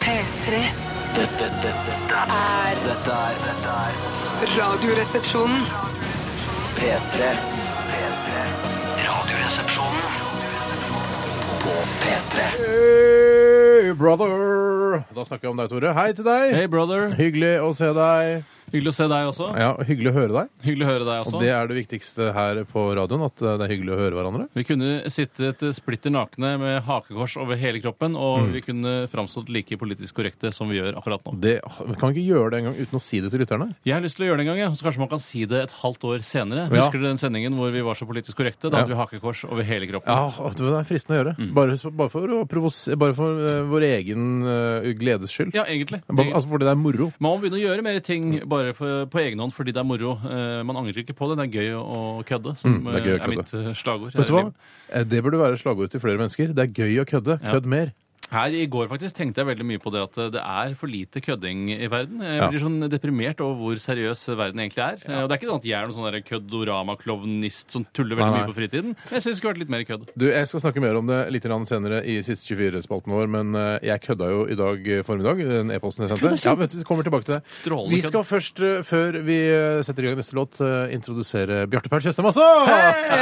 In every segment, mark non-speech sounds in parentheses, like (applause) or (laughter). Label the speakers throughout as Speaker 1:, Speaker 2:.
Speaker 1: P3
Speaker 2: Dette, dette, dette,
Speaker 1: er
Speaker 2: dette er dette er
Speaker 1: Radioresepsjonen.
Speaker 2: P3. P3. Radioresepsjonen på P3.
Speaker 3: Hey, brother! Da snakker vi om deg, Tore. Hei til deg!
Speaker 4: Hey, brother.
Speaker 3: Hyggelig å se deg. Sånn.
Speaker 4: Hyggelig å se deg også.
Speaker 3: Ja, Hyggelig å høre deg.
Speaker 4: Hyggelig å høre deg også.
Speaker 3: Det er det viktigste her på radioen, at eh, det er hyggelig å høre hverandre.
Speaker 4: Vi kunne sittet eh, splitter nakne med hakekors over hele kroppen,
Speaker 3: Mm.
Speaker 4: og vi kunne framstått like politisk korrekte som vi gjør akkurat nå.
Speaker 3: Det, kan vi ikke gjøre det engang uten å si det til lytterne?
Speaker 4: Jeg har lyst til å gjøre det en gang, ja. så kanskje man kan si det et halvt år senere.
Speaker 3: Ja.
Speaker 4: Husker du den sendingen hvor vi var så politisk korrekte? Da
Speaker 3: Ja.
Speaker 4: hadde vi hakekors over hele kroppen.
Speaker 3: Ja, vet du hva, Det er fristende å gjøre. Bare, bare for, å provos- bare for eh, vår egen eh, gledes skyld.
Speaker 4: Ja, egentlig.
Speaker 3: Bare, altså fordi det er moro.
Speaker 4: Man må begynne å gjøre mer ting bare for, på egen hånd fordi det er moro. Eh, man angrer ikke på det. Det er gøy å kødde, som
Speaker 3: Mm, det er
Speaker 4: eh,
Speaker 3: gøy å
Speaker 4: er,
Speaker 3: kødde.
Speaker 4: mitt eh, slagord.
Speaker 3: Vet du hva?
Speaker 4: Liv.
Speaker 3: Eh, Det burde være slagordet til flere mennesker. Det er gøy å kødde.
Speaker 4: Ja.
Speaker 3: Kødd mer.
Speaker 4: Her i går faktisk tenkte jeg veldig mye på det at eh, det er for lite kødding i verden. Jeg
Speaker 3: Ja.
Speaker 4: blir sånn deprimert over hvor seriøs verden egentlig er. Og det er ikke sånn at jeg er noen sånn der køddorama-klovnist som tuller veldig
Speaker 3: Nei, nei.
Speaker 4: mye på fritiden. Jeg syns det skulle vært litt mer kødd.
Speaker 3: Du, Jeg skal snakke mer om det litt grann senere i siste 24-spalten vår, men eh, jeg kødda jo i dag eh, formiddag. Den e-posten jeg sendte. Ja, men vi kommer tilbake til det.
Speaker 4: Strålende
Speaker 3: Vi
Speaker 4: kødd.
Speaker 3: skal først, eh, før vi eh, setter i gang neste låt, eh, introdusere Bjarte Paul Tjøstheim også!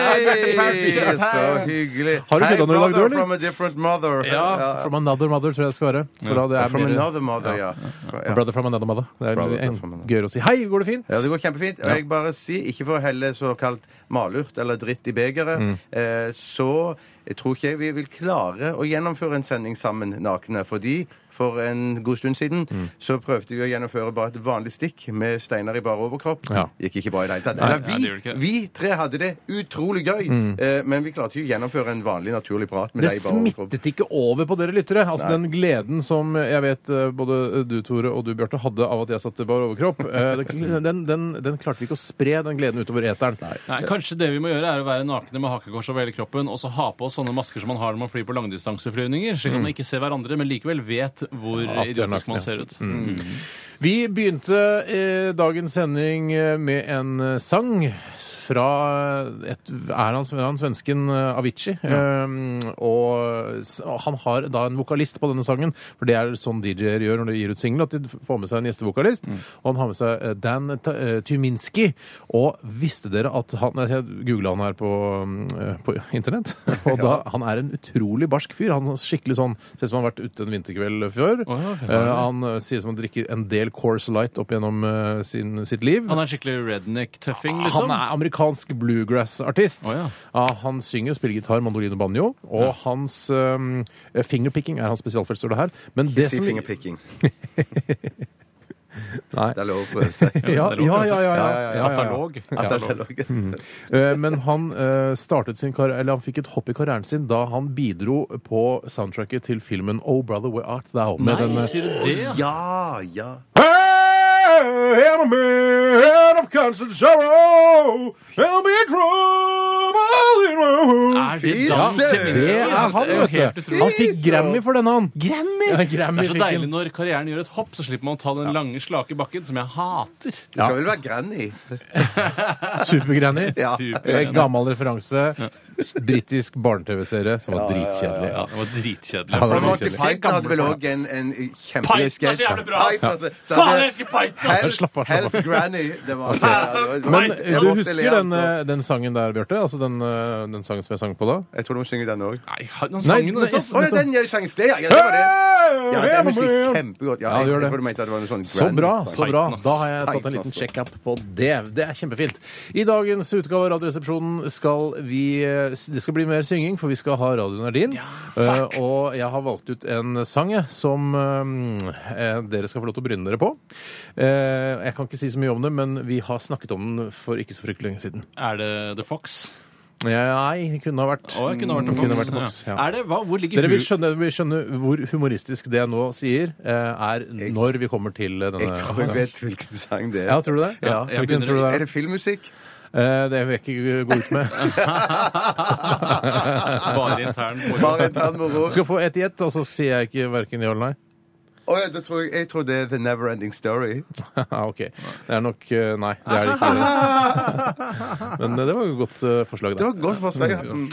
Speaker 5: Hei, så hyggelig.
Speaker 3: Har du
Speaker 5: Hei,
Speaker 3: kødda noe i dag, du,
Speaker 5: brother
Speaker 3: eller?
Speaker 5: From a different mother.
Speaker 3: Ja, From another mother, tror jeg det skal være. For da det er
Speaker 5: From
Speaker 3: mer-
Speaker 5: another mother, ja. ja.
Speaker 3: Brother from another mother. Det er
Speaker 5: Brother
Speaker 3: en,
Speaker 5: from another.
Speaker 3: gøyere å si. Hei, går det fint?
Speaker 5: Ja, Det går kjempefint. Og jeg bare sier, ikke for å helle såkalt malurt eller dritt i begeret,
Speaker 3: Mm.
Speaker 5: eh, så jeg tror ikke jeg vi vil klare å gjennomføre en sending sammen nakne. Fordi for en god stund siden
Speaker 3: Mm.
Speaker 5: så prøvde vi å gjennomføre bare et vanlig stikk med Steinar i bare overkropp.
Speaker 3: Ja.
Speaker 5: Gikk ikke bra i det hele tatt.
Speaker 4: Nei, nei,
Speaker 5: Eller
Speaker 4: det gjorde
Speaker 5: vi,
Speaker 4: ikke det.
Speaker 5: vi tre hadde det utrolig gøy, eh, men vi klarte ikke å gjennomføre en vanlig, naturlig prat med
Speaker 3: Mm. Det
Speaker 5: deg i bare overkropp.
Speaker 3: smittet ikke over på dere lyttere. Altså Den gleden som jeg vet eh, både du, Tore, og du, Bjarte, hadde av at jeg satt i bar overkropp, eh,
Speaker 5: (laughs)
Speaker 3: den, den, den, den klarte vi ikke å spre, den gleden utover eteren.
Speaker 4: Nei, kanskje det vi må gjøre, er å være nakne med hakekors over hele kroppen og så ha på oss sånne masker som man har når man flyr på langdistanseflyvninger, slik at man ikke ser hverandre, men likevel vet hvor
Speaker 3: Mm. at de er
Speaker 4: idiotisk
Speaker 3: nakne. Mm.
Speaker 4: man ser ut. Mm.
Speaker 3: Vi begynte eh, dagens sending eh, med en eh, sang fra et, er, han, er han svensken eh, Avicii. Eh, og s- og han har da en vokalist på denne sangen, for det er sånn DJ-er gjør når de gir ut singel, at de f- får med seg en gjestevokalist.
Speaker 4: Mm.
Speaker 3: Og han har med seg eh, Dan Ta- eh, Tyminski. Og visste dere at han nei, Jeg googla han her på, mm, eh, på
Speaker 4: (laughs)
Speaker 3: internett. Og da, han er en utrolig barsk fyr. Han er skikkelig sånn Ser ut som han har vært ute en vinterkveld før.
Speaker 4: Å, ja,
Speaker 3: Eh, han eh, sier som han drikker en del Coors Light opp gjennom eh, sin, sitt liv.
Speaker 4: Han er skikkelig redneck-tøffing, liksom.
Speaker 3: Ah, Han er amerikansk bluegrass-artist.
Speaker 4: Å, ja.
Speaker 3: Ja, han synger og spiller gitar, mandolin og banjo. Og hans um, fingerpicking er hans spesialfelt, står det her. Men det
Speaker 5: Si
Speaker 3: som
Speaker 5: fingerpicking.
Speaker 3: Nei.
Speaker 5: Det er lov å prøve seg.
Speaker 3: (laughs) Ja,
Speaker 4: Det er lov,
Speaker 3: ja, ja. ja,
Speaker 4: altså.
Speaker 3: ja,
Speaker 5: Ja, ja,
Speaker 3: ja, ja.
Speaker 4: Katalog.
Speaker 5: At det er lov.
Speaker 3: Eh, Men han eh, startet sin karriere, eller han fikk et hopp i karrieren sin da han bidro på soundtracket til filmen Oh Brother Where Art Thou. Med den,
Speaker 4: Nei,
Speaker 3: eh,
Speaker 4: sier du det?
Speaker 5: Ja, ja.
Speaker 3: Hey, enemy, head of constant sorrow, tell me trouble in my home.
Speaker 4: Er det
Speaker 5: Fy
Speaker 4: Dan
Speaker 5: søren!
Speaker 4: Teminski?
Speaker 3: Det er han,
Speaker 4: jo
Speaker 3: vet
Speaker 4: helt
Speaker 3: du.
Speaker 4: utrolig.
Speaker 3: Han fikk Grammy for denne, han. Grammy? Ja,
Speaker 4: Det
Speaker 3: Grammy
Speaker 4: er så
Speaker 3: fikk
Speaker 4: deilig
Speaker 3: han.
Speaker 4: når karrieren gjør et hopp, så slipper man å ta den lange, slake bakken, som jeg hater.
Speaker 5: Det skal vel være Granny.
Speaker 3: Super-Granny.
Speaker 5: Ja.
Speaker 3: Eh, Gammel referanse. Britisk barne-TV-serie som var dritkjedelig.
Speaker 4: Ja, det var
Speaker 3: Ja,
Speaker 4: dritkjedelig.
Speaker 3: det var
Speaker 5: For
Speaker 3: veldig
Speaker 5: Monty
Speaker 3: kjedelig.
Speaker 5: Python hadde vel òg en, en kjempegøy
Speaker 4: Python er så jævlig bra, ass.
Speaker 3: altså.
Speaker 4: Faen, jeg elsker Python, ass.
Speaker 5: altså. Hells,
Speaker 3: Slapp av, slapp av.
Speaker 5: Hells Granny. Det var
Speaker 3: Men
Speaker 5: Men
Speaker 3: eh, du husker den, eh, den sangen der, Bjarte? Altså den, eh, den sangen som jeg sang på da?
Speaker 5: Jeg tror du må synge den òg.
Speaker 4: Nei, har- han
Speaker 3: Nei,
Speaker 4: sang jo
Speaker 3: nei,
Speaker 4: nettopp.
Speaker 5: Å ja, den jeg sang i sted, ja. ja, Det var det. Ja, den husker jeg kjempegodt. Ja,
Speaker 3: Ja,
Speaker 5: jeg,
Speaker 3: du gjør
Speaker 5: jeg
Speaker 3: det.
Speaker 5: tror du mente at det var noe sånn
Speaker 3: Så
Speaker 5: Granny
Speaker 3: bra,
Speaker 5: sang.
Speaker 3: så bra.
Speaker 4: Titan, ass.
Speaker 3: Da har jeg tatt en
Speaker 5: Titan,
Speaker 3: liten
Speaker 5: ass.
Speaker 3: sjekk-up på det. Det er kjempefint. I dagens utgave av Radioresepsjonen skal vi eh, Det skal bli mer synging, for vi skal ha Radioen er din. Eh, og jeg har valgt ut en sang jeg, som eh, dere skal få lov til å bryne dere på. Eh, jeg kan ikke si så mye om det, men vi har snakket om den for ikke så fryktelig lenge siden.
Speaker 4: Er det The Fox?
Speaker 3: Nei, det kunne ha vært
Speaker 4: Å, jeg kunne vært
Speaker 3: Det
Speaker 4: The Fox.
Speaker 3: Mm, kunne vært The Fox, ja.
Speaker 4: Er det, hva, hvor ligger
Speaker 3: Dere vil
Speaker 4: hu-
Speaker 3: skjønne, vil skjønne hvor humoristisk det jeg nå sier, eh, er når vi kommer til eh, denne
Speaker 5: Jeg tror jeg vet hvilken sang det
Speaker 3: Ja,
Speaker 5: er.
Speaker 3: tror du det?
Speaker 4: Ja, jeg
Speaker 3: Hvilken
Speaker 4: begynner-
Speaker 3: tror du det
Speaker 5: Er
Speaker 3: er?
Speaker 5: det filmmusikk?
Speaker 3: Eh, det vil jeg ikke gå ut med. (laughs)
Speaker 4: Bare intern moro.
Speaker 5: Bare en tann moro.
Speaker 3: Du skal få ett i ett, og så sier jeg ikke hverken ja eller nei. (laughs)
Speaker 5: Å ja, da tror jeg, jeg tror det er The Neverending Story.
Speaker 3: Ah, ok. Det er nok eh, Nei, (laughs) det er det ikke. Men eh, det var jo et godt eh, forslag,
Speaker 5: Det
Speaker 3: da.
Speaker 5: var et godt forslag. ja. Mm.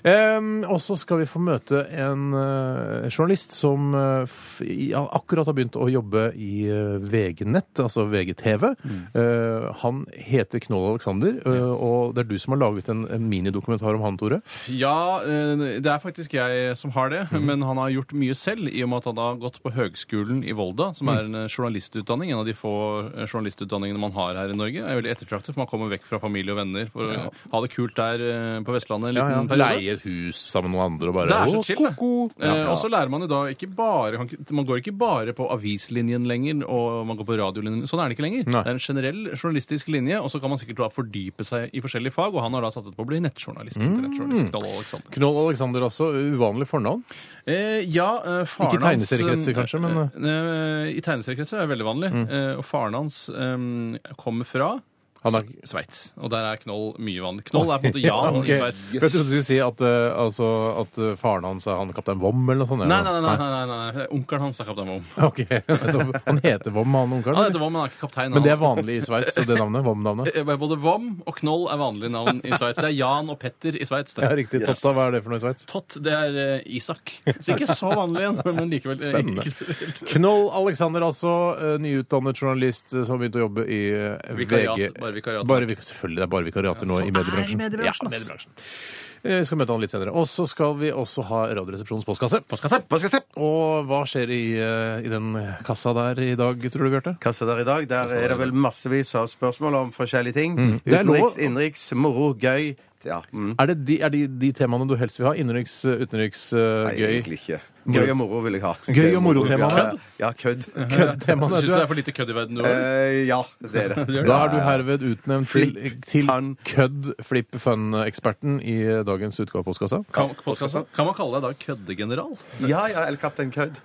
Speaker 3: Ehm, og så skal vi få møte en eh, journalist som eh, f i, ja, akkurat har begynt å jobbe i eh, VG-nett, altså VGTV. Eh, han heter Knoll Alexander, eh, og det er du som har laget en, en minidokumentar om han, Tore.
Speaker 4: Ja, eh, det er faktisk jeg som har det,
Speaker 3: Mhm.
Speaker 4: men han har gjort mye selv i og med at han har gått på Høgskolen i Volda, som er en
Speaker 3: Mhm.
Speaker 4: eh, journalistutdanning, en av de få eh, journalistutdanningene man har her i Norge. Det er veldig ettertraktet, for man kommer vekk fra familie og venner for å ha det kult der eh, på Vestlandet en liten periode.
Speaker 3: Leie et hus sammen med noen andre og bare
Speaker 4: Det er så
Speaker 3: «Å,
Speaker 4: chill, det.
Speaker 3: ko-ko».
Speaker 4: Eh, og så lærer man jo da ikke bare kan ikke- Man går ikke bare på avislinjen lenger, og man går på radiolinjen. Sånn er det ikke lenger.
Speaker 3: Nei.
Speaker 4: Det er en generell journalistisk linje, og så kan man sikkert da fordype seg i forskjellige fag, og han har da satset på å bli nettjournalist.
Speaker 3: Mm.
Speaker 4: Internettjournalist. Knall Alexander.
Speaker 3: Knoll Alexander også. Uvanlig fornavn.
Speaker 4: Eh, ja, eh, faren
Speaker 3: Ikke i
Speaker 4: hans,
Speaker 3: tegneseriekretser,
Speaker 4: eh,
Speaker 3: kanskje, men, Mm.
Speaker 4: eh, eh, I tegneseriekretser er det veldig vanlig. Eh, og faren hans eh, kommer fra
Speaker 3: Han er-
Speaker 4: Sveits, og der er Knoll mye vanlig. Knoll er på
Speaker 3: (laughs)
Speaker 4: en måte Jan
Speaker 3: Ok.
Speaker 4: i Sveits.
Speaker 3: Jeg trodde du skulle si at, eh, altså, at eh, faren hans er han kaptein Vom eller noe sånt.
Speaker 4: Nei,
Speaker 3: eller?
Speaker 4: nei, nei. nei, nei, nei. Onkelen hans er kaptein Vom.
Speaker 3: Ok, (laughs) nettopp. Han heter Vom, han onkelen?
Speaker 4: Han
Speaker 3: eller?
Speaker 4: heter Vom, men han er ikke kaptein.
Speaker 3: Men det
Speaker 4: han.
Speaker 3: er vanlig i Sveits, det navnet? Vom-navnet?
Speaker 4: Eh, Både Vom og Knoll er vanlige navn i Sveits. Det er Jan og Petter i Sveits. det.
Speaker 3: Ja, riktig. Totta, hva er det for noe i Sveits?
Speaker 4: Tott, det er eh, Isak. Så ikke så vanlig igjen, men likevel eh, (laughs)
Speaker 3: Spennende.
Speaker 4: ikke spesielt.
Speaker 3: Knoll Alexander, altså. eh, Nyutdannet journalist eh, som har begynt å jobbe i eh,
Speaker 4: Vikariat,
Speaker 3: VG.
Speaker 4: bare vikariat.
Speaker 3: Bare vik- selvfølgelig, det er bare vikariater nå i mediebransjen.
Speaker 4: er mediebransjen,
Speaker 3: Ja,
Speaker 4: ass.
Speaker 3: mediebransjen. Eh, Vi skal møte han litt senere. Og så skal vi også ha Radioresepsjonens postkasse.
Speaker 5: Hva skal jeg se?
Speaker 3: Og hva skjer i, eh, i den kassa der i dag, tror du, Bjarte?
Speaker 5: Kassa der i dag, der er det vel massevis av spørsmål om forskjellige ting.
Speaker 3: Det er lov å-
Speaker 5: Utenriks, innenriks, moro, gøy. Ja. Mm.
Speaker 3: Er det de, er de, de temaene du helst vil ha? Innenriks, eh, utenriks, eh,
Speaker 5: Nei,
Speaker 3: gøy?
Speaker 5: egentlig ikke. Gøy og moro vil jeg ha.
Speaker 3: Gøy og moro-temaene?
Speaker 5: Ja, Ja, kødd.
Speaker 3: Kødd-temaene?
Speaker 4: Syns du det er for lite kødd i verden? du har?
Speaker 5: Eh, ja, det er
Speaker 3: (laughs)
Speaker 5: det.
Speaker 3: Da er du herved utnevnt til,
Speaker 5: Flipp,
Speaker 3: til
Speaker 5: fun.
Speaker 3: kødd flipp fun-eksperten i dagens utgave av Postkassa.
Speaker 4: Kan, postkassa? kan man kalle deg da køddegeneral?
Speaker 5: Ja, ja, eller Kaptein Kødd.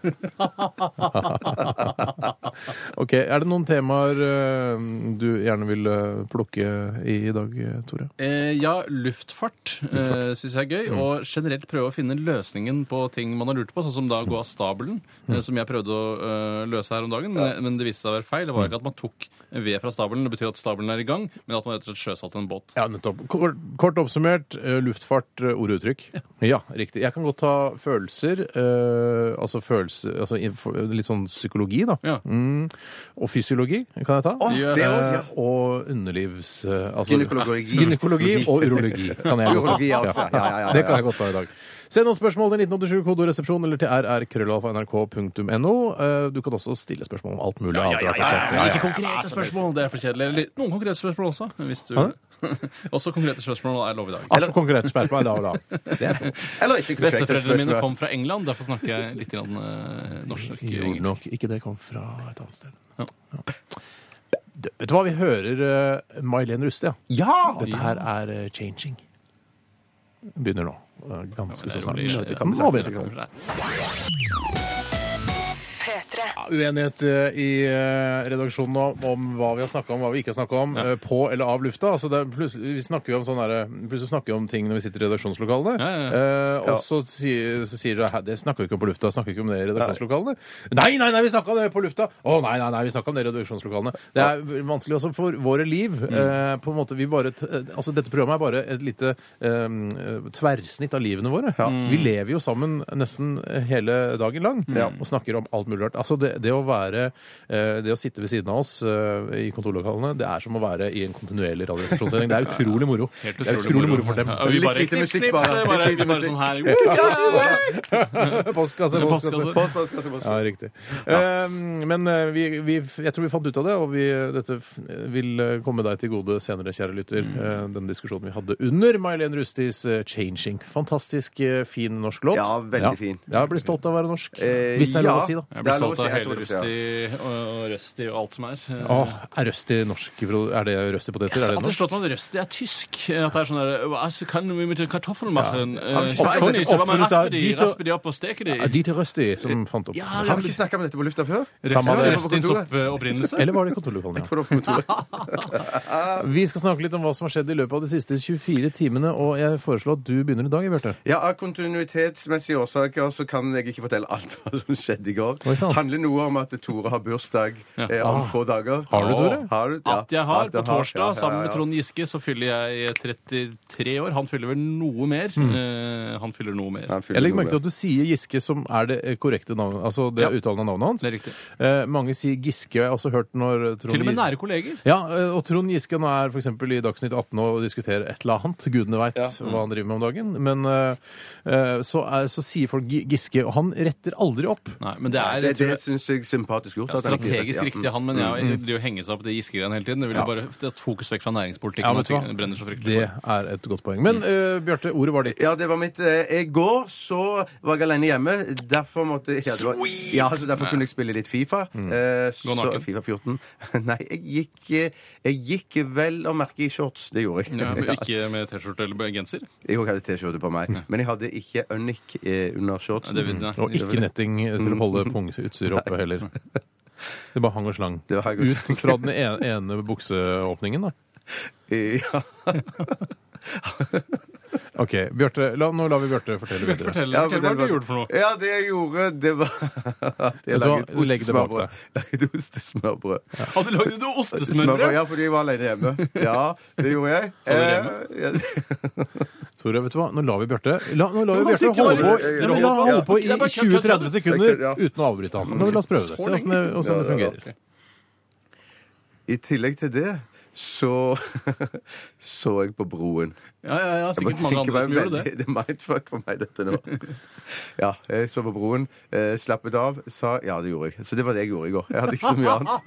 Speaker 3: Ok, Er det noen temaer eh, du gjerne vil eh, plukke i i dag, eh, Tore?
Speaker 4: Eh, ja, luftfart eh, syns jeg er gøy. Og generelt prøve å finne løsningen på ting man har lurt på, sånn som da å gå av stabelen, eh, som jeg prøvde å eh, løse her om dagen. Men, men det viste seg å være feil. Det var ikke at man tok ved fra stabelen, det betyr at stabelen er i gang, men at man rett og slett sjøsatte en båt.
Speaker 3: Ja, nettopp. Kort, kort oppsummert, eh, luftfart, eh, ord og uttrykk. Ja, riktig. Jeg kan godt ta følelser, eh, altså følelse, altså inf- litt sånn psykologi, da.
Speaker 4: Ja.
Speaker 3: Mm, og fysiologi kan jeg ta.
Speaker 5: Å, det også, ja.
Speaker 3: Eh, og underlivs... eh, Altså,
Speaker 5: Gynekologi.
Speaker 3: (laughs) Gynekologi og urologi kan jeg godt
Speaker 5: Urologi,
Speaker 3: ta.
Speaker 5: altså. Ja, ja, ja, ja.
Speaker 3: Det kan jeg godt ta i dag. Send oss spørsmål til 1987 kodoresepsjon eller til rrkrøllalfa.nrk.no. Eh, Du kan også stille spørsmål om alt mulig annet. rart, altså.
Speaker 4: Men Ikke konkrete spørsmål, det er for kjedelig. Eller Noen konkrete spørsmål også. Hvis du... (laughs) også konkrete spørsmål er lov i dag.
Speaker 3: Altså konkret spørsmål da og da.
Speaker 5: Eller ikke korrekt.
Speaker 4: Besteforeldrene mine
Speaker 5: spørsmål.
Speaker 4: kom fra England, derfor snakker jeg litt grann, eh, norsk. og
Speaker 3: Gjorde
Speaker 4: engelsk.
Speaker 3: nok ikke det kom fra et annet sted.
Speaker 4: Ja.
Speaker 3: Du, Vet du hva, vi hører uh, May-Len Ruste, ja.
Speaker 5: Ja!
Speaker 3: Dette her er eh, changing. Begynner nå. eh, Ganske så snart.
Speaker 4: Ja, men det
Speaker 3: Må vi snakke om.
Speaker 1: P3.
Speaker 3: uenighet eh, i eh, redaksjonen nå om hva vi har snakka om, hva vi ikke har snakka om, eh, på eller av lufta. Altså det er plutselig, vi snakker jo om sånn derre- plutselig snakker vi om ting når vi sitter i redaksjonslokalene.
Speaker 4: Ja, ja,
Speaker 3: Eh, og så sier, så sier du "Hæ, det snakker vi ikke om på lufta, snakker vi ikke om det i redaksjonslokalene. Nei, nei, nei, vi snakka om det på lufta! Å nei, nei, nei, vi snakka om det i redaksjonslokalene. Det er vanskelig også for våre liv.
Speaker 4: Mm.
Speaker 3: Eh, på en måte, vi bare, t altså dette programmet er bare et lite eh, tverrsnitt av livene våre. Mm. Vi lever jo sammen nesten hele dagen lang og snakker om alt mulig rart. Altså det, det å være eh, Det å sitte ved siden av oss eh, i kontorlokalene, det er som å være i en kontinuerlig radioresepsjonssending.
Speaker 4: (laughs)
Speaker 3: Det er utrolig moro.
Speaker 4: Helt
Speaker 3: Det er utrolig moro for dem.
Speaker 4: Ja, vi
Speaker 5: Litt
Speaker 4: bare,
Speaker 5: lite
Speaker 4: knips,
Speaker 5: musikk,
Speaker 4: knips,
Speaker 5: bare.
Speaker 4: bare,
Speaker 5: Litt lite
Speaker 4: bare
Speaker 5: musikk.
Speaker 4: sånn her. Woo!
Speaker 3: Postkasse, postkasse.
Speaker 5: Post, post, post, post.
Speaker 3: Ja, riktig. Eh, men eh, vi, vi, jeg tror vi fant ut av det, og vi, eh, dette f- vil eh, komme deg til gode senere, kjære lytter. Eh, Den diskusjonen vi hadde under May-Len Rustis eh, 'Changing'. Fantastisk eh, fin norsk låt.
Speaker 5: Ja, veldig fin.
Speaker 3: Ja, jeg blir stolt av å være norsk.
Speaker 5: Eh,
Speaker 3: Hvis det er lov å
Speaker 5: ja.
Speaker 3: si, da.
Speaker 4: Jeg
Speaker 5: Det
Speaker 4: blir
Speaker 5: er lov å
Speaker 4: stolt av
Speaker 5: si, jeg tror det,
Speaker 4: helrøsti og og røsti og alt som er. Eh,
Speaker 3: Åh, er røsti norsk? Er det røsti poteter?
Speaker 4: Jeg har
Speaker 3: Er det
Speaker 4: alltid
Speaker 3: norsk?
Speaker 4: slått meg at røsti er tysk. At det er sånn der, altså, kan vi med kartoffelmachen
Speaker 3: Ja.
Speaker 4: eh,
Speaker 3: Oppfunnet-
Speaker 4: Schweizer nicht, aber man
Speaker 3: oppfunnet av
Speaker 4: rasper de,
Speaker 3: Dieter-
Speaker 4: rasper de opp og steker de.
Speaker 3: Er de til Røsti som fant opp
Speaker 4: Ja,
Speaker 5: Har vi ikke snakka om dette på lufta før?
Speaker 3: Samme
Speaker 4: Røst-
Speaker 3: det.
Speaker 4: Røstins opp, eh,
Speaker 5: sånn.
Speaker 4: opprinnelse.
Speaker 3: Eller var det i kontorlokalene?
Speaker 5: Tror du på kontoret?
Speaker 3: (laughs) Vi skal snakke litt om hva som har skjedd i løpet av de siste 24 timene, og jeg foreslår at du begynner i dag, Bjarte.
Speaker 5: Ja, Av kontinuitetsmessige årsaker så kan jeg ikke fortelle alt (laughs) hva som skjedde i går.
Speaker 3: Oi, sant. sant? Ah.
Speaker 5: handler noe om at Tore har bursdag
Speaker 4: Ja.
Speaker 5: eh, om få dager. Ah,
Speaker 3: Har du, Tore?
Speaker 5: Har du? Ja,
Speaker 4: At jeg har.
Speaker 5: at
Speaker 4: På
Speaker 5: jeg
Speaker 4: torsdag,
Speaker 5: Ja, ja,
Speaker 4: sammen med
Speaker 5: ja.
Speaker 4: Trond Giske, så fyller jeg 33 år. Han fyller vel noe mer. Eh, han fyller noe mer.
Speaker 5: Hmm. Han fyller
Speaker 3: Jeg legger
Speaker 5: noe
Speaker 3: merke til at du sier Giske, som er det korrekte navnet, altså det
Speaker 4: Ja.
Speaker 3: uttalen av navnet hans.
Speaker 4: Det er riktig.
Speaker 3: Eh, mange sier Giske, og jeg har også hørt når Trond
Speaker 4: Til og med
Speaker 3: Giske-
Speaker 4: nære kolleger.
Speaker 3: Ja, eh, og Trond Giske nå er for eksempel i Dagsnytt 18 og diskuterer et eller annet. Gudene veit hva han driver med om dagen. Men eh, eh, så, er, så sier folk Gi- Giske, og han retter aldri opp.
Speaker 4: Nei, men det
Speaker 5: Nei,
Speaker 4: er
Speaker 5: det,
Speaker 4: jeg tror
Speaker 5: det
Speaker 4: det
Speaker 5: syns jeg er sympatisk gjort.
Speaker 4: er
Speaker 5: at han ikke-
Speaker 4: strategisk
Speaker 5: ja, mm.
Speaker 4: riktig, han, men jeg driver og henger seg opp i det Giske-greiene hele tiden. Det vil jo bare det er et fokus vekk fra
Speaker 3: Ja,
Speaker 4: næringspolitikken.
Speaker 3: vet du hva?
Speaker 4: når ting brenner så fryktelig
Speaker 3: Det
Speaker 4: for.
Speaker 3: er et godt poeng. Men eh, Bjarte, ordet var ditt.
Speaker 5: Ja, det var mitt. eh, I går så var jeg alene hjemme. Derfor måtte ja, det var, ja, så derfor kunne jeg spille litt Fifa.
Speaker 3: Mm.
Speaker 5: Eh,
Speaker 4: Gå
Speaker 5: så,
Speaker 4: naken.
Speaker 5: Fifa 14. (laughs) Nei, jeg gikk, eh, jeg gikk vel å merke i shorts. Det gjorde jeg.
Speaker 4: Ja, men
Speaker 5: Ja.
Speaker 4: ikke med T-skjorte eller genser.
Speaker 5: Jeg hadde T-skjorte på meg, men jeg hadde ikke Unic eh, under shortsen.
Speaker 4: Det vil, nei.
Speaker 3: Og ikke netting til å
Speaker 5: Mm.
Speaker 3: holde pungutstyret oppe heller. Det bare hang og slang.
Speaker 5: Det var hang og
Speaker 3: Ut fra den ene, ene bukseåpningen, da.
Speaker 5: Ja.
Speaker 3: OK, Bjarte, la, nå lar vi Bjarte fortelle
Speaker 4: Fortell,
Speaker 3: videre.
Speaker 4: fortell
Speaker 5: Ja,
Speaker 4: hva
Speaker 5: fortell
Speaker 4: du gjorde for noe.
Speaker 5: Ja, det jeg gjorde, det var (laughs) at jeg
Speaker 3: Vet du hva?
Speaker 5: laget
Speaker 3: Legg det bak
Speaker 5: ostesmørbrød.
Speaker 3: deg.
Speaker 5: (laughs) Laget ostesmørbrød.
Speaker 4: Hadde du lagd noe
Speaker 5: Smørbrød,
Speaker 4: ostesmørbrød?
Speaker 5: Ja, fordi jeg var alene hjemme.
Speaker 4: (laughs)
Speaker 5: Ja, det gjorde jeg.
Speaker 4: du
Speaker 5: Eh,
Speaker 4: hjemme?
Speaker 5: ja,
Speaker 3: Tore, vet du hva? Nå lar vi Bjarte La, nå lar vi
Speaker 4: Han
Speaker 3: Bjarte
Speaker 4: sitter
Speaker 3: holde på,
Speaker 4: bare og
Speaker 3: ja, men la han holde på i
Speaker 4: Ja, bare kjør, kjør,
Speaker 3: 20-30 sekunder
Speaker 5: Ja.
Speaker 3: uten å avbryte han. Nå, la oss prøve det. Se åssen det, hvordan det
Speaker 5: Ja, ja, ja.
Speaker 3: fungerer.
Speaker 5: I tillegg til det så (laughs) så jeg på broen.
Speaker 4: Ja, ja, ja,
Speaker 5: Jeg bare
Speaker 4: sikkert mange
Speaker 5: tenker
Speaker 4: andre
Speaker 5: meg
Speaker 4: som gjorde det.
Speaker 5: veldig- (laughs) Det er mindfuck for meg, dette nå. (laughs) Ja, jeg så på broen, eh, slappet av, sa ja, det gjorde jeg. Så det var det jeg gjorde i går. Jeg hadde ikke så mye annet.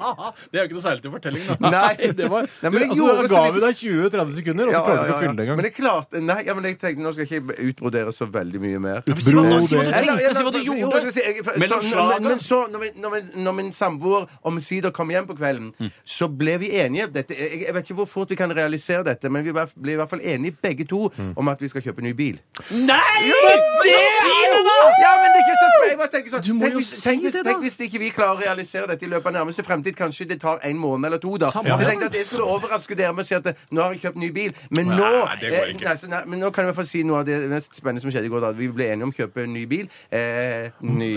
Speaker 4: Det er jo ikke noe særlig til fortellingen, da.
Speaker 5: Nei,
Speaker 3: Det var,
Speaker 5: Nei,
Speaker 3: du,
Speaker 5: men jeg
Speaker 3: altså,
Speaker 5: gjorde
Speaker 3: da
Speaker 5: så
Speaker 3: ga
Speaker 5: lite-
Speaker 3: vi deg 20-30 sekunder, og så klarte du ikke å fylle det
Speaker 5: Men
Speaker 3: engang.
Speaker 5: jeg klarte Nei, ja, men jeg tenkte nå skal jeg ikke utbrodere så veldig mye mer.
Speaker 4: Si hva
Speaker 3: Bro,
Speaker 4: si hva du
Speaker 3: det-
Speaker 5: Eller,
Speaker 4: tenkte, si hva du
Speaker 5: eller, jo,
Speaker 4: gjorde.
Speaker 5: jeg skal si, jeg-
Speaker 4: Mellom
Speaker 5: så-
Speaker 4: slaga.
Speaker 5: men, men så, når min, når min, når min samboer omsider kom hjem på kvelden, så ble vi enige. Dette, jeg, jeg vet ikke hvor fort vi kan realisere dette, men vi ble, ble i hvert fall enige begge to om at vi skal kjøpe ny bil.
Speaker 4: Nei!
Speaker 5: Ja, men det er ikke så jeg bare tenker sånn,
Speaker 4: Du må
Speaker 5: tenk,
Speaker 4: jo
Speaker 5: hvis,
Speaker 4: si
Speaker 5: tenk, hvis,
Speaker 4: det, da.
Speaker 5: tenk hvis ikke vi klarer å realisere dette i løpet av nærmeste fremtid. Kanskje det tar en måned eller to. da. Så
Speaker 4: Samme
Speaker 5: jeg
Speaker 4: her.
Speaker 5: tenkte at Jeg skulle overraske dere med å si at eh, nå har jeg kjøpt ny bil. Men
Speaker 4: Nei,
Speaker 5: nå
Speaker 4: det går
Speaker 5: eh,
Speaker 4: ikke.
Speaker 5: Nei, så nei, men nå kan jeg i hvert fall si noe av det mest spennende som skjedde i går. da. Vi ble enige om å kjøpe en ny bil. Eh, ny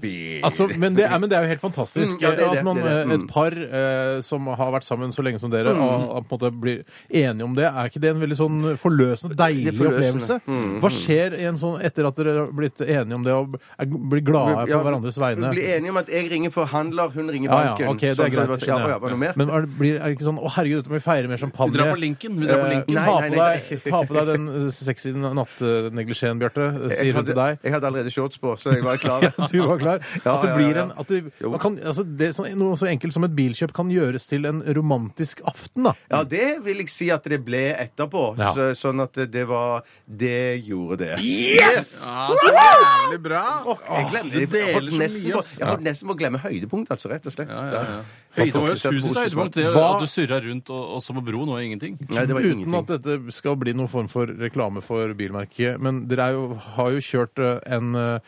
Speaker 5: bil.
Speaker 3: Altså, men, det er, men det er jo helt fantastisk
Speaker 5: Mm, ja, det er det,
Speaker 3: at man,
Speaker 5: det er det,
Speaker 3: eh,
Speaker 5: mm.
Speaker 3: et par eh, som har vært sammen så lenge som dere, og, og på en måte blir enige om det. Er ikke det en veldig sånn forløsende, deilig
Speaker 5: Det er forløsende. Mm,
Speaker 3: opplevelse? Hva skjer i en sånn, etter at dere har blitt enige om det og er- blir glade på
Speaker 5: Ja,
Speaker 3: hverandres vegne?
Speaker 5: Vi ble enige om at jeg ringer forhandler, hun ringer
Speaker 3: Ja, ja,
Speaker 5: banken.
Speaker 3: ok, det
Speaker 5: Sånn,
Speaker 3: er
Speaker 5: så
Speaker 3: greit.
Speaker 5: var- Ja, ja, var det noe mer?
Speaker 3: Men er det, blir, er det ikke sånn 'Å, herregud, dette må vi feire mer champagne'?
Speaker 4: Vi drar på Lincoln. Vi drar på
Speaker 3: Eh,
Speaker 4: Lincoln.
Speaker 5: Nei,
Speaker 3: ta,
Speaker 5: nei,
Speaker 3: på
Speaker 5: nei,
Speaker 3: deg, ta på deg den eh, sexy nattneglisjeen, Bjarte, eh,
Speaker 5: jeg,
Speaker 3: sier hun
Speaker 5: hadde,
Speaker 3: til deg.
Speaker 5: jeg hadde allerede shorts på, så jeg var klar.
Speaker 3: (laughs) Ja, du var klar.
Speaker 5: Ja,
Speaker 3: At det
Speaker 5: ja,
Speaker 3: blir
Speaker 5: ja.
Speaker 3: en at det, man kan, altså det, som- Noe så enkelt som et bilkjøp kan gjøres til en romantisk aften, da.
Speaker 5: Ja, det vil jeg si at det ble etterpå.
Speaker 3: Ja.
Speaker 5: Så, sånn at det var Det gjorde det.
Speaker 4: Ja, så jævlig bra!
Speaker 5: Åh, jeg glemte jeg,
Speaker 4: du deler
Speaker 5: jeg, holdt
Speaker 4: så
Speaker 5: nesten
Speaker 4: mye,
Speaker 5: på,
Speaker 4: ass.
Speaker 5: jeg holdt nesten på å glemme høydepunkt, altså, rett og slett.
Speaker 4: Ja, ja, ja.
Speaker 5: Fantastisk
Speaker 4: Høydepunkt var jo
Speaker 5: at
Speaker 4: susens
Speaker 5: positivt.
Speaker 4: høydepunkt. Det
Speaker 3: Hva-
Speaker 4: at du surra rundt og, og som på broen var ingenting.
Speaker 5: Nei, det var
Speaker 3: Uten
Speaker 5: ingenting.
Speaker 3: at dette skal bli noen form for reklame for bilmerket. Men dere er jo, har jo kjørt eh, en, eh,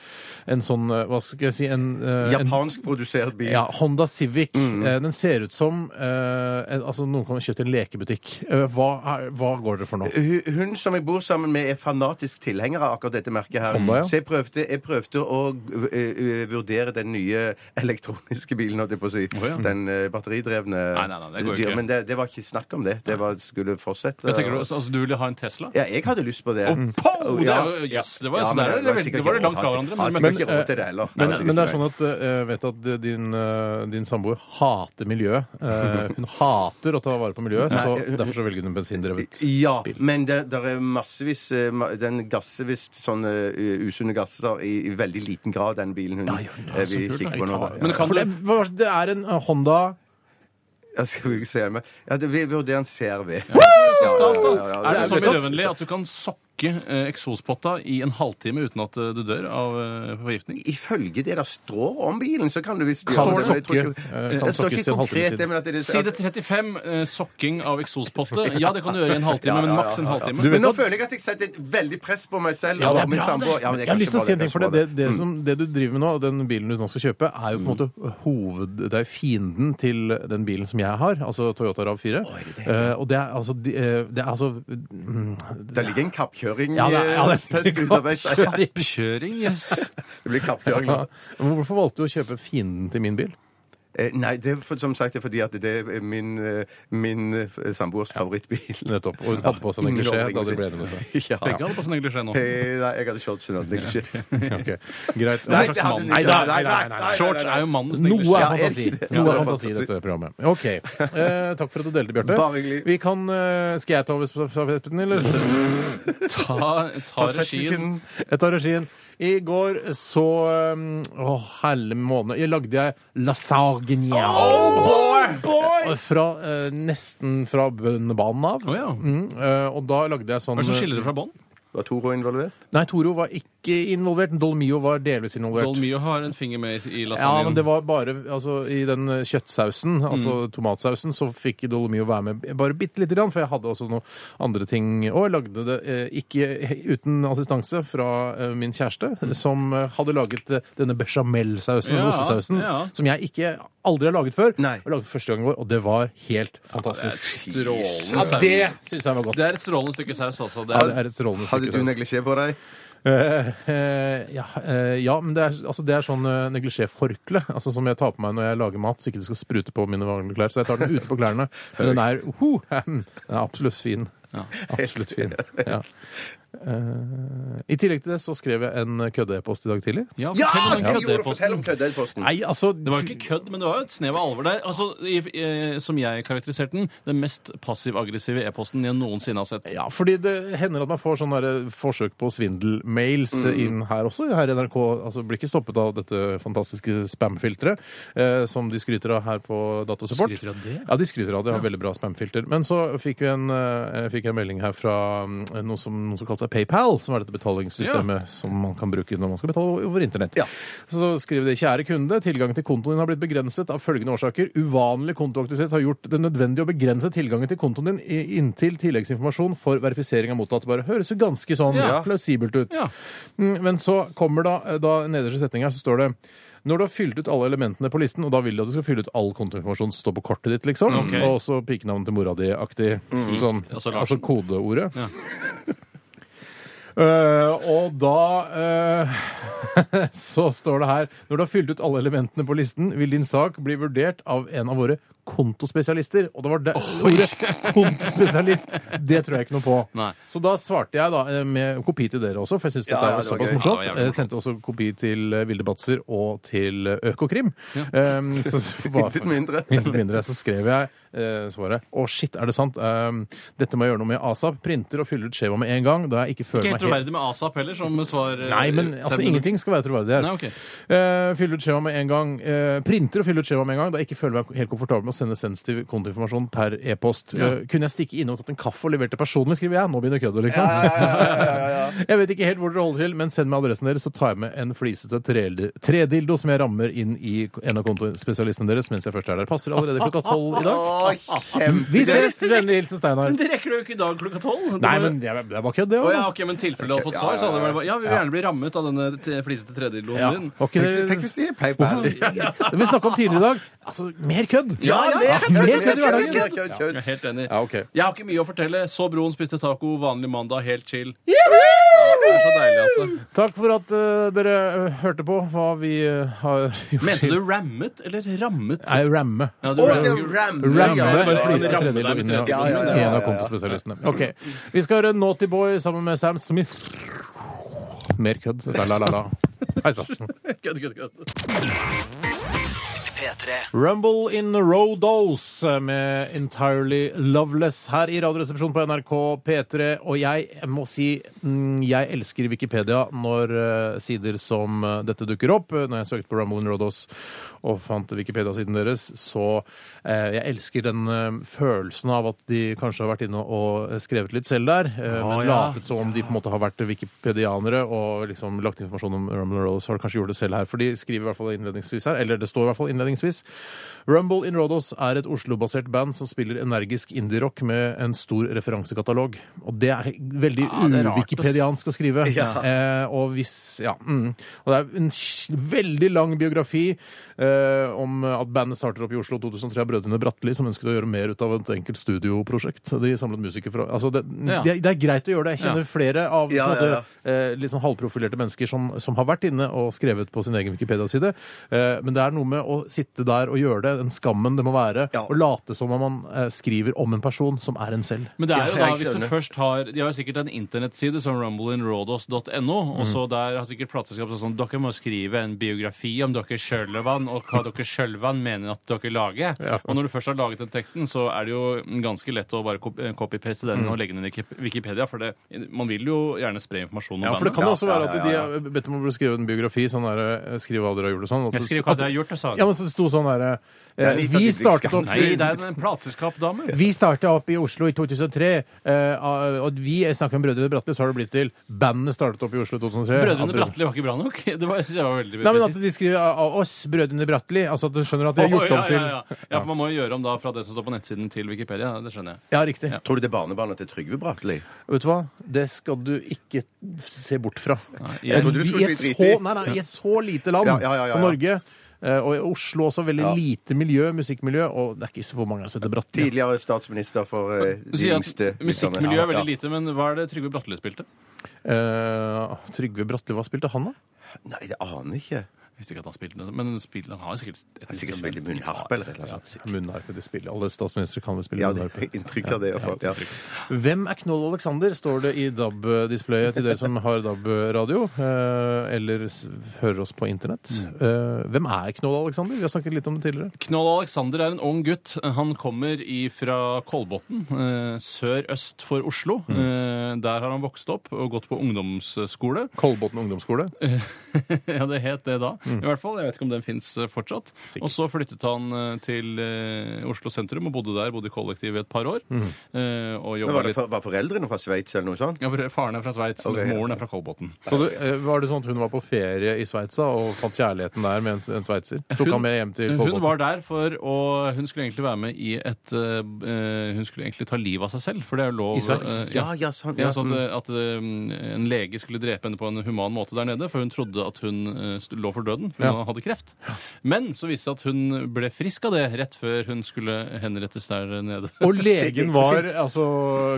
Speaker 3: en sånn eh, Hva skal jeg si en, eh, en
Speaker 5: Japansk produsert bil.
Speaker 3: Ja, Honda Civic.
Speaker 5: Mm,
Speaker 3: Eh, Den ser ut som eh, en, altså noen kan ha kjøpt i en lekebutikk. Eh, hva, er, hva går dere for nå?
Speaker 5: Hun hun som jeg bor sammen med, er fanatisk tilhenger av akkurat dette merket. her
Speaker 3: Honda, ja.
Speaker 5: Så jeg prøvde, jeg prøvde å ø, ø, vurdere den nye elektroniske bilen, holdt jeg på å si.
Speaker 4: Å, ja.
Speaker 5: Den ø, batteridrevne.
Speaker 4: Nei, nei, nei, det går jo
Speaker 5: dyr-
Speaker 4: ikke.
Speaker 5: Men det, det var ikke snakk om det. Det var, skulle fortsette.
Speaker 4: Jeg tenker, du- altså, du ville ha en Tesla?
Speaker 5: Ja, jeg hadde lyst på det. Mm.
Speaker 4: Og pow! Det
Speaker 5: Ja.
Speaker 4: er jo- Yes, det var,
Speaker 5: Ja,
Speaker 4: så
Speaker 5: men
Speaker 4: der, er
Speaker 5: det
Speaker 4: det
Speaker 5: var
Speaker 4: veldig-
Speaker 5: sikkert
Speaker 4: det var
Speaker 5: ikke
Speaker 4: langt
Speaker 5: råd,
Speaker 4: fra hverandre.
Speaker 5: altså.
Speaker 4: men-
Speaker 5: Men-
Speaker 4: men-
Speaker 5: ikke råd til det heller.
Speaker 3: Men,
Speaker 5: Nei, det er
Speaker 3: men det er
Speaker 5: ikke
Speaker 3: sånn at eh, jeg vet at eh, din, eh, din samboer hater miljøet. Eh, hun hater å ta vare på miljøet, så derfor så velger eh, hun bensindrevet.
Speaker 5: Ja, men det der er massevis eh, ma- Den gasser visst sånne eh, usunne gasser i, i veldig liten grad, den bilen hun eh, vi kikker på nå. da.
Speaker 4: Men
Speaker 5: Ja.
Speaker 4: kan
Speaker 3: For det,
Speaker 4: du
Speaker 3: hva- det er en eh, Honda
Speaker 5: Ja, skal vi se med. Ja, det, vi vurderer en CRV.
Speaker 4: Så stas, da.
Speaker 5: Ja, ja, ja, ja.
Speaker 4: Er det så
Speaker 5: Jeg vet at-
Speaker 4: miljøvennlig at du kan sokke eh, eksospotta i en halvtime uten at eh, du dør av eh, forgiftning?
Speaker 5: Ifølge det der står om bilen, så kan du visst
Speaker 3: Kan
Speaker 5: gjøre det, men jeg
Speaker 3: sokke-
Speaker 5: tror ikke-
Speaker 3: eh, kan
Speaker 5: Det står
Speaker 3: sokkes i
Speaker 5: ikke
Speaker 3: en halvtime
Speaker 5: konkret, det,
Speaker 3: siden.
Speaker 5: men at det er
Speaker 4: Side 35, eh, sokking av eksospotte. Ja, det kan du gjøre i en halvtime, men maks en halvtime.
Speaker 5: Men nå
Speaker 3: at-
Speaker 5: føler jeg at jeg setter et veldig press på meg selv.
Speaker 3: Ja, det er
Speaker 5: og min
Speaker 4: bra, det.
Speaker 5: samboer. Ja, men det er
Speaker 3: Jeg har
Speaker 5: kanskje
Speaker 3: lyst til å
Speaker 5: bra,
Speaker 3: si en
Speaker 5: det er
Speaker 3: ting, for
Speaker 5: kanskje
Speaker 3: det,
Speaker 5: bra,
Speaker 3: det, det, Mm. som, det du driver med nå, og den bilen du nå skal kjøpe, er jo på en måte hoved... Det er fienden til den bilen som jeg har, altså Toyota RAV4. Eh, og det er altså de- eh, Det er altså mm,
Speaker 5: Det ligger en kappkjøring.
Speaker 3: Ja, det er- (laughs)
Speaker 5: (laughs)
Speaker 3: ja, det
Speaker 5: eh,
Speaker 3: er-
Speaker 5: test underveis.
Speaker 3: Sorry.
Speaker 4: Kjøring, jøss.
Speaker 5: Det blir kappkjøring.
Speaker 3: Ja. Men Hvorfor valgte du å kjøpe fienden til min bil?
Speaker 5: Eh, Nei, det er for, som sagt det er fordi at det er min, eh, min eh, samboers favorittbil.
Speaker 3: Nettopp. Og hun hadde på seg en
Speaker 5: Ingen
Speaker 3: klisjé da det
Speaker 5: overraskelse.
Speaker 3: ble det noe.
Speaker 5: (laughs) Ja.
Speaker 4: Begge hadde på seg neglisjé sånn nå.
Speaker 5: Eh, Nei, jeg hadde shorts under den.
Speaker 3: (laughs)
Speaker 5: ikke-
Speaker 3: Ok, Greit.
Speaker 5: Nei,
Speaker 4: slags
Speaker 5: det hadde hun
Speaker 4: mann?
Speaker 5: ikke.
Speaker 3: Nei, nei, nei, nei, nei.
Speaker 4: Shorts er jo mannens
Speaker 3: Noe er
Speaker 4: neglisjé.
Speaker 5: er
Speaker 3: fantasi.
Speaker 5: det-
Speaker 3: Noe
Speaker 5: Ja,
Speaker 3: er fantasi i dette programmet. OK. Eh, takk for at du delte, Bjarte.
Speaker 5: Bare hyggelig.
Speaker 3: Vi kan, eh, skal jeg ta over stafetten, eller?
Speaker 4: Ta, ta regien.
Speaker 3: Jeg tar regien. I går så um, Å, helle måned. Jeg lagde jeg lasagne. Og Fra, eh, nesten fra bønnebanen av.
Speaker 4: Å ja.
Speaker 3: Mm, eh, og da lagde jeg sånn
Speaker 4: Hva er det som skiller det fra bånn?
Speaker 5: Var Toro involvert?
Speaker 3: Nei, Toro var ikke involvert. Dolmio var delvis involvert.
Speaker 4: Dolmio har en finger med i- i
Speaker 3: Ja, men
Speaker 4: lasagnen.
Speaker 3: det var bare altså, I den eh, kjøttsausen, altså tomatsausen, så fikk Dolomio være med bare bitte lite grann, for jeg hadde også noen andre ting Og jeg lagde det eh, ikke he- uten assistanse fra eh, min kjæreste, som eh, hadde laget eh, denne bechamelsausen,
Speaker 4: Ja,
Speaker 3: ostesausen,
Speaker 4: ja.
Speaker 3: som jeg ikke aldri har laget før.
Speaker 5: Nei.
Speaker 3: Jeg lagde første gang i går, og det var helt fantastisk.
Speaker 4: Strålende
Speaker 3: Ja,
Speaker 4: saus.
Speaker 3: det syns jeg var godt.
Speaker 4: Det er et strålende stykke saus, altså. Det
Speaker 3: Ja,
Speaker 4: er,
Speaker 3: det er et strålende
Speaker 5: Hadde
Speaker 3: stykke
Speaker 5: du
Speaker 3: saus.
Speaker 5: neglisjé på deg?
Speaker 3: Eh, eh, ja, eh, ja, men det er, altså det er sånn uh, neglisjé-forkle altså som jeg tar på meg når jeg lager mat, så ikke det skal sprute på mine vanlige klær. Så jeg tar den utenpå
Speaker 4: (laughs)
Speaker 3: klærne. Men den er, ho, den er absolutt fin. Absolutt fin. Ja. Eh, I tillegg til det så skrev jeg en kødde-e-post i dag tidlig.
Speaker 4: ja,
Speaker 5: Ja!
Speaker 4: fortell om den
Speaker 5: Du gjorde
Speaker 4: køddeposten.
Speaker 5: fortell om køddeposten.
Speaker 3: Nei, altså
Speaker 4: Det var jo ikke kødd, men det var jo et snev av alvor der. Altså, i, eh, Som jeg karakteriserte den, den mest passiv-aggressive e-posten jeg noensinne har sett.
Speaker 3: Ja, fordi det hender at man får sånne der eh, forsøk på svindelmails eh,
Speaker 4: Mm.
Speaker 3: inn her også. Her i NRK altså, blir ikke stoppet av dette fantastiske spamfilteret eh, som de skryter av her på Datasupport.
Speaker 4: Skryter av det?
Speaker 3: Ja, de skryter av det. Har veldig bra spamfilter. Men så fikk vi en, eh, fikk jeg en melding her fra mm, noe som, noe som kalles PayPal, som er dette betalingssystemet som man kan bruke når man skal betale over internett.
Speaker 5: Ja.
Speaker 3: Så skriver de kjære kunde, tilgang til kontoen din har blitt begrenset av følgende årsaker. Uvanlig kontoaktivitet har gjort det nødvendig å begrense tilgangen til kontoen din i- inntil tilleggsinformasjon for verifisering av mottatt. Bare høres jo ganske sånn
Speaker 4: Ja.
Speaker 3: plausibelt ut.
Speaker 4: Ja.
Speaker 3: Mm, Men så kommer da, da nederste setning her, så står det når du har fylt ut alle elementene på listen, og da vil de at du skal fylle ut all kontoinformasjon som står på kortet ditt, liksom,
Speaker 4: Mm. Ok.
Speaker 3: og også pikenavnet til mora di-aktig, sånn,
Speaker 4: Altså,
Speaker 3: altså
Speaker 4: Larsen.
Speaker 3: kodeordet.
Speaker 4: Ja.
Speaker 3: (laughs) Eh, og da eh, (laughs) så står det her Når du har fylt ut alle elementene på listen, vil din sak bli vurdert av en av våre kontospesialister. Og det var det ordet kontospesialist! Det tror jeg ikke noe på.
Speaker 4: Nei.
Speaker 3: Så da svarte jeg da eh, med kopi til dere også, for jeg syns
Speaker 5: Ja,
Speaker 3: dette
Speaker 5: ja,
Speaker 3: er
Speaker 5: det var
Speaker 3: såpass
Speaker 5: gøy.
Speaker 3: morsomt.
Speaker 4: Ja, det var jævlig
Speaker 3: Jeg sendte også kopi til eh, Vilde Batzer og til eh, Økokrim.
Speaker 4: (laughs)
Speaker 3: Um, så, så var-
Speaker 5: Intet mindre.
Speaker 3: (laughs) Intet mindre. Så skrev jeg eh, svaret. Å, shit, er det sant? Um, dette må jeg gjøre noe med asap. Printer og fyller ut skjema med en gang. Da jeg ikke føler
Speaker 4: Ikke
Speaker 3: meg helt
Speaker 4: helt troverdig med ASAP heller, som svar. eh,
Speaker 3: Nei, men altså,
Speaker 4: terminologi.
Speaker 3: ingenting skal være troverdig her.
Speaker 4: Nei, ok.
Speaker 3: Eh, fylle ut skjema med en gang. Eh, printer og fylle ut skjema med en gang. Da jeg ikke føler meg helt komfortabel med å sende sensitiv kontoinformasjon per e-post. Eh, kunne jeg stikke innom og tatt en kaffe og levert det personlig, skriver jeg. Nå begynner køddet, liksom. (laughs) jeg vet ikke helt hvor dere holder til, men send meg adressen deres, så tar jeg med en flisete tre- tredildo som jeg rammer inn i en av kontospesialistene deres mens jeg først er der. Passer allerede klokka tolv i dag.
Speaker 5: Å, kjempe...
Speaker 3: Vi ses! Vennlig hilsen Steinar.
Speaker 4: Men det rekker du jo ikke i dag klokka tolv.
Speaker 3: Nei, men det er det er bare kødd, det
Speaker 4: Å
Speaker 3: òg.
Speaker 4: ja, ok, men tilfelle du hadde fått
Speaker 5: Ja,
Speaker 4: svar, så hadde det
Speaker 5: ja, ja.
Speaker 4: vært bare Ja, vi vil gjerne bli rammet av denne te- flisete tredjedelen
Speaker 3: Ja.
Speaker 4: din.
Speaker 3: Var ikke
Speaker 5: Tenk
Speaker 3: det-
Speaker 5: tenk hvis de er (laughs) PayPal.
Speaker 3: Det vi snakka om tidligere i dag. Altså, mer kødd!
Speaker 5: Ja, ja,
Speaker 3: mer
Speaker 5: kødd,
Speaker 3: kødd i hverdagen!
Speaker 5: kødd, kødd, kødd.
Speaker 4: Jeg er helt enig.
Speaker 3: Ja, ok.
Speaker 4: Jeg har ikke mye å fortelle. Så broen, spiste taco, vanlig mandag, helt chill. Ja, det er så deilig at det
Speaker 3: Takk for at eh, dere eh, hørte på hva vi eh, har gjort.
Speaker 4: Mente du rammet eller rammet?
Speaker 3: Nei, ramme.
Speaker 4: Ja, du
Speaker 5: Å,
Speaker 4: rammet.
Speaker 5: det er Ram.
Speaker 3: Ramme
Speaker 5: Ja,
Speaker 4: det
Speaker 5: ja,
Speaker 4: var
Speaker 3: med
Speaker 4: en flis.
Speaker 5: ja,
Speaker 3: flise
Speaker 5: ja.
Speaker 4: ramme
Speaker 3: tredjedel
Speaker 4: deg med
Speaker 3: under
Speaker 4: tredjedel.
Speaker 5: Ja, ja, ja,
Speaker 3: en
Speaker 5: ja,
Speaker 3: av
Speaker 5: ja.
Speaker 3: kontospesialistene. Ok, Vi skal høre Naughty Boy sammen med Sam Smith. Mer kødd. La, la, la, la. Hei sann.
Speaker 4: Kødd, kødd, kødd.
Speaker 2: P3.
Speaker 3: Rumble in Rodos med Entirely Loveless her i Radioresepsjonen på NRK P3. Og jeg må si mm, jeg elsker Wikipedia når eh, sider som eh, dette dukker opp. Eh, Når jeg søkte på Rumble in Rodos og fant Wikipedia-siden deres, så eh, jeg elsker den eh, følelsen av at de kanskje har vært inne og eh, skrevet litt selv der, eh, men
Speaker 4: ja.
Speaker 3: latet som om de på en måte har vært wikipedianere og liksom lagt informasjon om Rumble in Rodos. Har de kanskje gjort det selv her, for de skriver i hvert fall innledningsvis her, eller det står i hvert fall innledningsvis innledningsvis. Rumble in Rodos er et Oslo-basert band som spiller energisk indie-rock med en stor referansekatalog. Og det er veldig
Speaker 4: Ja, det er rart,
Speaker 3: uwikipediansk å skrive.
Speaker 5: Ja.
Speaker 3: Eh, og hvis Ja. Mm. Og det er en sj- veldig lang biografi eh, om at bandet starter opp i Oslo 2003 av brødrene Bratteli, som ønsket å gjøre mer ut av et enkelt studioprosjekt. Så De samlet musikere fra altså det,
Speaker 4: Ja.
Speaker 3: det, det er greit å gjøre det. Jeg kjenner flere av
Speaker 5: Ja,
Speaker 3: på en måte,
Speaker 5: ja,
Speaker 3: eh, litt sånn halvprofilerte mennesker som, som har vært inne og skrevet på sin egen Wikipedia-side. Eh, men det er noe med å sitte der og gjøre det, den skammen det må være,
Speaker 5: Ja.
Speaker 3: og late som om man eh, skriver om en person som er en selv.
Speaker 4: Men det er jo
Speaker 5: Ja,
Speaker 4: da,
Speaker 5: jeg
Speaker 4: hvis du
Speaker 5: skjønner.
Speaker 4: først har De har jo sikkert en internettside som rumbleinrodos.no, og
Speaker 3: Mm.
Speaker 4: så der har sikkert plateselskapet sånn Dere må skrive en biografi om dere sjølvan, og hva dere sjølvan mener at dere lager.
Speaker 3: Ja.
Speaker 4: Og når du først har laget den teksten, så er det jo ganske lett å bare kop- copy-paste
Speaker 3: Mm.
Speaker 4: den og legge den inn i Wiki- Wikipedia, for det, man vil jo gjerne spre informasjon om
Speaker 3: Ja, for det
Speaker 4: bandet.
Speaker 3: kan jo
Speaker 5: Ja,
Speaker 3: også være
Speaker 5: ja,
Speaker 3: at
Speaker 5: ja, ja.
Speaker 3: de har bedt om å bli skrevet en biografi. sånn der, eh, Skriv hva dere har gjort og sånn. at
Speaker 4: Jeg
Speaker 3: det-
Speaker 4: skriver hva
Speaker 3: at-
Speaker 4: dere har gjort, og sa han.
Speaker 3: Ja, men så det sto sånn derre
Speaker 5: er
Speaker 3: eh,
Speaker 5: litt
Speaker 3: Vi
Speaker 5: av
Speaker 3: startet opp
Speaker 4: Nei, det er en plateselskapdame.
Speaker 3: Vi starta opp i Oslo i 2003, eh, og vi jeg snakker om Brødrene Bratteli, så har det blitt til bandet startet opp i Oslo i 2003.
Speaker 4: Brødrene
Speaker 3: At-
Speaker 4: Bratteli var ikke bra nok. Det var, jeg synes jeg var veldig
Speaker 3: Nei, men at
Speaker 4: presist.
Speaker 3: de skriver av av oss, Brødrene Bratteli. Altså at du skjønner at de har
Speaker 4: Å,
Speaker 3: gjort
Speaker 4: ja,
Speaker 3: om til
Speaker 4: ja, ja. ja, for man må jo gjøre om da fra det som står på nettsiden til Wikipedia. Det skjønner jeg.
Speaker 3: Ja, riktig.
Speaker 4: Ja.
Speaker 5: Tror du det er barnebarnet til Trygve Bratteli?
Speaker 3: Vet du hva? Det skal du ikke se bort fra.
Speaker 4: jeg
Speaker 3: Eh,
Speaker 4: trodde
Speaker 5: du skulle
Speaker 3: I et
Speaker 5: si
Speaker 3: så,
Speaker 5: drit i.
Speaker 3: nei, nei, I et så lite land
Speaker 5: Ja, ja, ja, ja,
Speaker 3: som
Speaker 5: ja.
Speaker 3: Norge, eh, og i Oslo også veldig
Speaker 5: Ja.
Speaker 3: lite miljø, musikkmiljø, og det er ikke så hvor mange som heter Bratteli.
Speaker 5: Tidligere statsminister for eh,
Speaker 4: Du
Speaker 5: de
Speaker 4: sier
Speaker 5: yngste.
Speaker 4: at musikkmiljøet er
Speaker 5: Ja, ja.
Speaker 4: veldig lite, men hva er det Trygve Bratteli spilte?
Speaker 3: Eh, Trygve Bratteli, hva spilte han, da?
Speaker 5: Nei, det aner jeg ikke.
Speaker 4: Jeg Visste ikke at han spilte noe, men spiller, han har sikkert et
Speaker 5: sikkert
Speaker 4: instrument.
Speaker 5: spilt munnharpe eller et eller annet
Speaker 4: Ja, sikkert.
Speaker 3: Munnharpe, det spiller alle statsministre kan vel spille
Speaker 5: Ja, det
Speaker 3: munnharpe.
Speaker 5: er inntrykk av det, i hvert fall. Ja.
Speaker 3: Hvem er Knoll Alexander, står det i DAB-displayet til dere som har DAB-radio, eh, eller s hører oss på internett. Eh, hvem er Knoll Alexander? Vi har snakket litt om det tidligere.
Speaker 4: Knoll Alexander er en ung gutt. Han kommer fra Kolbotn, eh, sør-øst for Oslo.
Speaker 5: Mm.
Speaker 4: Eh, der har han vokst opp og gått på ungdomsskole. (laughs)
Speaker 3: Kolbotn ungdomsskole.
Speaker 4: ja, det het det da.
Speaker 5: Mm.
Speaker 4: I hvert fall, Jeg vet ikke om den fins fortsatt. Og så flyttet han eh, til eh, Oslo sentrum og bodde der, bodde i kollektiv i et par år. Eh, og
Speaker 5: Mm. Men
Speaker 4: jobba
Speaker 5: var, det
Speaker 4: litt
Speaker 5: for, var foreldrene fra Sveits eller noe sånt?
Speaker 4: ja, for Faren er fra Sveits,
Speaker 5: Ok, ja.
Speaker 4: mens moren er fra Kolbotn.
Speaker 3: Så du, eh, var det sånn at hun var på ferie i Sveits da, og fant kjærligheten der med en, en sveitser? Tok han med hjem til
Speaker 4: Hun
Speaker 3: Kolbotn?
Speaker 4: var der for å Hun skulle egentlig være med i et eh, eh, Hun skulle egentlig ta livet av seg selv, for det er jo lov
Speaker 3: I Sveits?
Speaker 4: eh, ja.
Speaker 5: Ja, ja, sånn.
Speaker 4: Ja,
Speaker 5: Ja,
Speaker 4: sånn
Speaker 5: mm.
Speaker 4: at, at um, en lege skulle drepe henne på en human måte der nede, for hun trodde at hun eh, st- lå for døden, for hun
Speaker 3: Ja.
Speaker 4: hadde kreft. Men så viste det seg at hun ble frisk av det rett før hun skulle henrettes der nede.
Speaker 3: Og legen
Speaker 4: (laughs)
Speaker 3: var altså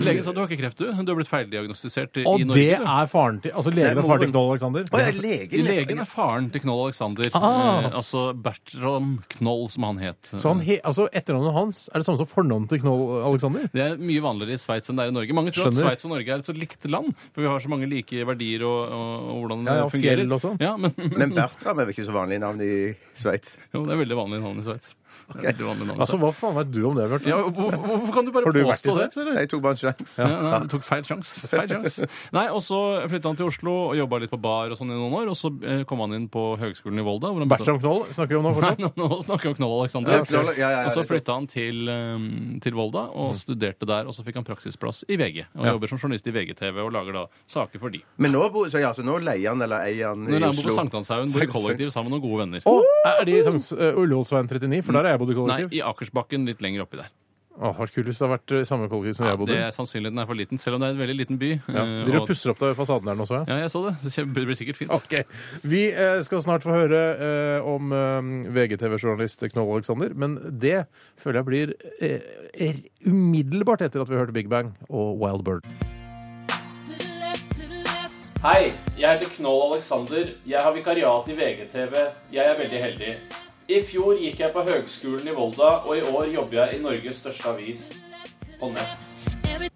Speaker 4: Legen sa du har ikke kreft, du. Du har blitt feildiagnostisert i, i
Speaker 3: Og
Speaker 4: Norge.
Speaker 3: det
Speaker 4: du."
Speaker 3: er faren til Altså legen
Speaker 5: Nei,
Speaker 3: er faren
Speaker 5: moren.
Speaker 3: til Knoll Alexander?
Speaker 5: Å, ja, legen.
Speaker 4: eh, Legen er faren til Knoll Alexander.
Speaker 3: Ah.
Speaker 4: Eh, altså Bertram Knoll, som han het.
Speaker 3: Så han he, altså etternavnet hans er det samme som fornavnet til Knoll Alexander?
Speaker 4: Det er mye vanligere i Sveits enn det er i Norge. Mange tror
Speaker 3: Skjønner.
Speaker 4: at Sveits og Norge er et så likt land, for vi har så mange like verdier og, og, og hvordan det
Speaker 3: Ja, ja, og
Speaker 4: fungerer.
Speaker 3: fjell og sånn.
Speaker 4: Ja, men, (laughs)
Speaker 5: Men Bertram er vel ikke så vanlig navn i Sveits?
Speaker 4: jo, det er veldig vanlig navn i Sveits. Det er veldig vanlig navn i Sveits.
Speaker 3: Altså, Hva faen vet du om det, Bjarte?
Speaker 4: Ja, hvor- hvor- hvorfor kan du bare
Speaker 3: Har du vært i
Speaker 4: påstå det?
Speaker 3: Sveits, eller?
Speaker 5: Jeg tok bare en sjanse.
Speaker 4: Ja, nei, du tok feil sjans. Feil
Speaker 3: (laughs)
Speaker 4: sjans. Nei, og så flytta han til Oslo og jobba litt på bar og sånn i noen år. Og så eh, kom han inn på Høgskolen i Volda. Hvor han begynte-
Speaker 3: Bertram Knoll snakker vi om nå
Speaker 4: (laughs) Nei,
Speaker 3: fortsatt?
Speaker 4: nå, nå snakker vi om Knoll Alexander.
Speaker 5: Ja, Knoll, ja, ja, ja,
Speaker 4: og så
Speaker 5: det-
Speaker 4: flytta han til, eh, til Volda og studerte der. Og så fikk han praksisplass i VG. Og
Speaker 3: Mhm. Ja.
Speaker 4: jobber som journalist i VGTV og lager da saker for de.
Speaker 5: Men nå, bor- så, ja, så nå leier han eller eier han i
Speaker 4: Når han bor på
Speaker 5: Oslo?
Speaker 3: (laughs)
Speaker 4: Sankthanshaugen, bor i kollektiv sammen med noen gode venner.
Speaker 3: Å, er de i Sankt eh, Ullevålsveien 39? For der har jeg bodd i
Speaker 4: Nei,
Speaker 3: kollektiv.
Speaker 4: i Akersbakken litt lenger oppi
Speaker 3: Å,
Speaker 4: der.
Speaker 3: det hadde vært kult hvis det hadde vært eh, samme kollektiv som jeg bodde
Speaker 4: det
Speaker 3: i.
Speaker 4: er Sannsynligheten er for liten, selv om det er en veldig liten by.
Speaker 3: Ja.
Speaker 4: eh,
Speaker 3: Dere
Speaker 4: og-
Speaker 3: pusser opp da fasaden der nå, så jeg.
Speaker 4: Ja, jeg så det. Det kjem- blir sikkert fint.
Speaker 3: (laughs) Ok, Vi eh, skal snart få høre eh, om eh, VGTV-journalist Knoll Alexander, men det føler jeg blir eh, er umiddelbart etter at vi hørte Big Bang og Wild Bird.
Speaker 1: to the left, to the left.
Speaker 4: Hei, jeg heter Knoll Alexander. Jeg har vikariat i VGTV. Jeg er veldig heldig. I fjor gikk jeg på Høgskolen i Volda, og i år jobber jeg i Norges største avis på nett.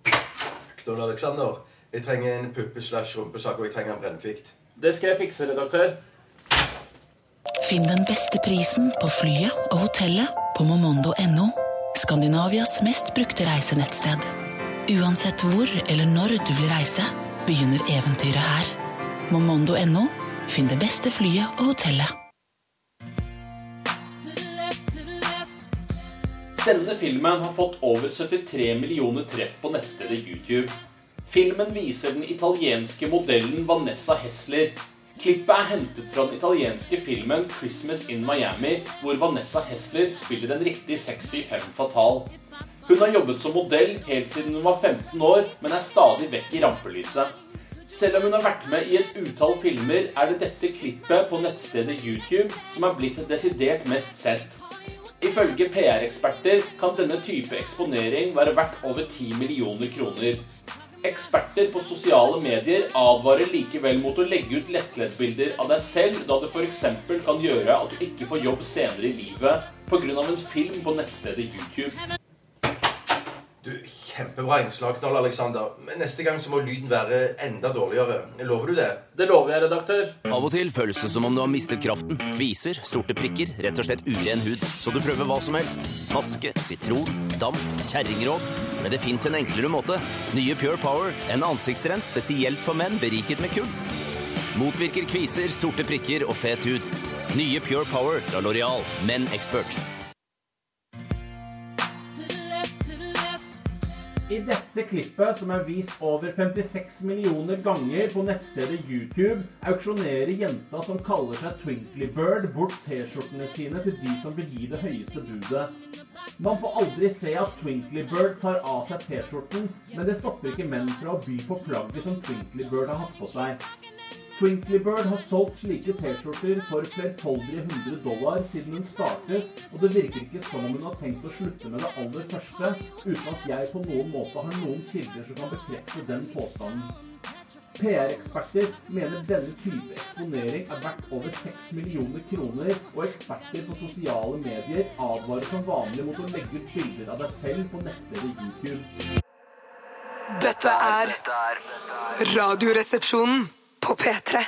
Speaker 5: Knoll Alexander, jeg trenger en puppe slash rumpesak, og jeg trenger en brennfikt.
Speaker 4: Det skal jeg fikse, redaktør.
Speaker 6: Finn den beste prisen på flyet og hotellet på momondo.no. Skandinavias mest brukte reisenettsted. Uansett hvor eller når du vil reise, begynner eventyret her. Momondo.no. Finn det beste flyet og hotellet.
Speaker 1: To the left, to the left.
Speaker 7: Denne filmen har fått over 73 millioner treff på nettstedet YouTube. Filmen viser den italienske modellen Vanessa Hessler. Klippet er hentet fra den italienske filmen 'Christmas in Miami', hvor Vanessa Hessler spiller en riktig sexy femme fatal. Hun har jobbet som modell helt siden hun var 15 år, men er stadig vekk i rampelyset. Selv om hun har vært med i et utall filmer, er det dette klippet på nettstedet YouTube som er blitt det desidert mest sett. Ifølge PR-eksperter kan denne type eksponering være verdt over 10 millioner kroner. Eksperter på sosiale medier advarer likevel mot å legge ut lettleddbilder av deg selv, da det f.eks. kan gjøre at du ikke får jobb senere i livet pga. en film på nettstedet YouTube.
Speaker 8: Du, Kjempebra innslag, Knall Alexander. Men neste gang så må lyden være enda dårligere. Lover du det?
Speaker 7: Det lover jeg, redaktør.
Speaker 9: Av og til føles det som om du har mistet kraften. Kviser, sorte prikker, rett og slett uren hud. Så du prøver hva som helst. Maske, sitron, damp, kjerringråd. Men det fins en enklere måte. Nye Pure Power. En ansiktsrens spesielt for menn beriket med kull. Motvirker kviser, sorte prikker og fet hud. Nye Pure Power fra Loreal. Men expert.
Speaker 1: to the left, to the left.
Speaker 7: I dette klippet, som er vist over 56 millioner ganger på nettstedet YouTube, auksjonerer jenta som kaller seg Twinkly Bird, bort T-skjortene sine til de som vil gi det høyeste budet. Man får aldri se at Twinkly Bird tar av seg T-skjorten, men det stopper ikke menn fra å by på plagget som Twinkly Bird har hatt på seg. Twinkly Bird har solgt slike T-skjorter for flerfoldige 100 dollar siden hun startet, og det virker ikke som om hun har tenkt å slutte med det aller første, uten at jeg på noen måte har noen kilder som kan bekrefte den påstanden. PR-eksperter mener denne type eksponering er verdt over 6 millioner kroner, og eksperter på sosiale medier advarer som vanlig mot å legge ut bilder av deg selv på nettstedet YouTube.
Speaker 10: Dette er Radioresepsjonen på P3.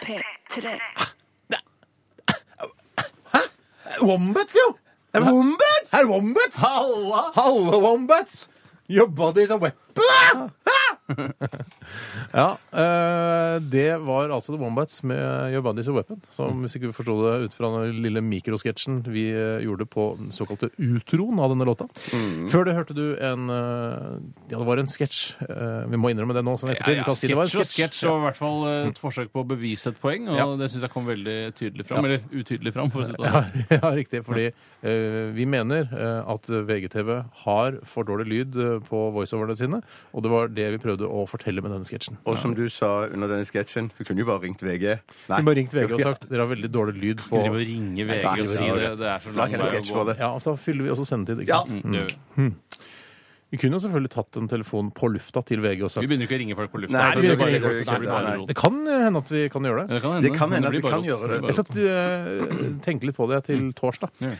Speaker 3: Wombats, jo! Det er wombats! Det er wombats!
Speaker 4: Halla!
Speaker 3: Halve wombats! Your body is a (laughs) weapon! ja, eh, det var altså The Wombats med Your Body is a Weapon. Som hvis ikke vi forsto det ut fra den lille mikrosketsjen vi eh, gjorde på den såkalte utroen av denne låta. Før det hørte du en eh, Ja, det var en sketsj. Eh, vi må innrømme det nå. Sånn ettertid. Vi kan si det var en
Speaker 4: sketsj og
Speaker 3: sketsj.
Speaker 4: sketsj og i hvert fall eh, et forsøk på å bevise et poeng, og
Speaker 3: Ja.
Speaker 4: det syns jeg kom veldig tydelig fram. Eller utydelig fram, for å si det
Speaker 3: Ja, (laughs)
Speaker 4: sånn.
Speaker 3: ja, riktig. Fordi eh, vi mener eh, at VGTV har for dårlig lyd eh, på voiceoverne sine, og det var det vi prøvde å fortelle med denne sketsjen.
Speaker 5: Og som du sa under denne sketsjen, hun kunne jo bare ringt VG. Nei.
Speaker 3: Hun bare ringt VG og sagt dere har veldig dårlig lyd på
Speaker 4: Drive og ringe VG og si det. Det er så
Speaker 5: Lag
Speaker 4: lang
Speaker 5: en
Speaker 4: vei å
Speaker 5: sketsj
Speaker 4: gå.
Speaker 5: på det.
Speaker 3: Ja, og Da fyller vi også sendetid. ikke
Speaker 5: Ja.
Speaker 3: sant?
Speaker 4: Mm, det gjør vi.
Speaker 3: Vi kunne jo selvfølgelig tatt en telefon på lufta til VG og
Speaker 4: Vi
Speaker 3: sagt
Speaker 4: begynner ikke å ringe folk på lufta.
Speaker 5: Nei,
Speaker 4: det
Speaker 3: vi
Speaker 4: blir
Speaker 3: begynner
Speaker 4: bare
Speaker 3: ikke å
Speaker 5: ringe
Speaker 4: rot. Det blir
Speaker 5: folk.
Speaker 4: bare rot.
Speaker 3: Det kan hende at vi kan gjøre det.
Speaker 4: Det kan hende,
Speaker 5: Det kan
Speaker 4: men
Speaker 5: hende at
Speaker 4: blir
Speaker 5: vi
Speaker 4: bare
Speaker 5: kan
Speaker 4: rot.
Speaker 5: gjøre det.
Speaker 3: Jeg
Speaker 4: blir bare
Speaker 3: satt, eh, tenkte litt på det til torsdag.
Speaker 4: Ja.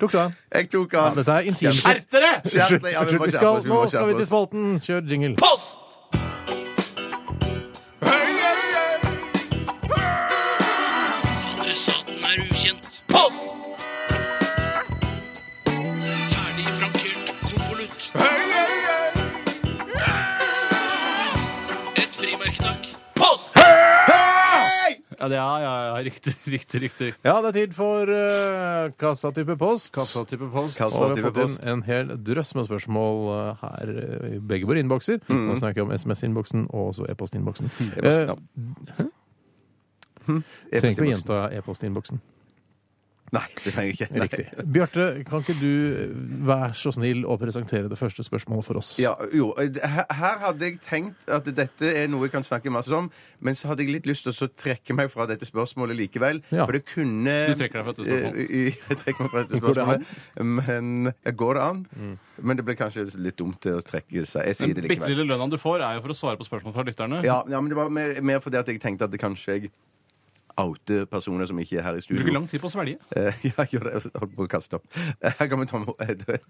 Speaker 3: Tok du den?
Speaker 5: Jeg tok
Speaker 3: Ja,
Speaker 5: av.
Speaker 3: dette er intimt.
Speaker 4: rot. Skjerp dere!
Speaker 5: Skjerp deg, ja, vi
Speaker 3: Unnskyld,
Speaker 5: må
Speaker 3: vi
Speaker 5: skjerpe
Speaker 3: skal,
Speaker 5: oss, vi
Speaker 3: nå skal
Speaker 5: må
Speaker 3: vi
Speaker 5: skjerpe
Speaker 3: til spalten.
Speaker 5: oss.
Speaker 3: Kjør jingle.
Speaker 2: Adressaten er ukjent. Post! Ferdig frankert konvolutt. Et frimerke, takk. Post!
Speaker 4: Ja, det- ja, ja, ja, riktig, (laughs) riktig, riktig.
Speaker 3: Ja, det er tid for eh, kassatype post.
Speaker 4: Kassatype post.
Speaker 3: Og vi har
Speaker 5: Kassatype
Speaker 3: fått inn
Speaker 5: post.
Speaker 3: en hel drøss med spørsmål eh, her eh, i begge våre innbokser. Nå snakker jeg om SMS-innboksen og også e-postinnboksen.
Speaker 5: E-post, ja.
Speaker 3: Eh,
Speaker 5: Hm?
Speaker 3: trenger ikke å gjenta e-postinnboksen.
Speaker 5: Nei, det trenger jeg ikke. Nei.
Speaker 3: Riktig. Bjarte, kan ikke du eh, være så snill å presentere det første spørsmålet for oss?
Speaker 5: Ja, jo, eh, her her hadde jeg tenkt at dette er noe jeg kan snakke masse om, men så hadde jeg litt lyst til å så trekke meg fra dette spørsmålet likevel.
Speaker 3: Ja.
Speaker 5: For det kunne
Speaker 4: Du trekker deg fra dette spørsmålet.
Speaker 5: Eh, Jeg trekker meg fra dette
Speaker 3: (laughs) Går det an? Mm.
Speaker 5: spørsmålet. Men ja, går det an? Men det ble kanskje litt dumt til å trekke seg. Jeg sier det
Speaker 4: Bitte
Speaker 5: likevel.
Speaker 4: lille lønna du får, er jo for å svare på spørsmål fra lytterne.
Speaker 5: Ja, ja, men det var mer, mer fordi at jeg tenkte at det kanskje jeg oute personer som ikke er her i studio.
Speaker 4: Bruker lang tid på å svelge.
Speaker 5: Eh, (laughs) ja, gjør det. Jeg holdt på å kaste opp. Her kommer Tom (laughs) Edvin.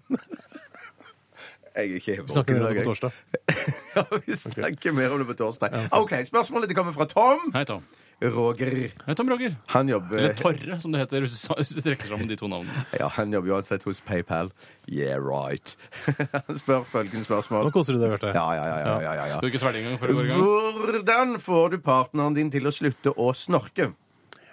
Speaker 5: Jeg er ikke helt
Speaker 3: Snakker vi
Speaker 5: våken
Speaker 3: om det
Speaker 5: i
Speaker 3: på
Speaker 5: dag,
Speaker 3: torsdag?
Speaker 5: jeg. (laughs) Ja, vi snakker mer om det på torsdag. OK, spørsmålet det kommer fra Tom.
Speaker 4: Hei, Tom.
Speaker 5: Roger.
Speaker 4: Hei, Tom Roger.
Speaker 5: Han jobber
Speaker 4: Eller Torre, som det heter hvis du hvis du trekker sammen de to navnene.
Speaker 5: Ja, han jobber uansett hos PayPal. Yeah, right. (laughs) Han spør følgende spørsmål.
Speaker 3: Nå koser du deg, Bjarte.
Speaker 5: Ja, ja, ja, ja, ja, ja, ja.
Speaker 4: Du har ikke svelge engang før du går i gang.
Speaker 5: Hvordan får du partneren din til å slutte å snorke?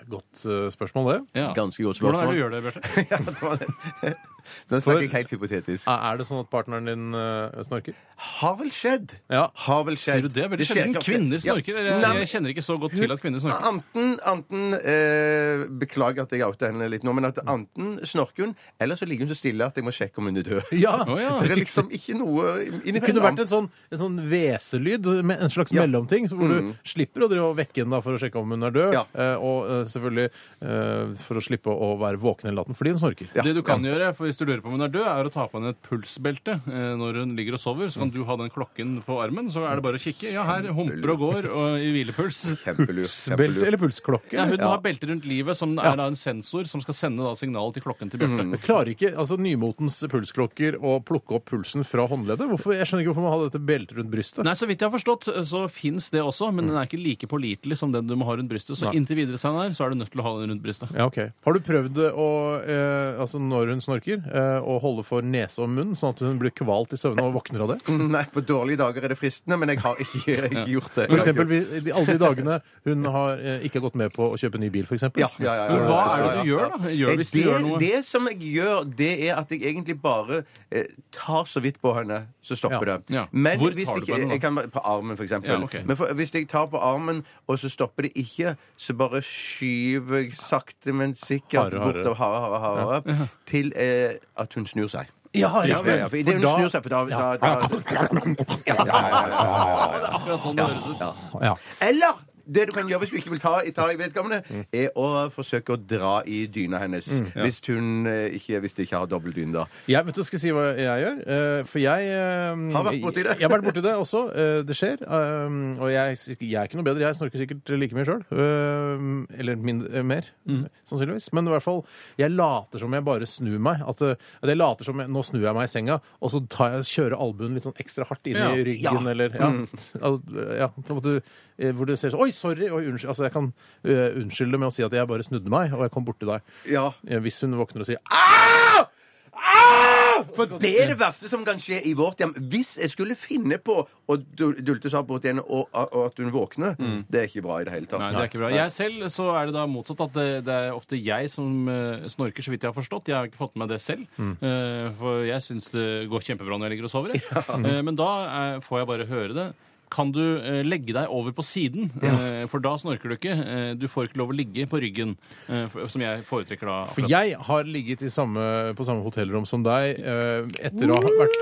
Speaker 3: Godt eh, spørsmål, det.
Speaker 4: Ja.
Speaker 5: Ganske godt
Speaker 4: Hvordan er det du gjør det,
Speaker 5: spørsmål.
Speaker 4: Bjarte?
Speaker 5: (laughs) Ja, det var det. Nå
Speaker 3: For-
Speaker 5: snakker jeg helt
Speaker 4: Ah.
Speaker 5: hypotetisk.
Speaker 3: Er er det sånn at partneren din eh, snorker?
Speaker 5: Har vel skjedd.
Speaker 3: Ja.
Speaker 5: Har vel
Speaker 4: Sier
Speaker 5: skjedd.
Speaker 4: du det? Veldig
Speaker 5: skjer
Speaker 4: sjelden
Speaker 5: ikke ofte.
Speaker 4: kvinner
Speaker 5: Ja.
Speaker 4: snorker. eller
Speaker 5: Nei, Ah,
Speaker 4: Jeg, jeg kjenner ikke så godt til at kvinner snorker.
Speaker 5: Anten, anten eh, Beklager at jeg outer henne litt nå, men at anten snorker hun, eller så ligger hun så stille at jeg må sjekke om hun er død.
Speaker 3: Ja!
Speaker 4: Å, ja.
Speaker 5: Det er liksom ikke noe inni
Speaker 3: Det kunne vært en sånn, en sånn hveselyd, med en slags
Speaker 5: Ja. Mm.
Speaker 3: mellomting, hvor du slipper å drive og vekke henne da for å sjekke om hun er død,
Speaker 5: Ja.
Speaker 3: eh, og eh, selvfølgelig eh, for å slippe å være våken hele natten fordi hun snorker.
Speaker 5: Ja.
Speaker 4: Det du kan gjøre, for hvis du lurer på om hun er død, er å ta på henne et pulsbelte eh, når hun ligger og sover.
Speaker 5: Mm.
Speaker 4: Så kan du ha den klokken på armen, så er det bare å kikke. Ja, her humper og går og i hvilepuls.
Speaker 5: Kjempelur.
Speaker 3: Belt
Speaker 5: kjempelur.
Speaker 3: eller pulsklokke?
Speaker 4: Ja, hun
Speaker 5: Ja.
Speaker 4: må ha belte rundt livet, som er da en sensor som skal sende da signal til klokken til Bjarte.
Speaker 5: Mm.
Speaker 3: Jeg Klarer ikke altså nymotens pulsklokker å plukke opp pulsen fra håndleddet? Hvorfor, jeg skjønner ikke hvorfor man har dette beltet rundt brystet.
Speaker 4: Nei, Så vidt jeg har forstått, eh, så fins det også,
Speaker 5: Mm.
Speaker 4: men den er ikke like pålitelig som den du må ha rundt brystet. Så inntil videre Steinar, så er du nødt til å ha den rundt brystet.
Speaker 3: Ja, ok. Har du prøvd å, eh, altså når hun snorker, eh, å holde for nese og munn, sånn at hun blir kvalt i søvne og våkner av det?
Speaker 5: Nei, på dårlige dager er det fristende, men jeg har ikke, jeg har ikke gjort det.
Speaker 3: For eksempel vi- de- alle de dagene hun har eh, ikke gått med på å kjøpe ny bil, for eksempel.
Speaker 5: Ja, ja, ja, ja,
Speaker 4: Så hva
Speaker 5: ja,
Speaker 4: er
Speaker 5: ja,
Speaker 4: det du
Speaker 5: ja.
Speaker 4: gjør, da? Gjør hvis du
Speaker 5: det,
Speaker 4: gjør noe?
Speaker 5: det som jeg gjør, det er at jeg egentlig bare eh, tar så vidt på henne, så stopper
Speaker 3: Ja.
Speaker 5: det.
Speaker 4: Ja.
Speaker 5: Men
Speaker 4: Hvor
Speaker 5: hvis
Speaker 4: tar du
Speaker 5: jeg,
Speaker 4: på henne da?
Speaker 5: jeg kan, bare- på armen, for eksempel.
Speaker 4: Ja, ok.
Speaker 5: Men for, hvis jeg tar på armen, og så stopper det ikke, så bare skyver jeg sakte, men sikkert
Speaker 3: Hardere, hardere.
Speaker 5: bortover hardere, hardere, hardere til eh, at hun snur seg.
Speaker 3: Ja,
Speaker 5: Ja, ja, ja, for Idet hun
Speaker 3: da-
Speaker 5: snur seg, for da, da, da ja, ja, ja, ja, ja, ja, ja.
Speaker 4: Akkurat sånn det høres ut.
Speaker 3: Ja.
Speaker 5: Eller det du kan gjøre hvis du ikke vil ta, ta i vedkommende, er å forsøke å dra i dyna hennes.
Speaker 4: Mm.
Speaker 5: Hvis hun eh, ikke, hvis de ikke har dobbeltdyne, da.
Speaker 3: Jeg vet du skal jeg si hva jeg gjør, Eh, for jeg eh,
Speaker 5: Har vært borti det.
Speaker 3: Jeg har vært borti det også. Eh, Det skjer. Eh, Og jeg, jeg er ikke noe bedre. Jeg snorker sikkert like mye sjøl. Eller mindre, eh, mer,
Speaker 5: Mm.
Speaker 3: sannsynligvis. Men i hvert fall, jeg later som jeg bare snur meg. At, eh, at jeg later som jeg, Nå snur jeg meg i senga, og så tar jeg, kjører albuen litt sånn ekstra hardt inn
Speaker 4: Ja.
Speaker 3: i ryggen, eller ja,
Speaker 5: Mm.
Speaker 3: Al- ja, på en måte, eh, Hvor det ser sånn Oi, sorry! Oi, unnskyld. Altså, jeg kan eh, unnskylde med å si at jeg bare snudde meg, og jeg kom borti deg.
Speaker 5: Ja.
Speaker 3: Eh, Hvis hun våkner og sier Au! Au!
Speaker 5: Ah, For det er det verste som kan skje i vårt hjem. Hvis jeg skulle finne på å dul- dulte seg opp mot henne, og, og at hun våkner, det er ikke bra i det hele tatt.
Speaker 4: Mm. Nei, det er ikke bra. Jeg selv så er det da motsatt at det, det er ofte jeg som eh, snorker, så vidt jeg har forstått. Jeg har ikke fått med meg det selv,
Speaker 3: Mm.
Speaker 4: eh, for jeg syns det går kjempebra når jeg ligger og
Speaker 3: (laughs)
Speaker 4: sover. jeg. Eh, men da eh, får jeg bare høre det. Kan du eh, legge deg over på siden? Eh, for da snorker du ikke. Eh, du får ikke lov å ligge på ryggen, eh, for, som jeg foretrekker da.
Speaker 3: For
Speaker 4: akkurat.
Speaker 3: jeg har ligget i samme, på samme hotellrom som deg eh, etter å ha vært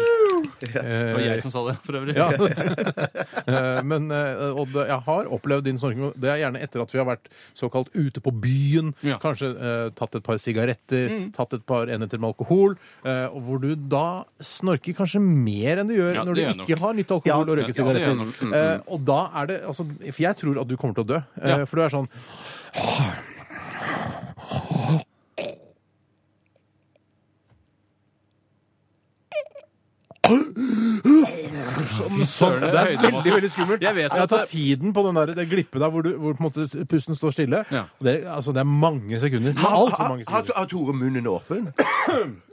Speaker 4: det var jeg
Speaker 3: eh,
Speaker 4: som sa det, for øvrig. (laughs)
Speaker 3: ja. Eh, Men eh, og det, jeg har opplevd din snorking. og Det er gjerne etter at vi har vært såkalt ute på byen,
Speaker 4: Ja. Mm.
Speaker 3: kanskje eh, tatt et par sigaretter, tatt et par enheter med alkohol, eh, og hvor du da snorker kanskje mer enn du gjør
Speaker 4: Ja,
Speaker 3: når du
Speaker 4: det gjør
Speaker 3: ikke
Speaker 4: jeg nok.
Speaker 3: har nytt alkohol
Speaker 5: Ja,
Speaker 3: og røyket
Speaker 4: ja, det gjør jeg
Speaker 3: sigaretter.
Speaker 4: nok. mm,
Speaker 3: Eh, og da er det altså, For jeg tror at du kommer til å dø. eh,
Speaker 4: Ja.
Speaker 3: For du er sånn
Speaker 4: Søren,
Speaker 3: Det er
Speaker 4: høydemat.
Speaker 3: veldig, veldig skummelt.
Speaker 4: Jeg vet
Speaker 3: Jeg har
Speaker 4: at det-
Speaker 3: tatt tiden på den der, det glippet der hvor, du, hvor på en måte s- pusten står stille.
Speaker 4: Ja.
Speaker 3: Og Det, altså, det er mange sekunder. Alt for
Speaker 5: Har,
Speaker 3: mange
Speaker 5: har,
Speaker 3: sekunder.
Speaker 5: har Tore munnen åpen?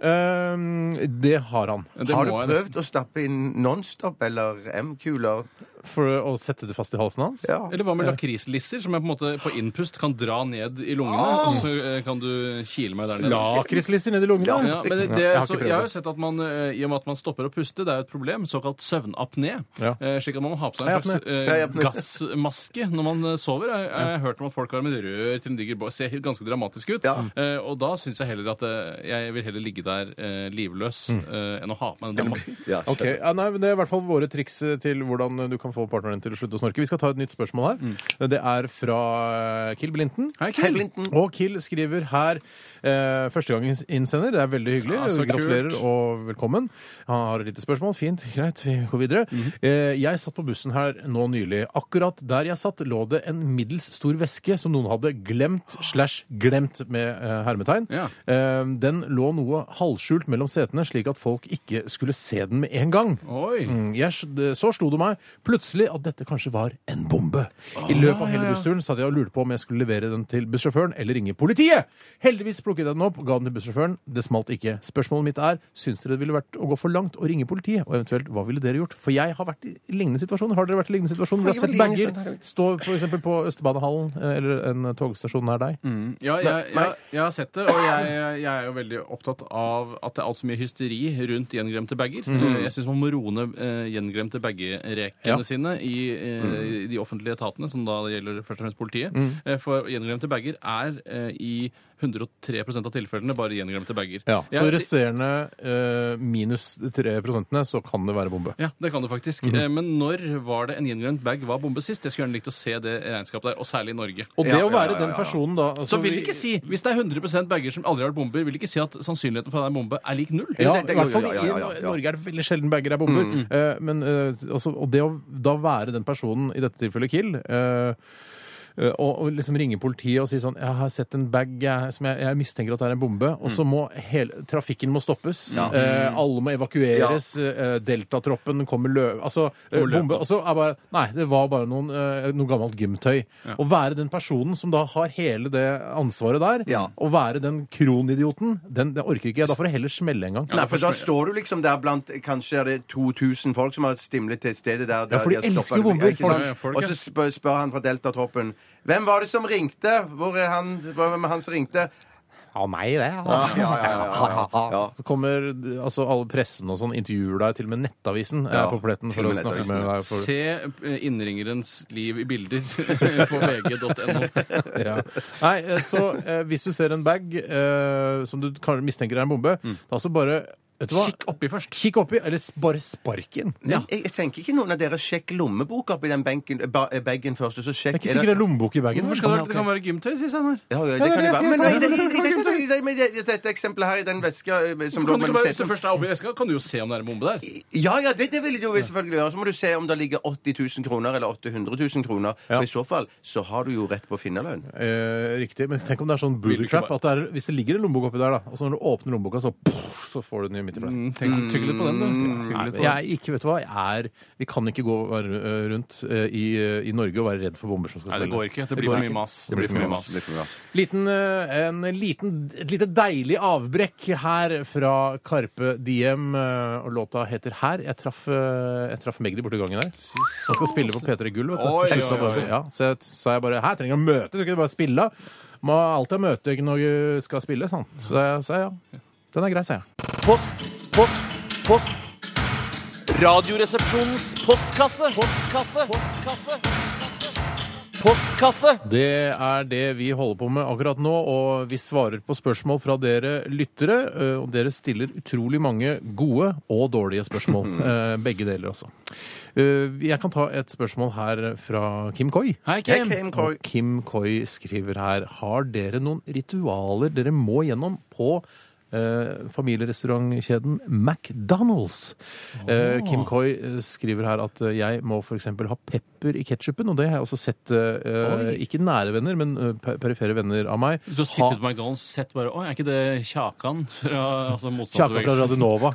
Speaker 3: Ehm, det har han.
Speaker 4: Det
Speaker 5: Har du
Speaker 4: må jeg nesten.
Speaker 5: prøvd å stappe inn Nonstop eller M-kuler?
Speaker 3: For å sette det fast i halsen hans.
Speaker 5: Ja.
Speaker 4: Eller hva med lakrislisser, som jeg på en måte på innpust kan dra ned i lungene,
Speaker 3: Ah!
Speaker 4: og så eh, kan du kile meg der nede.
Speaker 3: Lakrislisser ned i lungene.
Speaker 4: Ja, men det, det,
Speaker 3: jeg har
Speaker 4: så,
Speaker 3: ikke prøvd
Speaker 4: jeg har jo
Speaker 3: det.
Speaker 4: sett at man, eh, I og med at man stopper å puste, det er jo et problem, såkalt søvnapné.
Speaker 3: Ja.
Speaker 4: Eh, slik at man må ha på seg
Speaker 3: Ja,
Speaker 4: en slags
Speaker 5: Ja,
Speaker 4: eh,
Speaker 5: jeg apné.
Speaker 4: gassmaske når man eh, sover. Jeg, jeg har hørt om at folk har med rør til en diger bås. Ser helt ganske dramatisk ut.
Speaker 5: Ja.
Speaker 4: Eh, og da syns jeg heller at eh, jeg vil heller ligge der eh, livløs eh, enn å ha på meg den masken.
Speaker 5: Ja,
Speaker 3: Ok, ja, nei, men Det er i hvert fall våre triks eh, til hvordan du kan få partneren din til å slutte å snorke. Vi skal ta et nytt spørsmål her. Det er fra eh, Kill Blinten.
Speaker 4: Mm. Hei, Kim.
Speaker 3: Og Kill skriver her eh, førstegangsinnsender. Det er veldig hyggelig.
Speaker 4: Ja, så kult.
Speaker 3: Gratulerer og velkommen. Han har et lite spørsmål. Fint, greit, vi går videre. eh, jeg satt på bussen her nå nylig. Akkurat der jeg satt, lå det en middels stor veske som noen hadde glemt slash glemt med eh, hermetegn.
Speaker 4: Ja.
Speaker 3: Eh, den lå noe halvskjult mellom setene, slik at folk ikke skulle se den med en gang.
Speaker 4: Oi.
Speaker 3: Mm, Jeg, så slo det meg. plutselig at dette kanskje var en bombe. I løpet av hele bussturen satt jeg og lurte på om jeg skulle levere den til bussjåføren eller ringe politiet. Heldigvis plukket jeg den opp, ga den til bussjåføren. Det smalt ikke. Spørsmålet mitt er, syns dere det ville vært å gå for langt og ringe politiet? Og eventuelt, hva ville dere gjort? For jeg har vært i lignende situasjoner. Har dere vært i lignende situasjoner? Dere har sett bager stå f.eks. på Østbanehallen eh, eller en togstasjon nær deg.
Speaker 5: Mm.
Speaker 4: Ja, jeg, jeg, jeg har sett det, og jeg, jeg er jo veldig opptatt av at det er altfor mye hysteri rundt gjengremte bager. Eh, Jeg syns man må roe ned eh, gjengremte bagerekene
Speaker 3: Mm. Ja. Mm.
Speaker 4: sine i eh, i de offentlige etatene, som da gjelder først og fremst politiet. Eh, For gjengremte bager er eh, i 103 av tilfellene bare gjengremte bager.
Speaker 3: Ja, så
Speaker 4: Jeg-
Speaker 3: resterende eh, minus 3 prosentene, så kan det være bombe.
Speaker 4: Ja, det kan du faktisk.
Speaker 3: Mm-hmm.
Speaker 4: Eh, Men når var det en gjenglemt bag var bombe sist? Jeg skulle gjerne likt å se det regnskapet der, og særlig i Norge.
Speaker 3: Og det
Speaker 5: Ja,
Speaker 3: å være
Speaker 5: ja, ja,
Speaker 3: den
Speaker 5: ja.
Speaker 3: personen da altså,
Speaker 4: Så vil
Speaker 3: vi-
Speaker 4: ikke si, Hvis det er 100 bager som aldri har vært bomber, vil ikke si at sannsynligheten for at det er en bombe er lik null.
Speaker 3: Ja,
Speaker 5: det- det-
Speaker 3: i hvert fall
Speaker 5: ja, ja, ja, ja, Mm, ja.
Speaker 3: i Norge er det veldig sjelden bager er bomber. Eh, men, eh, altså, og det å da være den personen, i dette tilfellet Kill eh, eh, og, og liksom ringe politiet og si sånn 'Jeg har sett en bag jeg, som jeg, jeg mistenker at er en bombe.'
Speaker 5: Mm.
Speaker 3: Og så må hele trafikken må stoppes. Eh, alle må evakueres. eh, Deltatroppen kommer løv... Altså, eh,
Speaker 4: Kommer løpende.
Speaker 3: bombe. Og så er bare Nei, det var bare noen, eh, noe gammelt gymtøy. Å være den personen som da har hele det ansvaret der,
Speaker 5: Ja.
Speaker 3: å være den kronidioten, den, det orker ikke jeg. Da får det heller smelle en gang.
Speaker 5: Nei, for da står du liksom der blant kanskje er det 2000 folk som har stimlet til stedet der. der
Speaker 3: for de
Speaker 5: har stoppet-
Speaker 3: elsker jo bomber,
Speaker 5: Ja, ikke sant?
Speaker 4: folk. Ja, ja, folk,
Speaker 5: Og
Speaker 4: ja.
Speaker 5: så spør, spør han fra Deltatroppen Hvem var det som ringte? Hvor er han, hvem er han som ringte?
Speaker 3: Ja, meg det. Ja.
Speaker 5: Ja, ja, ja, ja, ja. Ja.
Speaker 3: Så kommer altså, alle pressen og sånn, intervjuer deg, til og med Nettavisen er
Speaker 5: Ja,
Speaker 3: på pletten
Speaker 5: til
Speaker 3: for
Speaker 5: og
Speaker 3: å
Speaker 5: med
Speaker 3: snakke
Speaker 5: Nettavisen,
Speaker 3: med deg. For,
Speaker 4: Se eh, innringerens liv i bilder (laughs) på vg.no.
Speaker 3: ja. Nei, eh, så eh, hvis du ser en bag eh, som du kan- mistenker er en bombe, da så bare Vet du hva?
Speaker 4: Kikk oppi først.
Speaker 3: Kikk oppi, eller s- bare spark inn. Det
Speaker 4: Ja.
Speaker 5: Jeg, jeg tenker ikke noen av dere sjekk lommeboka oppi den benken, ba, eh, bagen først, og så sjekk
Speaker 3: er ikke sikkert det er lommebok i bagen.
Speaker 4: Hvorfor skal det, være- det kan være gymtøy, sier Steinar.
Speaker 5: Ja,
Speaker 3: Ja,
Speaker 5: ja, det kan
Speaker 3: det
Speaker 5: det
Speaker 3: er det jeg
Speaker 5: være. Men
Speaker 3: sier.
Speaker 5: nei, det- det- det- det- det- men det- dette eksempelet her i den veska eh,
Speaker 4: Kan
Speaker 5: som lå
Speaker 4: du ikke
Speaker 5: mellom
Speaker 4: bare, hvis du
Speaker 5: setene
Speaker 4: først er oppi veska, kan du jo se om det er en bombe der.
Speaker 3: Mm,
Speaker 5: Ja, ja, det, det ville du jo selvfølgelig gjøre. Så må du se om det ligger 80 000 kroner eller 800 000 kroner. For I så fall så har du jo rett på finnerlønn.
Speaker 3: Eh, riktig, men tenk om det er sånn
Speaker 4: Vil du
Speaker 3: booby
Speaker 4: ikke
Speaker 3: trap.
Speaker 4: bare-
Speaker 3: At det er, hvis det ligger en lommebok oppi der, da, og så når du åpner lommeboka, så, pff, så får du den i midt i fleisen.
Speaker 4: Mm, Tenk, tygg litt på den, du. Tygg
Speaker 3: Nei,
Speaker 4: litt på
Speaker 3: men
Speaker 4: den.
Speaker 3: jeg er ikke, vet du hva, jeg er, Vi kan ikke gå og være, ø, rundt ø, i, eh, i Norge og være redd for bomber som skal
Speaker 4: Nei, det
Speaker 3: smelle.
Speaker 4: går ikke. Det blir for mye mas.
Speaker 3: Det blir for mye mas.
Speaker 5: Det får vi ha.
Speaker 3: Liten, ø, en liten, et lite deilig avbrekk her fra Karpe Diem, ø, og låta heter Her. Jeg traff, ø, jeg traff Magdi borti gangen der. Han skal spille på P3 Gull, vet du.
Speaker 4: Oi,
Speaker 3: Slutt av
Speaker 4: oi, oi.
Speaker 3: bare- Ja, så jeg t- sa jeg bare Her trenger han møte, så kan du bare spille. Må alltid ha møte når du skal spille, sånn. Så jeg sa ja. Den er grei, sa jeg.
Speaker 9: Post, post, post. Radioresepsjonens postkasse. Postkasse. Postkasse. Postkasse.
Speaker 3: Det er det vi holder på med akkurat nå, og vi svarer på spørsmål fra dere lyttere. eh, Og dere stiller utrolig mange gode og dårlige spørsmål. eh, Begge deler, altså. Eh, Jeg kan ta et spørsmål her fra Kim Koi.
Speaker 4: Hei,
Speaker 5: Jeg
Speaker 4: Kim.
Speaker 5: came cor-
Speaker 3: Og Kim Koi skriver her Har dere noen ritualer dere må gjennom på eh, familierestaurantkjeden McDonald's? Eh, Kim Koi eh, skriver her at eh, jeg må f.eks. ha pepper i ketsjupen, og det har jeg også sett eh, ikke nære venner, men eh, per- perifere venner av meg.
Speaker 4: Du har sittet på McDonald's og sett bare Å, er ikke det Kjakan fra altså,
Speaker 3: Kjaka fra
Speaker 4: motstandsbevegelsen?
Speaker 3: Radionova.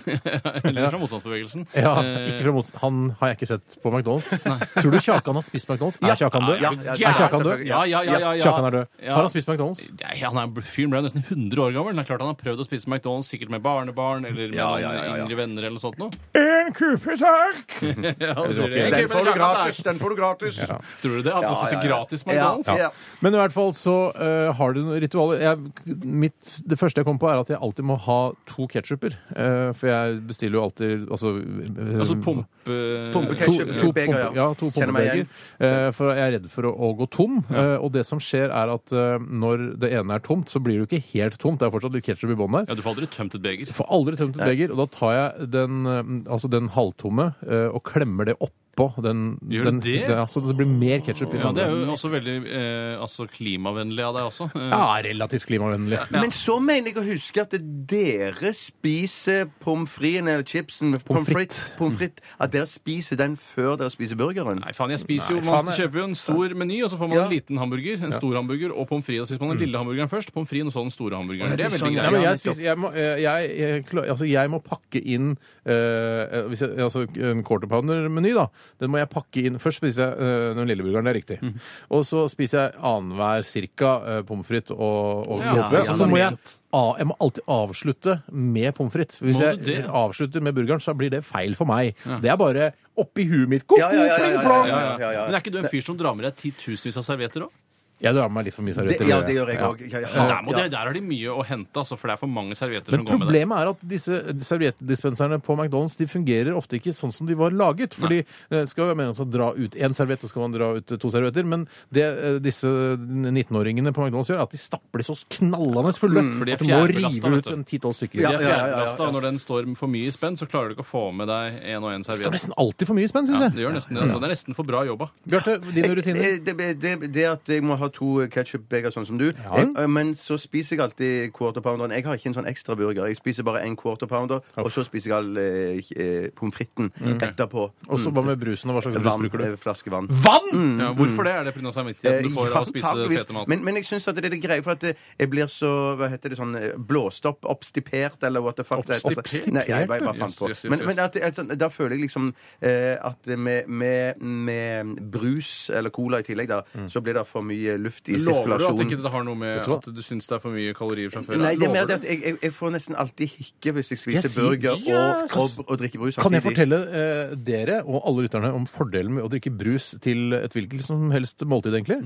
Speaker 4: Eller fra motstandsbevegelsen?
Speaker 3: Ja,
Speaker 4: (laughs) Eh,
Speaker 3: ikke fra motstand. Han har jeg ikke sett på
Speaker 4: (laughs)
Speaker 3: McDonald's. Tror du Kjakan har spist McDonald's? Er Kjakan død?
Speaker 5: Ja, ja,
Speaker 3: Er
Speaker 5: ja,
Speaker 3: Kjakan død?
Speaker 4: Ja, ja, ja, ja, ja.
Speaker 3: Kjakan er død.
Speaker 4: Ja.
Speaker 3: Har han spist McDonald's?
Speaker 4: Nei, han er, fyren ble jo nesten 100 år gammel. Det er klart Han har prøvd å spise McDonald's, sikkert med barnebarn eller med
Speaker 5: Ja, ja, ja, ja.
Speaker 4: noen yngre venner. eller noe sånt. Noe.
Speaker 3: En kupe, takk!
Speaker 4: Tror du
Speaker 5: Den får du gratis!
Speaker 4: det?
Speaker 5: Den får du gratis.
Speaker 4: At man spiser gratis McDonald's?
Speaker 5: Ja, ja.
Speaker 3: Men i hvert fall så eh, har du noen ritualer. Jeg, mitt, det første jeg kom på, er at jeg alltid må ha to ketsjuper. eh, for jeg bestiller jo alltid altså, eh,
Speaker 4: Altså pumpe...
Speaker 3: to,
Speaker 5: Pumpeketsjup,
Speaker 3: to,
Speaker 5: beger,
Speaker 3: pumpe, ja,
Speaker 5: ja.
Speaker 3: to
Speaker 5: Kjenner
Speaker 3: pumpebeger.
Speaker 5: meg
Speaker 3: eh, for jeg er redd for å, å gå tom. Eh, og det som skjer, er at eh, når det ene er tomt, så blir det jo ikke helt tomt. Det er fortsatt litt ketsjup i bånn der.
Speaker 4: Ja, du får aldri tømt et beger.
Speaker 3: Får aldri tømt et beger, og da tar jeg den, eh, altså den halvtomme eh, og klemmer det oppå den.
Speaker 4: Gjør du
Speaker 3: den,
Speaker 4: det?
Speaker 3: Ja, så det blir mer ketsjup i den
Speaker 4: Ja, Det
Speaker 3: andre.
Speaker 4: er jo også veldig eh, altså klimavennlig av deg også. Eh,
Speaker 3: Ja, relativt klimavennlig.
Speaker 5: Men så mener jeg å huske at dere spiser pommes fritesen eller chipsen
Speaker 3: Pommes
Speaker 5: frites. Pommes frites. At dere spiser den før dere spiser burgeren.
Speaker 4: Nei, faen, jeg spiser jo,
Speaker 3: Nei,
Speaker 4: Man
Speaker 3: faen, jeg-
Speaker 4: kjøper jo en stor meny, og så får man
Speaker 5: Ja.
Speaker 4: en liten hamburger, en stor hamburger og pommes frites. Og så spiser man den lille hamburgeren først, pommes frites og så den store hamburgeren. Det
Speaker 5: Ja,
Speaker 4: er
Speaker 5: det er
Speaker 4: veldig
Speaker 5: sånn,
Speaker 3: Mm. Nei,
Speaker 5: ja.
Speaker 4: greit.
Speaker 3: men jeg,
Speaker 5: nettopp.
Speaker 3: spiser, jeg, må, eh, jeg, jeg, klar- altså, jeg må pakke inn eh, eh, hvis jeg, altså, en quarter pounder-meny, da. Den må jeg pakke inn. Først spiser jeg øh, den lille burgeren, det er riktig.
Speaker 5: Mhm.
Speaker 3: Og så spiser jeg annenhver cirka øh, pommes frites og, og
Speaker 4: Ja,
Speaker 3: lobbe.
Speaker 4: ja,
Speaker 3: og så må
Speaker 4: ja.
Speaker 3: jeg Ah, jeg må alltid avslutte med pommes frites. Hvis
Speaker 4: Må
Speaker 3: jeg
Speaker 4: du det?
Speaker 3: avslutter med burgeren, så blir det feil for meg. Det er bare oppi huet mitt. Ko, ko,
Speaker 5: Ja, ja, ja, ja,
Speaker 3: pling,
Speaker 5: ja,
Speaker 3: plong.
Speaker 5: ja, ja, ja.
Speaker 4: Men er ikke du en fyr som drar med deg titusenvis av servietter òg?
Speaker 3: Jeg drar med meg litt for mye
Speaker 5: Det,
Speaker 3: servietter.
Speaker 5: ja, det gjør jeg òg. Ja.
Speaker 4: Der, må
Speaker 5: Ja.
Speaker 4: dere- der har de mye å hente, altså, for det er for mange servietter
Speaker 3: Men
Speaker 4: som går med det.
Speaker 3: problemet er at disse serviettdispenserne på McDonald's de fungerer ofte ikke sånn som de var laget. Fordi eh, skal man altså dra ut én serviett, og skal man dra ut eh, to servietter. Men det eh, disse 19-åringene på McDonald's gjør, er at de stapper de så knallende fulle
Speaker 4: Mm, for de er
Speaker 3: at du må
Speaker 4: fjærbelastet,
Speaker 3: rive
Speaker 4: vet
Speaker 3: ut
Speaker 4: du.
Speaker 3: en ti-tolv stykker.
Speaker 4: De
Speaker 5: Ja,
Speaker 4: er
Speaker 5: ja, ja, ja, ja.
Speaker 4: fjerdebelasta, og når den står for mye i spenn, så klarer du ikke å få med deg en og en
Speaker 3: Det står
Speaker 4: serviett.
Speaker 3: nesten alltid for mye spenn, syns
Speaker 4: Ja, det
Speaker 3: jeg.
Speaker 4: gjør nesten det. Altså, det er nesten for bra jobba.
Speaker 3: Bjarte, dine rutiner?
Speaker 5: Eh, Det, det, det at jeg må ha to ketsjupbeger, sånn som du. Jeg, eh, men så spiser jeg alltid quarter pounderen. Jeg har ikke en sånn ekstra burger. Jeg spiser bare en quarter pounder, og så spiser jeg all eh, eh, pommes fritesen etterpå.
Speaker 3: Og så hva med brusen, og hva slags brus
Speaker 5: Vann,
Speaker 3: bruker du?
Speaker 5: eh, flaske vann.
Speaker 3: Vann!
Speaker 4: Ja, hvorfor det? Er det pga. samvittigheten du får
Speaker 5: Mm, Eh, Ja,
Speaker 4: av å spise
Speaker 5: antageligvis.
Speaker 4: fete mat?
Speaker 5: Men, men jeg syns at det er det greie, for at eh, jeg blir så hva heter det, sånn eh, blåst opp, oppstipert, eller what the fuck. det heter.
Speaker 3: Oppstipert?
Speaker 5: Nei, jeg bare bare fant på.
Speaker 4: Yes, yes, yes,
Speaker 5: Men, men at, at, sånn, da føler jeg liksom eh, at med, med, med brus eller cola i tillegg, da, så blir det for mye luft i
Speaker 4: Mm. Lover du at
Speaker 5: sirkulasjonen.
Speaker 4: ikke det har noe med
Speaker 3: du hva?
Speaker 4: at du syns det er for mye kalorier fra før?
Speaker 5: Nei, det er mer
Speaker 4: Lover
Speaker 5: det
Speaker 4: du?
Speaker 5: at jeg, jeg, jeg får nesten alltid hikke hvis jeg
Speaker 3: jeg
Speaker 5: spiser
Speaker 3: si-
Speaker 5: burger
Speaker 3: Yes!
Speaker 5: og, og, og drikker brus.
Speaker 3: Kan jeg
Speaker 5: samtidig.
Speaker 3: fortelle eh, dere og alle lytterne om fordelen med å drikke brus til et hvilket som helst måltid, egentlig?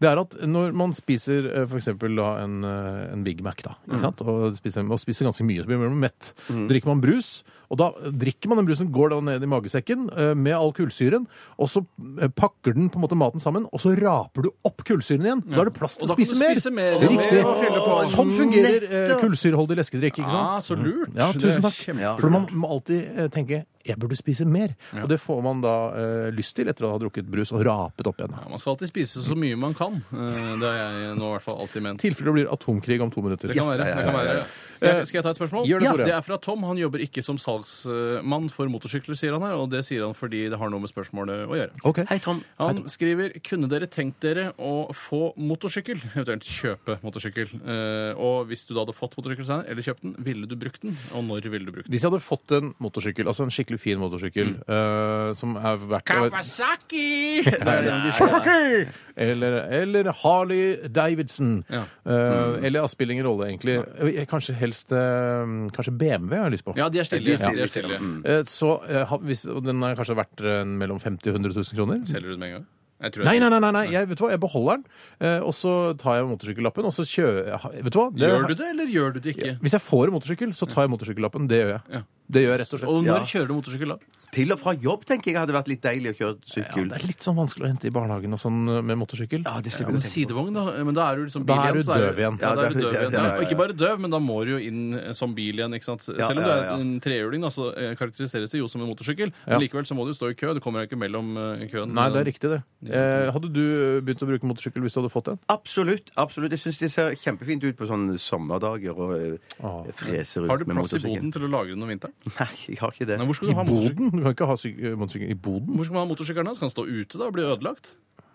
Speaker 3: Det er at når man spiser eh, for eksempel da, en, eh, en Big Mac, da,
Speaker 4: Mm.
Speaker 3: ikke sant? Og, spiser, og spiser ganske mye, så blir man mett. Drikker man brus, og da drikker man den brusen, går da ned i magesekken eh, med all kullsyren, og så eh, pakker den på en måte maten sammen, og så raper du opp kullsyren igjen. Da er det plass til
Speaker 4: Og
Speaker 3: å
Speaker 4: da kan
Speaker 3: spise
Speaker 4: du
Speaker 3: mer.
Speaker 4: spise mer.
Speaker 3: Riktig.
Speaker 4: Og fylle på.
Speaker 3: Sånn fungerer eh, kullsyrholdig leskedrikk, ikke sant?
Speaker 4: Ah, så
Speaker 5: Mm.
Speaker 4: lurt!
Speaker 3: Ja,
Speaker 4: Det er
Speaker 3: tusen takk.
Speaker 4: kjempelurt.
Speaker 3: For man må alltid eh, tenke jeg burde spise mer. Og det får man da eh, lyst til etter å ha drukket brus og rapet opp igjen.
Speaker 4: Ja, man skal alltid spise så mye man kan. Eh, Det har jeg nå i hvert fall alltid ment.
Speaker 3: I tilfelle det blir atomkrig om to minutter.
Speaker 4: Det kan være. Det kan være. Jeg, skal jeg ta et spørsmål?
Speaker 3: Gjør det, Tore.
Speaker 4: det er fra Tom. Han jobber ikke som salgsmann for motorsykler, sier han her. Og det sier han fordi det har noe med spørsmålet å gjøre.
Speaker 3: Ok.
Speaker 5: Hei, Tom.
Speaker 4: Han skriver kunne dere tenkt dere å få motorsykkel, (laughs) eventuelt kjøpe motorsykkel. Eh, og hvis du da hadde fått motorsykkel senere, eller kjøpt den, ville du brukt den? Og når ville du brukt den?
Speaker 3: Hvis jeg hadde fått en motorsykkel, altså en skikkelig fin motorsykkel,
Speaker 4: Mm.
Speaker 3: eh, som er verdt å
Speaker 4: Kawasaki! (laughs) Det er en av de
Speaker 3: Kawasaki! eller, eller Harley Davidson.
Speaker 4: Ja. Mm.
Speaker 3: Eh, Eller avspiller ingen rolle, egentlig. Eh, Kanskje helst eh, Kanskje BMW har jeg lyst på.
Speaker 4: Ja, de er stille.
Speaker 5: Ja.
Speaker 4: De er stille.
Speaker 5: Mm.
Speaker 3: Eh, Så eh, ha- hvis, og den er kanskje verdt eh, mellom 50 000 og 100 000 kroner.
Speaker 4: Selger du den med en gang? Jeg tror
Speaker 3: Nei,
Speaker 4: jeg-
Speaker 3: nei, nei, nei, nei. Jeg, vet du hva? jeg beholder den, eh, og så tar jeg motorsykkellappen, og så kjører jeg Vet du hva? Det-
Speaker 4: Gjør du det, eller gjør du det ikke?
Speaker 3: Hvis jeg får en motorsykkel, så tar jeg motorsykkellappen. Det gjør jeg.
Speaker 4: Ja.
Speaker 3: Det gjør jeg rett og slett.
Speaker 4: Og når
Speaker 5: Ja.
Speaker 4: kjører du motorsykkel da?
Speaker 5: Til og fra jobb tenker jeg hadde vært litt deilig å kjøre
Speaker 3: Ja,
Speaker 5: sykkel.
Speaker 3: det er litt sånn vanskelig å hente i barnehagen og sånn eh, med motorsykkel.
Speaker 5: Ja, det
Speaker 4: Ja,
Speaker 5: slipper
Speaker 4: men
Speaker 5: jeg å tenke på.
Speaker 4: sidevogn, da. Men da er du liksom
Speaker 3: Da
Speaker 4: bil
Speaker 3: er
Speaker 4: igjen.
Speaker 3: du
Speaker 4: så
Speaker 3: døv igjen.
Speaker 4: Ja, da er du døv
Speaker 5: ja,
Speaker 4: igjen.
Speaker 5: ja, ja,
Speaker 4: Nei, Og ikke
Speaker 5: ja.
Speaker 4: bare døv, men da må du jo inn eh, som bil igjen. ikke sant? Selv om du
Speaker 5: ja,
Speaker 4: er
Speaker 5: ja.
Speaker 4: en trehjuling, da, så eh, karakteriseres det jo som en motorsykkel.
Speaker 3: Ja.
Speaker 4: Men likevel så må du stå i kø. Du kommer deg ikke mellom eh, køen.
Speaker 3: Nei, det er riktig, det. Eh, hadde du begynt å bruke motorsykkel hvis du hadde fått en?
Speaker 5: Absolutt. absolutt. Jeg syns det ser kjempefint ut på sånne sommerdager og eh,
Speaker 3: Åh.
Speaker 5: freser
Speaker 4: Har du
Speaker 5: ut med
Speaker 4: plass i
Speaker 5: motorsykkel.
Speaker 4: boden til å lagre den om vinteren?
Speaker 5: (laughs) Nei, jeg har ikke det.
Speaker 4: Nei, hvor skal
Speaker 3: I
Speaker 4: du ha motorsykkel?
Speaker 3: boden? Du kan ikke ha syk- eh, motorsykkel i boden.
Speaker 4: Hvor skal man ha motorsykkelen? da? Skal den stå ute da og bli ødelagt?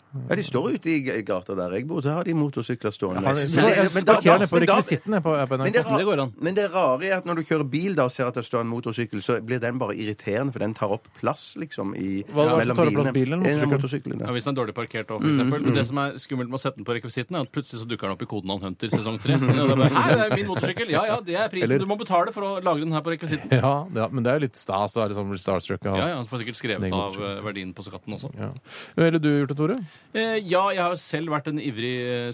Speaker 5: Ja, De står ute i g- gata der jeg bor. Der har de motorsykler stående.
Speaker 3: Har du-
Speaker 5: Men
Speaker 3: Vet du
Speaker 5: det-
Speaker 3: hva, Jeg
Speaker 5: men da-
Speaker 3: parkerer ned på
Speaker 5: men da-
Speaker 3: rekvisitten jeg, på, på
Speaker 5: Men det,
Speaker 3: NRK.
Speaker 5: ra-
Speaker 4: Det går an.
Speaker 5: men det rare er at når du kjører bil da, og ser at det står en motorsykkel, så blir den bare irriterende, for den tar opp plass liksom, i,
Speaker 3: Hva er det som tar opp plass, bilen eller
Speaker 5: En av
Speaker 3: motorsykkelen?
Speaker 5: motorsyklene.
Speaker 4: Ja, hvis den er dårlig parkert òg, f.eks. Men Det som er skummelt med å sette den på rekvisitten, er at plutselig så dukker den opp i Kodenavn Hunter sesong (laughs) tre. Og det er bare, Hei, det er min motorsykkel! Ja ja, det er prisen
Speaker 3: Eller-
Speaker 4: du må betale for å lagre den her på rekvisitten.
Speaker 3: Ja, ja, men det er jo litt stas å være sånn starstruck.
Speaker 4: Ja
Speaker 3: Ja.
Speaker 4: ja, så får sikkert skrevet av eh, verdien på skatten også.
Speaker 3: Ja. Ville du gjort det, Tore?
Speaker 4: Eh, Ja, jeg har jo selv vært en ivrig eh,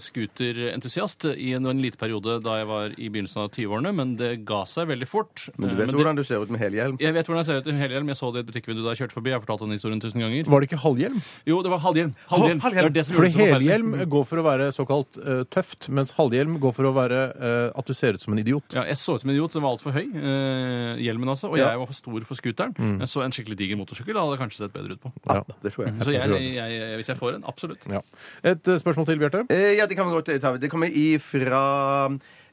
Speaker 4: scooterentusiast i en, en liten periode da jeg var i begynnelsen av 20-årene, men det ga seg veldig fort.
Speaker 5: Men du
Speaker 4: Eh,
Speaker 5: vet
Speaker 4: det-
Speaker 5: hvordan du ser ut med helhjelm?
Speaker 4: jeg vet hvordan jeg ser ut i helhjelm. Jeg så det i et butikkvindu da jeg kjørte forbi. Jeg har fortalt den historien tusen ganger.
Speaker 3: Var det ikke halvhjelm?
Speaker 4: Jo, det var halvhjelm. Halvhjelm.
Speaker 5: Halvhjelm.
Speaker 4: Det var det som
Speaker 3: Fordi
Speaker 4: gjorde det så forferdelig.
Speaker 3: helhjelm går for å være såkalt eh, tøft, mens halvhjelm går for å være eh, at du ser ut som en idiot.
Speaker 4: Ja, jeg så ut som en idiot. Den var altfor høy, eh, hjelmen altså. Og jeg var for stor for scooteren. Jeg så en skikkelig diger motorsykkel hadde jeg kanskje sett bedre ut på.
Speaker 3: Ja.
Speaker 5: Det tror Mm. jeg.
Speaker 4: Så jeg,
Speaker 3: tror
Speaker 4: jeg, jeg, hvis jeg får en, absolutt.
Speaker 3: Ja. Et eh, spørsmål til, Bjarte.
Speaker 5: Eh, ja, det kan vi godt ta. Det kommer ifra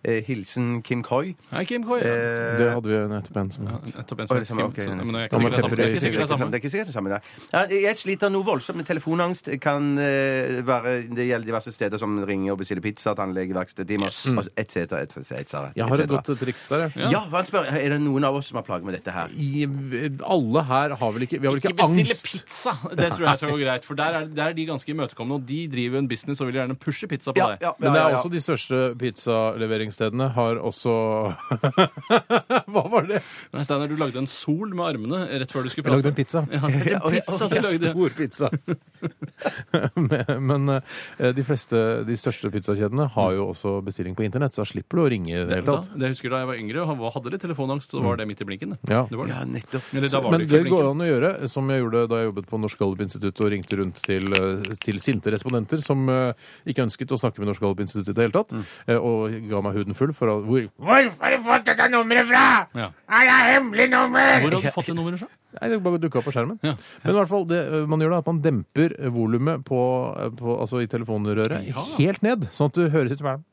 Speaker 5: eh, hilsen Kim Koi.
Speaker 4: Nei, Kim Koi. Ja.
Speaker 5: Eh,
Speaker 3: Det hadde vi nettopp en som
Speaker 4: Ja,
Speaker 3: het.
Speaker 4: nettopp en
Speaker 5: Å,
Speaker 4: som
Speaker 5: det
Speaker 4: heter
Speaker 5: samme,
Speaker 4: Kim, så-
Speaker 5: ok.
Speaker 4: men det er
Speaker 3: Da må
Speaker 4: ikke sikkert det er
Speaker 3: pepper i-
Speaker 4: samme. Det er ikke
Speaker 5: Det er
Speaker 4: sikkert det
Speaker 5: ikke
Speaker 4: er samme.
Speaker 5: det er ikke sikkert det samme. nei. Ja, Jeg sliter noe voldsomt med telefonangst. Det Kan eh, være, det gjelder diverse steder som ringer og bestiller pizza, tannlege, verkstedtimer
Speaker 4: Mm.
Speaker 5: etc. Et
Speaker 3: Jeg har et godt triks der, jeg.
Speaker 5: ja. hva spør, Er det noen av oss som har plager med dette her?
Speaker 3: I, alle her har vel ikke Vi har vel ikke,
Speaker 4: Ikke bestille
Speaker 3: angst?
Speaker 4: pizza! Det tror jeg skal gå greit. For der er, der er de ganske imøtekommende, og de driver jo en business og vil gjerne pushe pizza på deg.
Speaker 3: Men det er også de største pizzaleveringsstedene har også (laughs) Hva var det?
Speaker 4: Nei, Steinar, du lagde en sol med armene rett før du skulle
Speaker 3: Jeg lagde
Speaker 4: prate.
Speaker 3: en pizza.
Speaker 4: Ja, det
Speaker 5: Ja,
Speaker 4: er en pizza du
Speaker 5: ja,
Speaker 4: lagde.
Speaker 3: Stor pizza. (laughs) Men- Men eh, de fleste, de største pizzakjedene har jo også bestilling på internett, så da slipper du å ringe. i Det, hele
Speaker 4: Vet du
Speaker 3: tatt.
Speaker 4: hva? Det jeg husker da jeg var yngre og hadde litt telefonangst, så var det midt i blinken. det.
Speaker 3: Mm. Ja.
Speaker 4: Det var det.
Speaker 5: Ja, nettopp.
Speaker 4: Eller da var
Speaker 3: Men
Speaker 4: det ikke
Speaker 3: det
Speaker 4: i
Speaker 3: går
Speaker 4: blinken.
Speaker 3: an å gjøre, som jeg gjorde da jeg jobbet på Norsk Gallup-institutt og ringte rundt til, eh, til sinte respondenter som eh, ikke ønsket å snakke med Norsk Gallup-institutt i det hele
Speaker 4: Mm.
Speaker 3: tatt, eh, og ga meg huden full for å hvor, Hvorfor har du fått dette nummeret fra?!
Speaker 4: Ja.
Speaker 3: Er det hemmelig nummer?!
Speaker 4: Hvor hadde du fått det nummeret fra?
Speaker 3: Nei, det bare dukka opp på skjermen.
Speaker 4: Ja.
Speaker 3: Men i hvert fall, det eh, man gjør da, at man demper volumet på, eh, på, altså i telefonrøret
Speaker 4: Ja.
Speaker 3: helt ned, sånn at du høres ut som bare-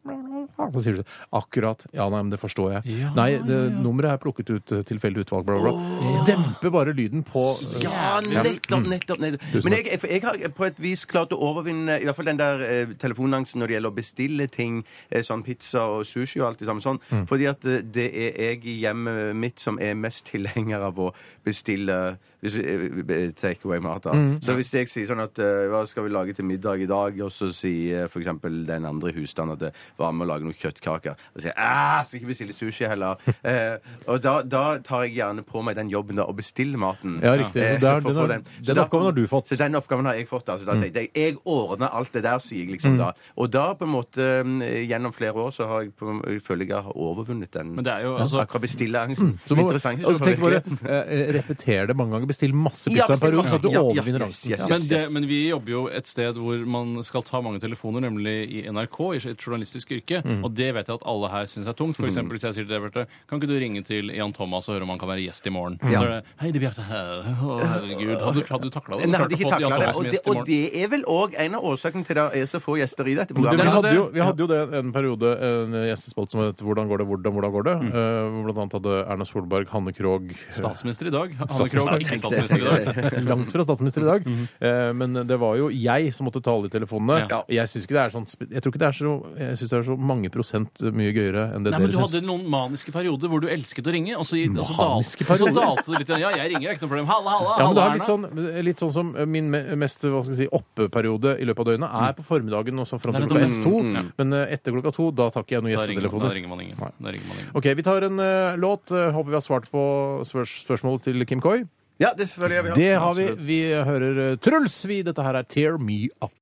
Speaker 3: så sier du sånn, Akkurat. Ja, nei, men det forstår jeg.
Speaker 4: Ja,
Speaker 3: nei, det, nummeret er plukket ut eh, tilfeldig utvalg, bla, bla, bla. Demper bare lyden på
Speaker 5: Ja, Mm. nettopp, nettopp, nettopp. Men jeg, jeg, jeg har på et vis klart å overvinne i hvert fall den der eh, telefonangsten når det gjelder å bestille ting, eh, sånn pizza og sushi og alt det samme sånn, fordi at eh, det er jeg i hjemmet mitt som er mest tilhenger av å bestille hvis vi- eh, take away mat da. Så hvis jeg sier sånn at eh, hva skal vi lage til middag i dag, og så sier eh, for eksempel den andre i husstanden at det var med å lage noen kjøttkaker, og sier jeg, «Ah, skal ikke bestille sushi (laughs) heller. Eh, og da, da tar jeg gjerne på meg den jobben da, og bestiller maten.
Speaker 3: Ja, riktig.
Speaker 5: Eh,
Speaker 3: Så der-
Speaker 5: for
Speaker 3: den
Speaker 5: å få
Speaker 3: har-
Speaker 5: Så
Speaker 3: den
Speaker 5: da-
Speaker 3: oppgaven har du fått. Mm.
Speaker 5: Så den oppgaven har jeg fått. Altså, da tenkte jeg jeg ordner alt det der, sier jeg liksom da. Og da på en måte mm, gjennom flere år så har jeg, på, jeg føler jeg har overvunnet den
Speaker 4: Men det er jo, altså,
Speaker 5: akkurat bestilleangsten.
Speaker 3: Så må,
Speaker 5: Interessant,
Speaker 3: altså,
Speaker 5: for
Speaker 3: tenk bare,
Speaker 5: virkeligheten.
Speaker 3: eh, Repeter det mange ganger. Bestill masse
Speaker 5: Ja,
Speaker 3: pizza en
Speaker 5: bestill
Speaker 3: periode,
Speaker 5: masse.
Speaker 3: så at du
Speaker 5: Ja, ja,
Speaker 3: overvinner
Speaker 5: yes,
Speaker 3: angsten.
Speaker 5: yes,
Speaker 3: Ja.
Speaker 5: yes.
Speaker 4: men, det, men vi jobber jo et sted hvor man skal ta mange telefoner, nemlig i NRK, i et journalistisk yrke. Og det vet jeg at alle her syns er tungt. For eksempel hvis jeg sier til deg, Bjarte, kan ikke du ringe til Jan Thomas og høre om han kan være gjest i morgen? Så er det Hei, det er Bjarte her. Å, herregud. Hadde, du- hadde du takla det?
Speaker 5: Nei,
Speaker 4: Hadde
Speaker 5: hadde
Speaker 4: du klart å
Speaker 5: ikke
Speaker 4: få Jan
Speaker 5: taklet
Speaker 4: Thomas
Speaker 5: det.
Speaker 4: som
Speaker 5: Og det,
Speaker 4: gjest i
Speaker 5: og
Speaker 4: morgen?
Speaker 5: det er vel òg en av årsakene til at det er så få gjester i dette
Speaker 3: Men det, vi,
Speaker 5: programmet.
Speaker 3: hadde jo, vi hadde jo det, en periode en gjestespalt som het 'Hvordan går det, hvordan, hvordan går det?'
Speaker 4: Mm.
Speaker 3: eh, hvor Blant annet hadde Erna Solberg, Hanne Krogh eh,
Speaker 4: Statsminister i dag. Hanne Krogh er ikke statsminister i dag.
Speaker 3: (laughs) Langt fra statsminister i
Speaker 4: (laughs)
Speaker 3: dag. Eh, Men det var jo jeg som måtte tale i telefonene.
Speaker 4: Mhm. Ja.
Speaker 3: Jeg syns ikke det er sånn spe- Jeg tror ikke det er så Jeg synes det er så mange prosent mye gøyere enn det
Speaker 4: Nei, men Du
Speaker 3: dere
Speaker 4: hadde
Speaker 3: syns.
Speaker 4: noen maniske perioder hvor du elsket å ringe, og så, og så, dal,
Speaker 3: Maniske
Speaker 4: og så
Speaker 3: perioder?
Speaker 4: dalte det litt. Ja, jeg ringer, det er ikke noe problem. Halla, halla,
Speaker 3: Ja, men det
Speaker 4: halla,
Speaker 3: er litt sånn, litt sånn som min me- mest hva skal jeg si, oppeperiode i løpet av døgnet er på formiddagen også fram til
Speaker 4: Nei,
Speaker 3: klokka
Speaker 4: Mm. nettopp. Mm.
Speaker 3: ett-to. Men eh, etter klokka to, da tar ikke jeg noen
Speaker 4: Da ringer, man- da
Speaker 3: gjestetelefoner.
Speaker 4: ringer man ingen.
Speaker 3: Nei.
Speaker 4: Da ringer man ingen.
Speaker 3: Ok, vi tar en eh, låt. Eh, håper vi har svart på spørs spørsmålet til Kim Koi.
Speaker 5: Ja, det føler jeg vi har.
Speaker 3: Det har vi. Vi hører eh, Truls, vi. Dette her er Tear Me Up.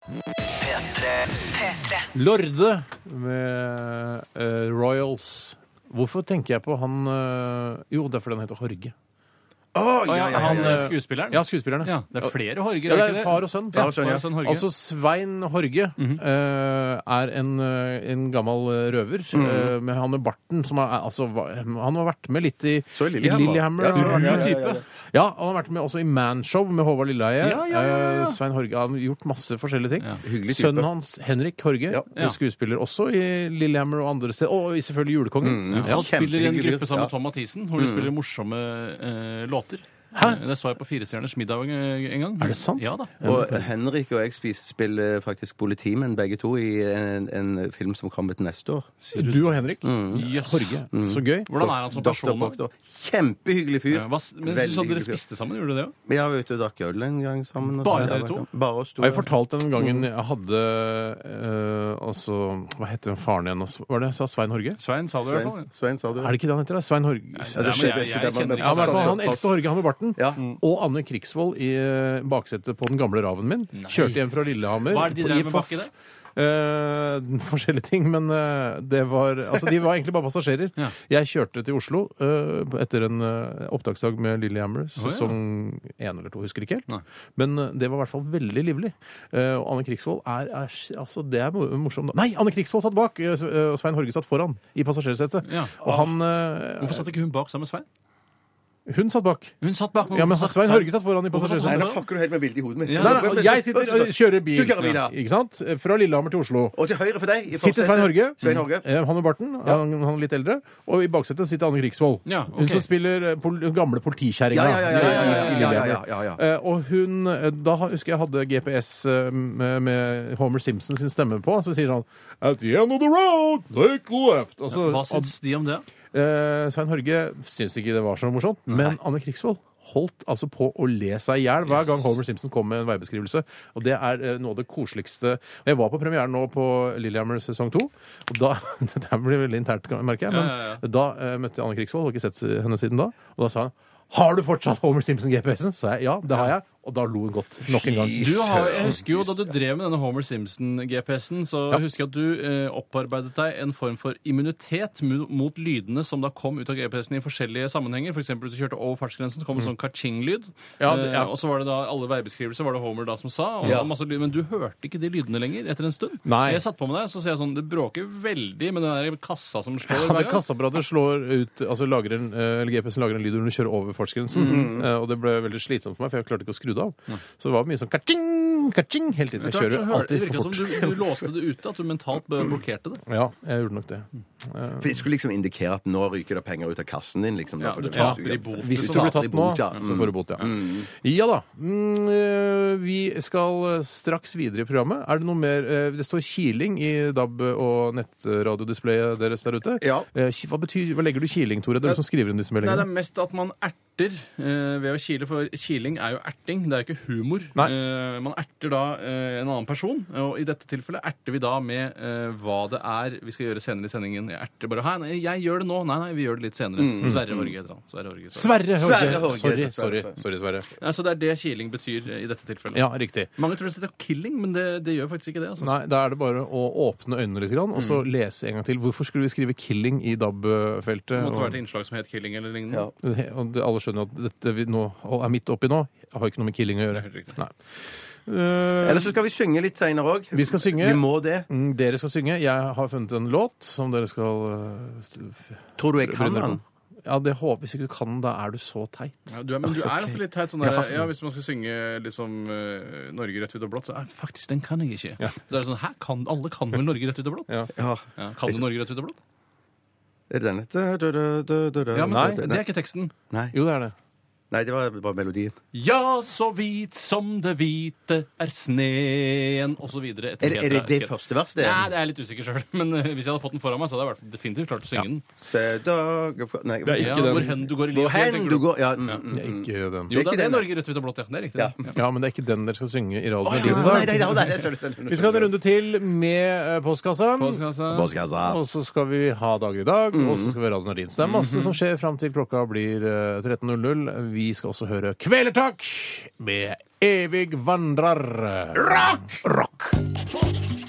Speaker 3: Lorde med eh, Royals. Hvorfor tenker jeg på han eh, Jo, det er fordi han heter Horge.
Speaker 5: Å, ja, ja, ja,
Speaker 4: Han
Speaker 5: ja,
Speaker 4: eh, skuespilleren?
Speaker 3: Ja, skuespillerne.
Speaker 4: Ja, det er flere Horger,
Speaker 3: Ja,
Speaker 4: er
Speaker 3: det er
Speaker 4: ikke det?
Speaker 3: far og sønn.
Speaker 4: Ja, Mhm.
Speaker 5: og sønn,
Speaker 4: far
Speaker 5: ja.
Speaker 4: og sønn Horge.
Speaker 3: Altså Svein Horge eh, er en, eh, en gammel eh, røver
Speaker 4: Mhm.
Speaker 3: eh, med han med barten som er, altså, hva- Han har vært med litt i,
Speaker 5: Så i
Speaker 3: i
Speaker 5: Lillehammer. Ja,
Speaker 3: han har vært
Speaker 5: ja,
Speaker 3: med-
Speaker 5: ja, ja, ja.
Speaker 3: Ja, han har vært med også i Manshow med Håvard Lilleheie.
Speaker 4: Ja, ja, ja,
Speaker 3: Eh,
Speaker 4: ja.
Speaker 3: Svein Horge han har gjort masse forskjellige ting.
Speaker 4: Ja.
Speaker 5: Hyggelig type.
Speaker 3: Sønnen hans, Henrik Horge,
Speaker 5: Ja.
Speaker 3: er skuespiller også i Lillehammer og andre steder. Og i selvfølgelig Julekongen.
Speaker 4: Mm, Ja, han spiller i en
Speaker 5: Kjempehyggelig.
Speaker 4: gruppe sammen med
Speaker 5: Ja.
Speaker 4: Tom Mathisen, hvor de spiller morsomme eh, låter. Det så jeg på Firestjerners middag eh, en gang.
Speaker 3: Er det sant?
Speaker 4: Ja da.
Speaker 5: Og Henrik og jeg spis- spiller faktisk politimenn begge to i en, en film som kommer til neste år.
Speaker 3: Du og Henrik.
Speaker 4: Jøss.
Speaker 3: Horge. Så gøy.
Speaker 4: Hvordan er han som
Speaker 5: Dr.
Speaker 4: person? da?
Speaker 5: Proctor. Kjempehyggelig fyr.
Speaker 4: Ja, hva s- Men jeg synes
Speaker 5: Veldig
Speaker 4: at Dere
Speaker 5: hyggelig fyr.
Speaker 4: spiste sammen, gjorde dere det?
Speaker 5: Ja, vi var ute og drakk øl en gang sammen. og
Speaker 4: Bare
Speaker 5: sånn.
Speaker 4: dere
Speaker 5: Ja,
Speaker 4: to?
Speaker 5: Bare oss to.
Speaker 3: Jeg har fortalt den gangen
Speaker 5: Mm.
Speaker 3: jeg hadde eh, altså, Hva heter den faren igjen? Var det jeg sa Svein Horge?
Speaker 4: ja? Svein sa det i hvert fall.
Speaker 5: Svein, Svein, sa du?
Speaker 3: Er det ikke det han heter? da? Svein Horge?
Speaker 4: Ja,
Speaker 5: det
Speaker 4: men
Speaker 5: skjedde
Speaker 4: jeg- jeg
Speaker 5: ikke, det var-
Speaker 4: kjenner ikke
Speaker 3: Ja, i hvert fall Han
Speaker 5: Såpass.
Speaker 3: eldste Horge, han med barten,
Speaker 5: Ja.
Speaker 3: og Anne Krigsvold i eh, baksetet på den gamle Raven min. Kjørte hjem fra Lillehammer.
Speaker 4: Hva er det de
Speaker 3: på-
Speaker 4: drev
Speaker 3: i
Speaker 4: med
Speaker 3: Faf.
Speaker 4: baki der?
Speaker 3: Eh, (laughs) forskjellige ting, men eh, det var Altså, de var egentlig bare passasjerer.
Speaker 4: Ja.
Speaker 3: Jeg kjørte til Oslo eh, etter en eh, opptaksdag med Lillehammer,
Speaker 4: ja.
Speaker 3: sesong én eller to, husker ikke helt.
Speaker 4: Nei.
Speaker 3: Men eh, det var i hvert fall veldig livlig. Eh, og Anne Krigsvold er, er Altså, det er mo- morsomt. da. Nei, Anne Krigsvold satt bak, eh, og Svein Horge satt foran i passasjersetet.
Speaker 4: Ja.
Speaker 3: Og han eh,
Speaker 4: Hvorfor satt ikke hun bak sammen med Svein?
Speaker 3: Hun satt bak.
Speaker 4: Hun satt bak
Speaker 3: Ja, men Svein Hørge satt foran i
Speaker 4: Hvorfor satt
Speaker 5: Nei,
Speaker 3: passasjersetet.
Speaker 4: han
Speaker 5: nå fucker du helt med bildet i hodet mitt.
Speaker 4: Ja.
Speaker 3: Nei, nei, jeg sitter og kjører bil.
Speaker 5: Du kjører bil, ja.
Speaker 3: Ikke sant? Fra Lillehammer til Oslo.
Speaker 5: Og til høyre for deg i
Speaker 3: Sitter Svein
Speaker 5: forsetet,
Speaker 3: Hørge.
Speaker 5: Svein Hørge.
Speaker 3: Eh, Han med barten. Han, han er litt eldre. Og i baksetet sitter Anne Krigsvold.
Speaker 4: Ja, ok.
Speaker 3: Hun som spiller eh, pol den gamle politikjerringa.
Speaker 5: Ja, ja, ja, ja, ja, ja,
Speaker 3: i- i
Speaker 5: ja,
Speaker 3: Lillehammer.
Speaker 5: ja, ja, ja, ja.
Speaker 3: Eh, Og hun eh, Da ha- husker jeg hadde GPS eh, med, med Homer Simpson sin stemme på, så sier han At the end of the road, take left. Altså,
Speaker 4: Hva syns de om det?
Speaker 3: Eh, Svein Hørge syntes ikke det var så morsomt, men Anne Krigsvold holdt altså på å le seg i hjel hver gang Homer Simpson kom med en veibeskrivelse. Og det er eh, noe av det koseligste Og Jeg var på premieren nå på Lillehammer sesong to, og da (laughs) Dette blir veldig internt, merker jeg, men
Speaker 4: Ja, ja,
Speaker 3: da eh, møtte jeg Anne Krigsvold, har ikke sett henne siden da, og da sa hun har du fortsatt Homer Simpson-GPS-en? sa jeg ja, det har jeg. Og da lo hun godt. Nok en gang.
Speaker 4: Du har, jeg husker jo Da du drev med denne Homer Simpson-GPS-en, så husker jeg at du eh, opparbeidet deg en form for immunitet mu- mot lydene som da kom ut av GPS-en i forskjellige sammenhenger. For eksempel, hvis du kjørte over fartsgrensen, så kom en sånn ka-ching-lyd.
Speaker 3: Mm. Ja, det- ja.
Speaker 4: eh, og så var det da alle veibeskrivelser var det Homer da som sa. Og det var masse lyd, men du hørte ikke de lydene lenger etter en stund.
Speaker 3: Nei.
Speaker 4: Jeg satt på med deg, så ser jeg sånn Det bråker veldig med den der kassa som slår.
Speaker 3: Ja,
Speaker 4: hver
Speaker 3: det
Speaker 4: gang.
Speaker 3: kassaapparatet slår ut altså lager en, eh, eller GPS-en lager en lyd når du kjører over fartsgrensen.
Speaker 5: Mm.
Speaker 3: Eh, Og det ble veldig slitsomt for meg, for jeg klarte ikke å skru det av. Så det var mye sånn ka-ching, ka-ching hele tiden. Jeg
Speaker 4: Klart, så
Speaker 3: kjører
Speaker 4: hørte- det
Speaker 3: alltid
Speaker 4: virket
Speaker 3: for
Speaker 4: som
Speaker 3: fort.
Speaker 4: du, du låste det ute, at du mentalt eh, blokkerte det.
Speaker 3: Ja, jeg gjorde nok det.
Speaker 5: Mm. Vi skulle liksom indikere at nå ryker det penger ut av kassen din, liksom.
Speaker 4: Ja,
Speaker 5: Derfor
Speaker 4: du
Speaker 5: det-
Speaker 4: taper i bot.
Speaker 3: Hvis
Speaker 5: Du
Speaker 3: du blir
Speaker 5: taper i
Speaker 3: tatt nå,
Speaker 5: bot, ja.
Speaker 3: så får du bot, ja. Ja da. Mm, eh, Vi skal eh, straks videre i programmet. Er det noe mer eh, Det står kiling i DAB- og nettradiodisplayet deres der ute.
Speaker 5: Ja. Eh,
Speaker 3: Eh, ki- Hva, betyr, hva legger du i kiling, Tore? Det er du som skriver inn disse
Speaker 4: Nei, det
Speaker 3: meldingene.
Speaker 4: er mest at man erter eh, ved å kile, for kiling er jo erting, det er jo ikke humor.
Speaker 3: Nei.
Speaker 4: Eh, man erter da eh, en annen person, og i dette tilfellet erter vi da med eh, hva det er vi skal gjøre senere i sendingen. Jeg erter bare her, nei, jeg gjør det nå, nei, nei, vi gjør det litt senere.
Speaker 3: Mm.
Speaker 4: Sverre Horge heter han. Sverre Horge. Sverre.
Speaker 3: Sverre
Speaker 5: Sverre
Speaker 3: Horge!
Speaker 5: Horge.
Speaker 3: Sorry, sorry,
Speaker 5: Sverre.
Speaker 3: sorry, Sverre.
Speaker 4: Nei, så det er det kiling betyr eh, i dette tilfellet.
Speaker 3: Ja, riktig.
Speaker 4: Mange tror det heter killing, men det, det gjør faktisk ikke det. Altså.
Speaker 3: Nei, da er det bare å åpne øynene litt grann, og så lese en gang til. Hvorfor skulle vi skrive 'killing' i DAB-feltet?
Speaker 4: Det måtte være et
Speaker 3: Og,
Speaker 4: innslag som het killing eller lignende.
Speaker 3: og det- alle skjønner at dette vi nå er midt oppi nå, har ikke noe med killing å
Speaker 4: Helt
Speaker 3: gjøre.
Speaker 4: riktig.
Speaker 3: Nei. Eh,
Speaker 5: Eller så skal vi synge litt seinere òg.
Speaker 3: vi skal synge.
Speaker 5: Vi må det.
Speaker 3: Mm, Dere skal synge. Jeg har funnet en låt som dere skal eh, f-
Speaker 5: Tror du jeg kan
Speaker 3: begynne
Speaker 5: den?
Speaker 3: på. Ja, det håper jeg. Hvis ikke du kan, da er du så teit.
Speaker 4: Ja, du er, men du er ofte litt teit sånn der, ja, Hvis man skal synge liksom eh, Norge rødt, hvitt og blått, så er faktisk den kan jeg ikke. Så er det sånn, hæ, kan, Alle kan vel Norge rødt, hvitt og blått? Ja.
Speaker 5: Ja.
Speaker 4: kan du Norge rødt, hvitt og blått?
Speaker 5: Er det denne? Da, da, da, da, da, da.
Speaker 4: Ja, men
Speaker 3: Nei.
Speaker 4: det, det er ikke teksten.
Speaker 5: Nei.
Speaker 3: Jo, det er det.
Speaker 5: Nei, det var bare melodien.
Speaker 4: Ja, så hvit som det hvite er sneen, og så videre.
Speaker 5: Er, er det det første verset?
Speaker 4: Nei, det er jeg litt usikker sjøl. (laughs) Men eh, hvis jeg hadde fått den foran meg, så hadde jeg vært definitivt klart å synge den.
Speaker 5: Se dag og fra- Nei,
Speaker 3: Det er
Speaker 4: Ja,
Speaker 3: ikke den.
Speaker 4: hvor hen du går i
Speaker 5: Hvor
Speaker 4: livet.
Speaker 5: hen
Speaker 4: tenker
Speaker 5: du går Ja. mm, mm.
Speaker 3: Det er ikke den.
Speaker 4: Jo,
Speaker 5: Det er
Speaker 4: det,
Speaker 5: ikke
Speaker 4: det
Speaker 5: den,
Speaker 4: er
Speaker 5: da.
Speaker 4: Norge rødt, hvitt og blått. Ja, det er riktig.
Speaker 5: Ja.
Speaker 4: det. Ja.
Speaker 3: Ja, men det er ikke den dere skal synge i radioen. i livet.
Speaker 5: Nei, nei, nei, nei, det er- sorry, sorry.
Speaker 3: Vi skal ha en runde til med eh, postkassa.
Speaker 4: Postkassa.
Speaker 5: Postkassa.
Speaker 3: Og så skal vi ha dagen i dag, og så skal vi ha Radio Nardin. Så det er masse som skjer fram til klokka blir eh, 13.00. Vi skal også høre Kvelertak med Evig vandrer. Rock! Rock!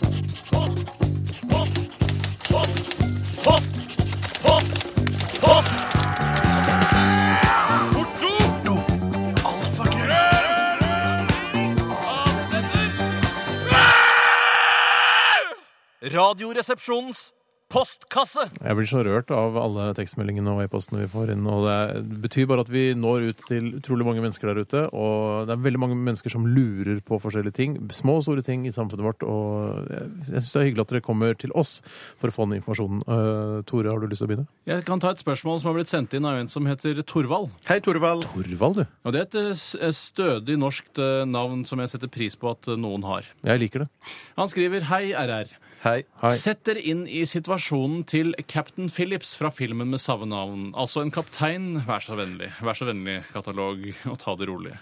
Speaker 2: Radioresepsjonens postkasse.
Speaker 3: Jeg blir så rørt av alle tekstmeldingene og e-postene vi får inn. og Det betyr bare at vi når ut til utrolig mange mennesker der ute. Og det er veldig mange mennesker som lurer på forskjellige ting. Små og store ting i samfunnet vårt. Og jeg, jeg syns det er hyggelig at dere kommer til oss for å få den informasjonen. Eh, Tore, har du lyst til å begynne?
Speaker 4: Jeg kan ta et spørsmål som har blitt sendt inn av en som heter Torvald.
Speaker 5: Hei, Torvald.
Speaker 3: Torvald, du.
Speaker 4: Og det er et eh, s- eh, stødig norskt eh, navn som jeg setter pris på at eh, noen har.
Speaker 3: Jeg liker det.
Speaker 4: Han skriver Hei, RR.
Speaker 5: Hei.
Speaker 3: Hei.
Speaker 4: Sett dere inn i situasjonen til Captain Phillips fra filmen med samme navn. Altså en kaptein, vær så vennlig, vær så vennlig, katalog, og ta det rolig.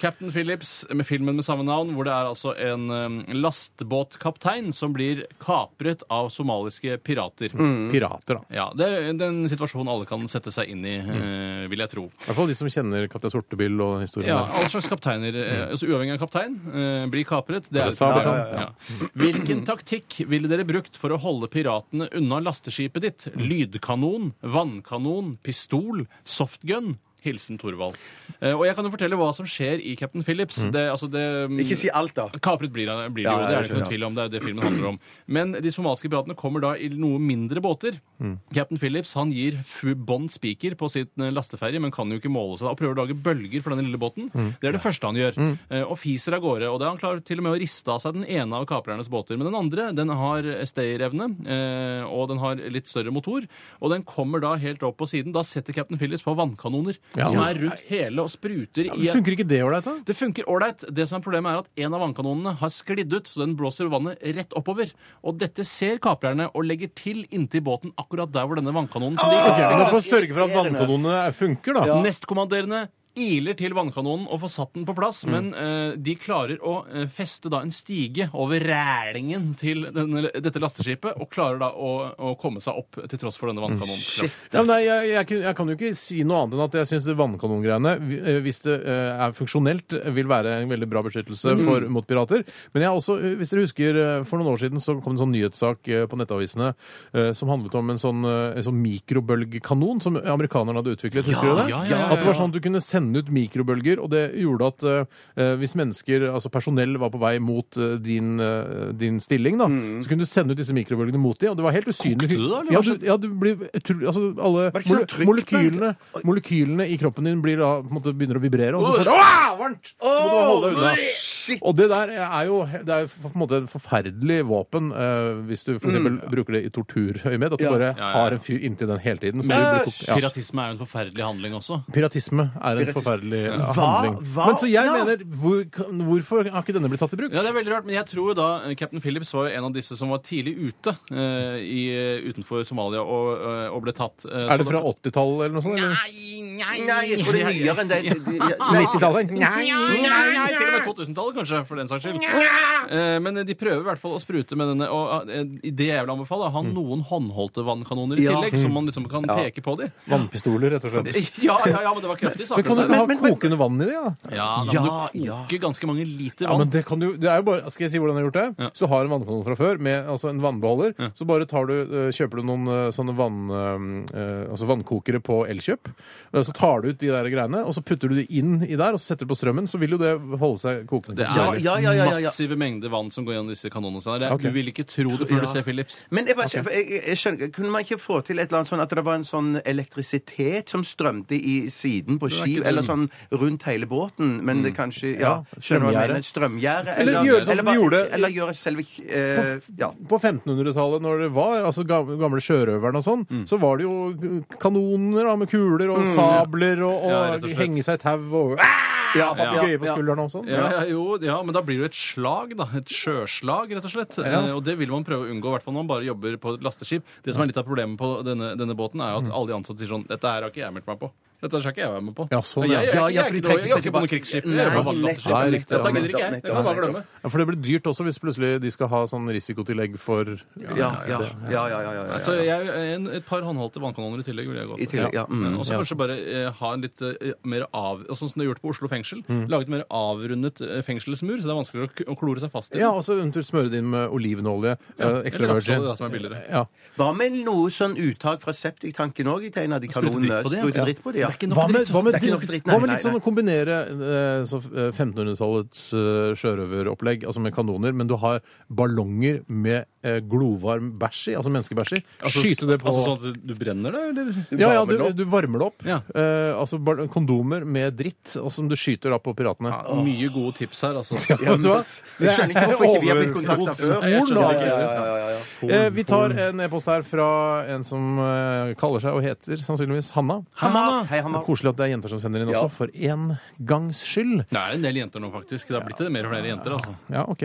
Speaker 4: Captain Phillips med filmen med samme navn, hvor det er altså en eh, lastebåtkaptein som blir kapret av somaliske pirater.
Speaker 3: Pirater, da.
Speaker 4: Ja, Det er den situasjonen alle kan sette seg inn i, eh, vil jeg tro.
Speaker 3: I hvert fall de som kjenner Kaptein Sortebil og den historien
Speaker 4: Ja,
Speaker 3: der.
Speaker 4: all slags kapteiner, eh, altså uavhengig av kaptein, eh, blir kapret. Det er
Speaker 3: Sabeltann.
Speaker 4: Ja, ja, ja. Hvilken taktikk ville dere brukt for å holde piratene Mm. unna lasteskipet ditt? Lydkanon, vannkanon, pistol, softgun? Hilsen Thorvald. Eh, og jeg kan jo fortelle hva som skjer i Captain Phillips. Det, altså det,
Speaker 5: Ikke si alt, da.
Speaker 4: Kapret blir, han- blir det jo,
Speaker 5: Ja, ja,
Speaker 4: det er det
Speaker 5: jeg
Speaker 4: ikke noen
Speaker 5: skjønner.
Speaker 4: tvil om. Det er jo det filmen handler om. Men de somaliske piratene kommer da i noe mindre båter.
Speaker 5: Mm.
Speaker 4: Captain Phillips han gir fu- bånd spiker på sitt eh, lasteferje, men kan jo ikke måle seg da, og prøver å lage bølger for denne lille båten.
Speaker 5: Mm.
Speaker 4: Det er det første han gjør. Eh, Og fiser av gårde. Og det er han klarer til og med å riste av seg den ene av kaprernes båter. Men den andre den har stayerevne, eh, og den har litt større motor. Og den kommer da helt opp på siden. Da setter Captain Phillips på vannkanoner
Speaker 3: Ja.
Speaker 4: som er rundt hele og spruter i
Speaker 3: Funker ikke det ålreit, da?
Speaker 4: det funker ålreit. Det som er problemet, er at en av vannkanonene har sklidd ut, så den blåser vannet rett oppover. Og dette ser kaprerne og legger til inntil båten akkurat der hvor denne vannkanonen som de
Speaker 3: Ah, Ok, men Du får sørge for at vannkanonene funker, da.
Speaker 4: Nestkommanderende iler til vannkanonen og får satt den på plass,
Speaker 3: Mm.
Speaker 4: men eh, de klarer å eh, feste da en stige over rælingen til denne, dette lasteskipet, og klarer da å, å komme seg opp til tross for denne
Speaker 3: Mm.
Speaker 4: vannkanonens kraft.
Speaker 3: Ja, men nei, jeg, jeg, kun- jeg kan jo ikke si noe annet enn at jeg syns vannkanongreiene, vi- eh, hvis det eh, er funksjonelt, vil være en veldig bra beskyttelse
Speaker 4: Mm.
Speaker 3: for, mot pirater. Men jeg har også, eh, hvis dere husker, eh, for noen år siden så kom det en sånn nyhetssak eh, på nettavisene eh, som handlet om en sånn, eh, en sånn mikrobølgekanon som amerikanerne hadde utviklet. Husker
Speaker 4: Ja,
Speaker 3: du det?
Speaker 4: ja, ja, ja,
Speaker 3: At det var
Speaker 4: ja.
Speaker 3: sånn at du kunne sende ut mikrobølger, og det gjorde at eh, eh, hvis mennesker, altså personell, var på vei mot eh, din, eh, din stilling, da, så kunne du sende ut disse mikrobølgene mot dem, og det var helt usynlig.
Speaker 4: Mm. Kokte du da, eller
Speaker 3: Ja,
Speaker 4: hva
Speaker 3: du, ja, du blir utrolig Altså, alle
Speaker 5: Var det ikke
Speaker 3: mole
Speaker 5: sånn trykkbølge?
Speaker 3: molekylene, molekylene i kroppen din blir da, på en måte, begynner å vibrere, og så får du Åh, varmt! Så må du holde deg unna. Og det der er jo det er på en måte en forferdelig våpen eh, hvis du for eksempel bruker det i torturøyemed, at du
Speaker 5: Ja.
Speaker 3: bare
Speaker 4: Mm. ja, ja.
Speaker 3: har en fyr inntil den hele tiden. Så du blir kokt. Ja.
Speaker 4: Piratisme er jo en forferdelig handling også.
Speaker 3: Piratisme er en forferdelig handling.
Speaker 5: hva-
Speaker 3: Men så jeg
Speaker 5: ja.
Speaker 3: mener, hvor, kan- hvorfor har ikke denne blitt tatt i bruk?
Speaker 4: Ja, det er veldig rart, men jeg tror da eh, Captain Phillips var jo en av disse som var tidlig ute eh, i, utenfor Somalia og, eh, og ble tatt. eh, så
Speaker 3: Er det
Speaker 4: da-
Speaker 3: fra 80-tallet eller noe sånt? eller?
Speaker 5: Nei, jeg tror det er nyere enn det. Nei,
Speaker 3: 90-tallet?
Speaker 4: Nei, nei, til og med 2000-tallet, kanskje, for den saks skyld. Eh, Men eh, de prøver i hvert fall å sprute med denne. Og eh, det jeg vil anbefale,
Speaker 3: Mm.
Speaker 4: ha noen håndholdte vannkanoner i
Speaker 5: Ja.
Speaker 4: tillegg, som man liksom kan peke på de. (laughs)
Speaker 3: Vannpistoler, rett og slett.
Speaker 4: Ja, ja, ja, men det var kraftig
Speaker 3: Men
Speaker 4: sak.
Speaker 3: kan du
Speaker 4: dette
Speaker 3: ikke
Speaker 4: her.
Speaker 3: ha kokende vann i det? da?
Speaker 4: Ja, da må du koke ganske mange liter
Speaker 3: Ja, men
Speaker 4: vann.
Speaker 3: det kan du, det er jo bare, Skal jeg si hvordan jeg har gjort det?
Speaker 4: Ja.
Speaker 3: Hvis du har en vannkanon fra før, med altså en vannbeholder, så bare tar du, eh, kjøper du noen eh, sånne vann, eh, eh, altså vannkokere på Elkjøp. Eh, Så tar du ut de der greiene, og så putter du det inn i der, og så setter du på strømmen, så vil jo det holde seg kokende.
Speaker 4: Det er
Speaker 5: Ja, ja, ja, ja, ja, ja.
Speaker 4: massive mengder vann som går gjennom disse kanonene. sine. Det er-
Speaker 3: Ok.
Speaker 4: Du vil ikke tro det før du ser Phillips.
Speaker 5: Men jeg, bare, jeg, jeg, jeg skjønner, ikke, Kunne man ikke få til et eller annet sånn at det var en sånn elektrisitet som strømte i siden på
Speaker 4: er
Speaker 5: skip,
Speaker 4: ikke
Speaker 5: eller sånn rundt hele båten? Men det kanskje Ja,
Speaker 3: Ja,
Speaker 5: skjønner du hva jeg
Speaker 3: strømgjerde.
Speaker 5: mener? Strømgjerde.
Speaker 3: Eller gjøre sånn som
Speaker 5: bare-
Speaker 3: de gjorde-
Speaker 5: Eller gjøre selve eh, Ja.
Speaker 3: På 1500-tallet, når det var altså gamle, gamle sjørøverne og sånn,
Speaker 4: Mm.
Speaker 3: så var det jo kanoner da, med kuler og sabler og, og,
Speaker 4: Ja, rett og slett.
Speaker 3: henge seg i tau og ah,
Speaker 5: Ja,
Speaker 3: papegøye (laughs) på skulderen og sånn.
Speaker 4: Ja, ja, jo, ja, men da blir det jo et slag, da. Et sjøslag, rett og slett. Eh, og det vil man prøve å unngå, i hvert fall når man bare jobber på et lasteskip. Det som er litt av problemet på denne, denne båten, er jo
Speaker 5: Mm.
Speaker 4: at alle de ansatte sier sånn Dette her har ikke jeg meldt meg på. Dette skal ikke jeg være med på.
Speaker 3: Ja, sånn,
Speaker 4: jeg,
Speaker 3: ja.
Speaker 4: jeg, jeg, jeg,
Speaker 5: Ja, ja,
Speaker 4: er
Speaker 5: for
Speaker 4: ikke noe-
Speaker 5: de trekker
Speaker 4: jeg er ikke
Speaker 5: seg
Speaker 4: på noe
Speaker 5: tilbake.
Speaker 4: krigsskip. Jeg er
Speaker 5: Nei,
Speaker 4: på bare lasteskip.
Speaker 3: Nei,
Speaker 5: nettopp,
Speaker 3: riktig, ja.
Speaker 4: Dette gidder ikke jeg. Det kan du bare glemme.
Speaker 3: Ja, For det blir dyrt også hvis plutselig de skal ha sånn risikotillegg for
Speaker 5: Ja, ja, ja, ja, ja, ja, ja.
Speaker 4: Så Altså, jeg, en, et par håndholdte vannkanoner i tillegg vil jeg gå
Speaker 5: I tillegg, ja, mm,
Speaker 4: Og så kanskje bare eh, ha en litt eh, mer av... og Sånn som det er gjort på Oslo fengsel.
Speaker 5: Mm.
Speaker 4: Laget mer avrundet eh, fengselsmur, så det er vanskeligere å, k- å klore seg fast i. den.
Speaker 3: Ja, og så eventuelt smøre det inn med olivenolje. Ja, ekstra
Speaker 4: eller
Speaker 3: virgin.
Speaker 4: rapsolje, da, som er billigere.
Speaker 3: Ja.
Speaker 5: Hva med noe sånn uttak fra septiktanken òg i tegna? De
Speaker 4: Sprute dritt
Speaker 5: kanonene.
Speaker 4: på det, ja.
Speaker 5: Sprute dritt på det, ja.
Speaker 4: Det er ikke
Speaker 3: Hva med, hva med,
Speaker 5: Det er ikke noe dritt,
Speaker 3: hva med
Speaker 5: nei,
Speaker 3: litt sånn å kombinere eh, så, eh, 1500-tallets eh, sjørøveropplegg, altså med kanoner, men du har ballonger med eh, glovarm bæsj i, altså menneskebæsj i.
Speaker 4: Altså,
Speaker 3: Skyte det på
Speaker 4: Altså sånn at du brenner det, eller?
Speaker 3: ja, ja, du, du varmer det opp.
Speaker 4: Ja.
Speaker 3: Eh, altså ball- kondomer med dritt, og som du skyter opp på piratene.
Speaker 4: Ja, mye gode tips her,
Speaker 5: (laughs)
Speaker 3: (laughs)
Speaker 4: altså.
Speaker 3: Vet du hva?
Speaker 5: Jeg skjønner ikke hvorfor ikke vi har blitt kontakta
Speaker 3: Overflodsord,
Speaker 5: før.
Speaker 4: Nei, jeg skjønner
Speaker 3: da.
Speaker 4: ikke.
Speaker 3: Eh, vi tar en e-post her fra en som eh, kaller seg og heter sannsynligvis Hanna.
Speaker 5: Hanna. Hei, Hanna.
Speaker 3: Det er Koselig at det er jenter som sender inn også, for en gangs skyld.
Speaker 4: Det er en del jenter nå, faktisk. Det har blitt det mer og flere jenter, altså.
Speaker 3: Ja, ok.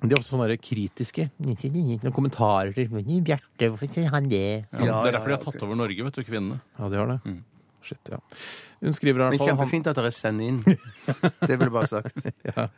Speaker 3: De er ofte sånne der kritiske. Noen kommentarer til «Nei, Bjarte, hvorfor sier han det?
Speaker 5: Ja,
Speaker 4: det er
Speaker 5: ja,
Speaker 4: derfor de har
Speaker 5: ja,
Speaker 4: tatt over Norge, vet du, kvinnene.
Speaker 3: Ja, de har det. Shit, ja. Hun skriver i
Speaker 5: Men
Speaker 3: hvert fall han,
Speaker 5: kjempefint at dere sender (laughs) inn. Det ville jeg bare sagt.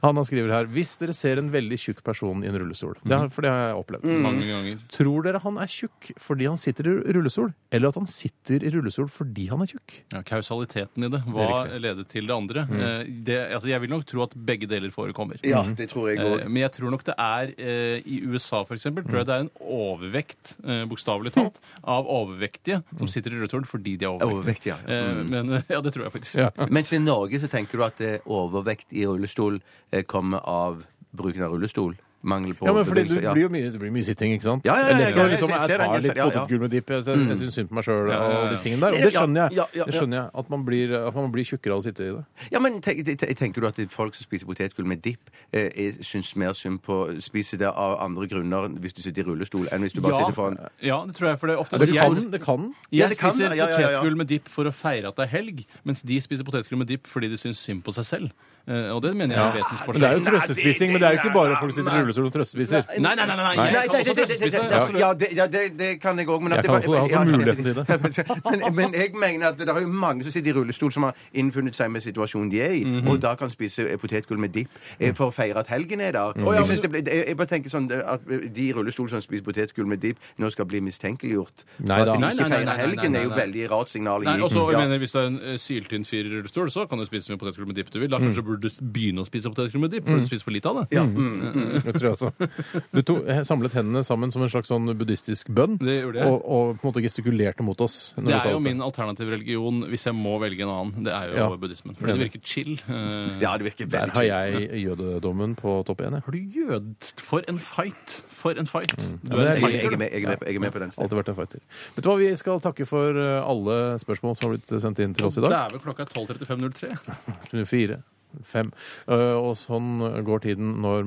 Speaker 3: Hanna skriver her Hvis dere ser en veldig tjukk person i en rullestol det har, For det har jeg opplevd.
Speaker 4: Mange ganger.
Speaker 3: Tror dere han er tjukk fordi han sitter i rullestol, eller at han sitter i rullestol fordi han er tjukk?
Speaker 4: Ja, kausaliteten i det. Hva
Speaker 3: Det
Speaker 4: ledet til det andre? Eh, Det, altså, jeg vil nok tro at begge deler forekommer.
Speaker 5: (laughs) Ja, det tror jeg
Speaker 4: Eh,
Speaker 5: òg.
Speaker 4: Men jeg tror nok det er eh, i USA for eksempel, tror jeg (laughs) det er en overvekt, eh, bokstavelig talt, av Mm. overvektige som sitter i rullestol fordi de er overvektige.
Speaker 5: Overvekt, ja. Mm.
Speaker 4: Eh, Men (laughs) eh, ja, det tror jeg faktisk.
Speaker 3: Ja.
Speaker 5: Mens i Norge så tenker du at eh, overvekt i rullestol eh, kommer av bruken av rullestol? Mangel på
Speaker 3: Ja, men fordi du
Speaker 5: bevegelse, ja.
Speaker 3: blir jo mye, det blir mye sitting, ikke sant?
Speaker 5: Ja, ja, ja,
Speaker 3: jeg leker
Speaker 5: ja,
Speaker 3: jo liksom,
Speaker 5: jeg ser
Speaker 3: jeg
Speaker 5: den,
Speaker 3: tar
Speaker 5: jeg
Speaker 3: litt
Speaker 5: ser- ja, ja.
Speaker 3: potetgull med dipp, jeg, jeg, jeg syns synd på meg sjøl
Speaker 4: Ja, ja, ja.
Speaker 3: og de tingene der. Og det
Speaker 5: Ja,
Speaker 3: skjønner jeg.
Speaker 5: ja, ja,
Speaker 3: Det
Speaker 5: ja.
Speaker 3: skjønner jeg, At man blir, at man blir tjukkere av å sitte i det.
Speaker 5: Ja, men tenk, te- te- Tenker du at folk som spiser potetgull med dipp, eh, er- syns mer synd på spiser det av andre grunner enn hvis du sitter i rullestol, enn hvis du bare
Speaker 4: Ja.
Speaker 5: sitter foran
Speaker 4: Ja, det tror jeg. For det er ofte
Speaker 3: Det kan,
Speaker 4: jeg,
Speaker 3: det kan.
Speaker 5: Ja,
Speaker 4: jeg
Speaker 5: det kan,
Speaker 4: spiser
Speaker 5: ja, ja, ja, ja.
Speaker 4: potetgull med dipp for å feire at det er helg, mens de spiser potetgull med dipp fordi de syns synd på seg selv. Eh, Og det mener jeg er
Speaker 3: Det er
Speaker 4: vesensforskjell.
Speaker 3: jo trøstespising, men det er jo ikke bare folk som sitter i rullestol og trøstespiser.
Speaker 4: Nei, nei, nei. nei,
Speaker 5: Nei,
Speaker 4: nei. Jeg kan
Speaker 5: nei, det,
Speaker 4: også
Speaker 5: det, det, det,
Speaker 4: trøstespise.
Speaker 5: det,
Speaker 4: absolutt.
Speaker 5: ja, det, ja, det, det kan jeg òg, men at
Speaker 3: Jeg
Speaker 5: det
Speaker 3: kan
Speaker 5: var-
Speaker 3: også- jeg har også
Speaker 4: sånn
Speaker 5: ja,
Speaker 3: muligheten til
Speaker 5: (laughs) men, men jeg mener at det er jo mange som sitter i rullestol, som har innfunnet seg med situasjonen de er i,
Speaker 4: Mhm.
Speaker 5: og da kan spise eh, potetgull med dipp eh, for å feire at helgen er
Speaker 4: Mhm.
Speaker 5: der. jeg, synes det blir- jeg, jeg bare tenker sånn eh, at eh, de i rullestol som spiser potetgull med dipp, nå skal bli mistenkeliggjort. For
Speaker 3: Nei da.
Speaker 5: at de
Speaker 3: Nei,
Speaker 5: ikke
Speaker 4: nei, nei,
Speaker 5: feirer
Speaker 4: nei, nei,
Speaker 5: helgen er jo
Speaker 4: nei, nei.
Speaker 5: veldig rart signal å gi.
Speaker 4: Nei, og så
Speaker 5: Ja.
Speaker 4: jeg mener Hvis du er en eh, syltynt fyr i rullestol, så kan du spise med potetgull med dipp du vil. Da kanskje burde du s- begynne å spise potetgull med dipp, for du spiser for lite av det.
Speaker 5: ja, mm, mm.
Speaker 3: Det tror jeg også. altså. Du to, jeg samlet hendene sammen som en slags sånn buddhistisk bønn,
Speaker 4: Det gjorde jeg.
Speaker 3: og, og på en måte gestikulerte mot oss. når
Speaker 4: Det
Speaker 3: du
Speaker 4: er
Speaker 3: sa
Speaker 4: jo
Speaker 3: dette.
Speaker 4: min alternative religion hvis jeg må velge en annen. Det er jo
Speaker 3: Ja.
Speaker 4: buddhismen. Fordi det
Speaker 3: Enig.
Speaker 4: virker chill. Eh,
Speaker 5: ja, det virker
Speaker 3: Der
Speaker 5: veldig
Speaker 3: har jeg jødedommen på topp én, jeg.
Speaker 4: Har du jød? For en fight! For en fight! Du
Speaker 3: Ja,
Speaker 4: er
Speaker 3: men
Speaker 4: en
Speaker 3: det er-
Speaker 5: Jeg
Speaker 4: fighter,
Speaker 5: er
Speaker 4: du.
Speaker 5: med, jeg er med, jeg er med på den.
Speaker 3: Alltid vært en fighter. Vet du hva, Vi skal takke for eh, alle spørsmål som har blitt sendt inn til oss i dag.
Speaker 4: Dæven, klokka er 12.35.03.
Speaker 3: 24, 5. Eh, Og sånn går tiden når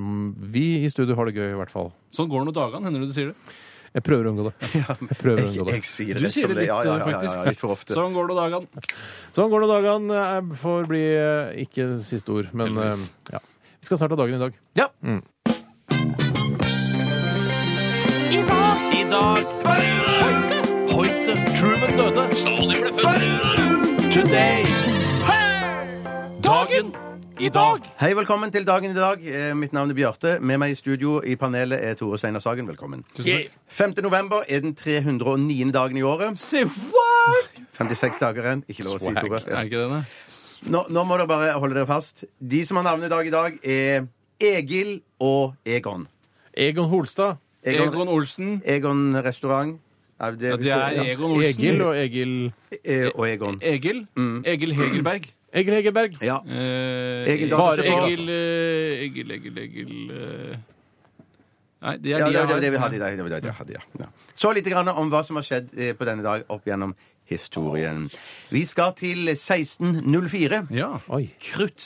Speaker 3: vi i studio har det gøy, i hvert fall.
Speaker 4: Sånn går det noen dagene, hender det du sier det.
Speaker 3: Jeg prøver å unngå
Speaker 5: (laughs)
Speaker 3: det. Jeg prøver å unngå det.
Speaker 5: Jeg sier
Speaker 4: Du
Speaker 5: det
Speaker 4: sier
Speaker 5: som
Speaker 4: det litt, eh,
Speaker 5: Ja, ja, ja, ja,
Speaker 4: faktisk.
Speaker 5: ja, litt for ofte.
Speaker 4: Sånn går det noen dagene.
Speaker 3: Sånn går det dagene. eh, Får bli eh, ikke siste ord, men eh,
Speaker 4: Heldigvis.
Speaker 3: ja. Vi skal snart ha dagen i dag.
Speaker 5: Ja.
Speaker 2: I dag Hoite Hoite Truman døde Stalin ble født Today Dagen I dag
Speaker 5: Hei, velkommen til dagen i dag. Eh, Mitt navn er Bjarte. Med meg i studio i panelet er Tore Steinar Sagen. Velkommen.
Speaker 4: Yeah.
Speaker 5: 5. november er den 309. dagen i året.
Speaker 4: Say what?
Speaker 5: 56 dager igjen. Ikke lov å si, Tore.
Speaker 4: Er
Speaker 5: Ja.
Speaker 4: ikke det det?
Speaker 5: Nå, nå må dere bare holde dere fast. De som har navnedag i dag, er Egil og Egon.
Speaker 3: Egon Holstad.
Speaker 5: Egon,
Speaker 4: Egon Olsen.
Speaker 5: Egon restaurant. Er det,
Speaker 4: Ja, det er Egon Olsen.
Speaker 3: Egil og Egil
Speaker 5: Eh, og Egon.
Speaker 4: Egil. Egil Hegerberg.
Speaker 3: Egil Hegerberg.
Speaker 5: Mm. Ja.
Speaker 4: Eh,
Speaker 5: Egil Dahl
Speaker 4: bare
Speaker 5: Fossvold,
Speaker 4: Egil, eh, Egil, Egil, Egil eh. Nei, det er
Speaker 5: Ja,
Speaker 4: de
Speaker 5: det
Speaker 4: jeg
Speaker 5: var
Speaker 4: har.
Speaker 5: det vi hadde i dag. Det var det vi hadde, ja. Ja. Så litt grann om hva som har skjedd eh, på denne dag opp gjennom historien. Vi skal til 1604.
Speaker 4: Ja.
Speaker 3: Oi.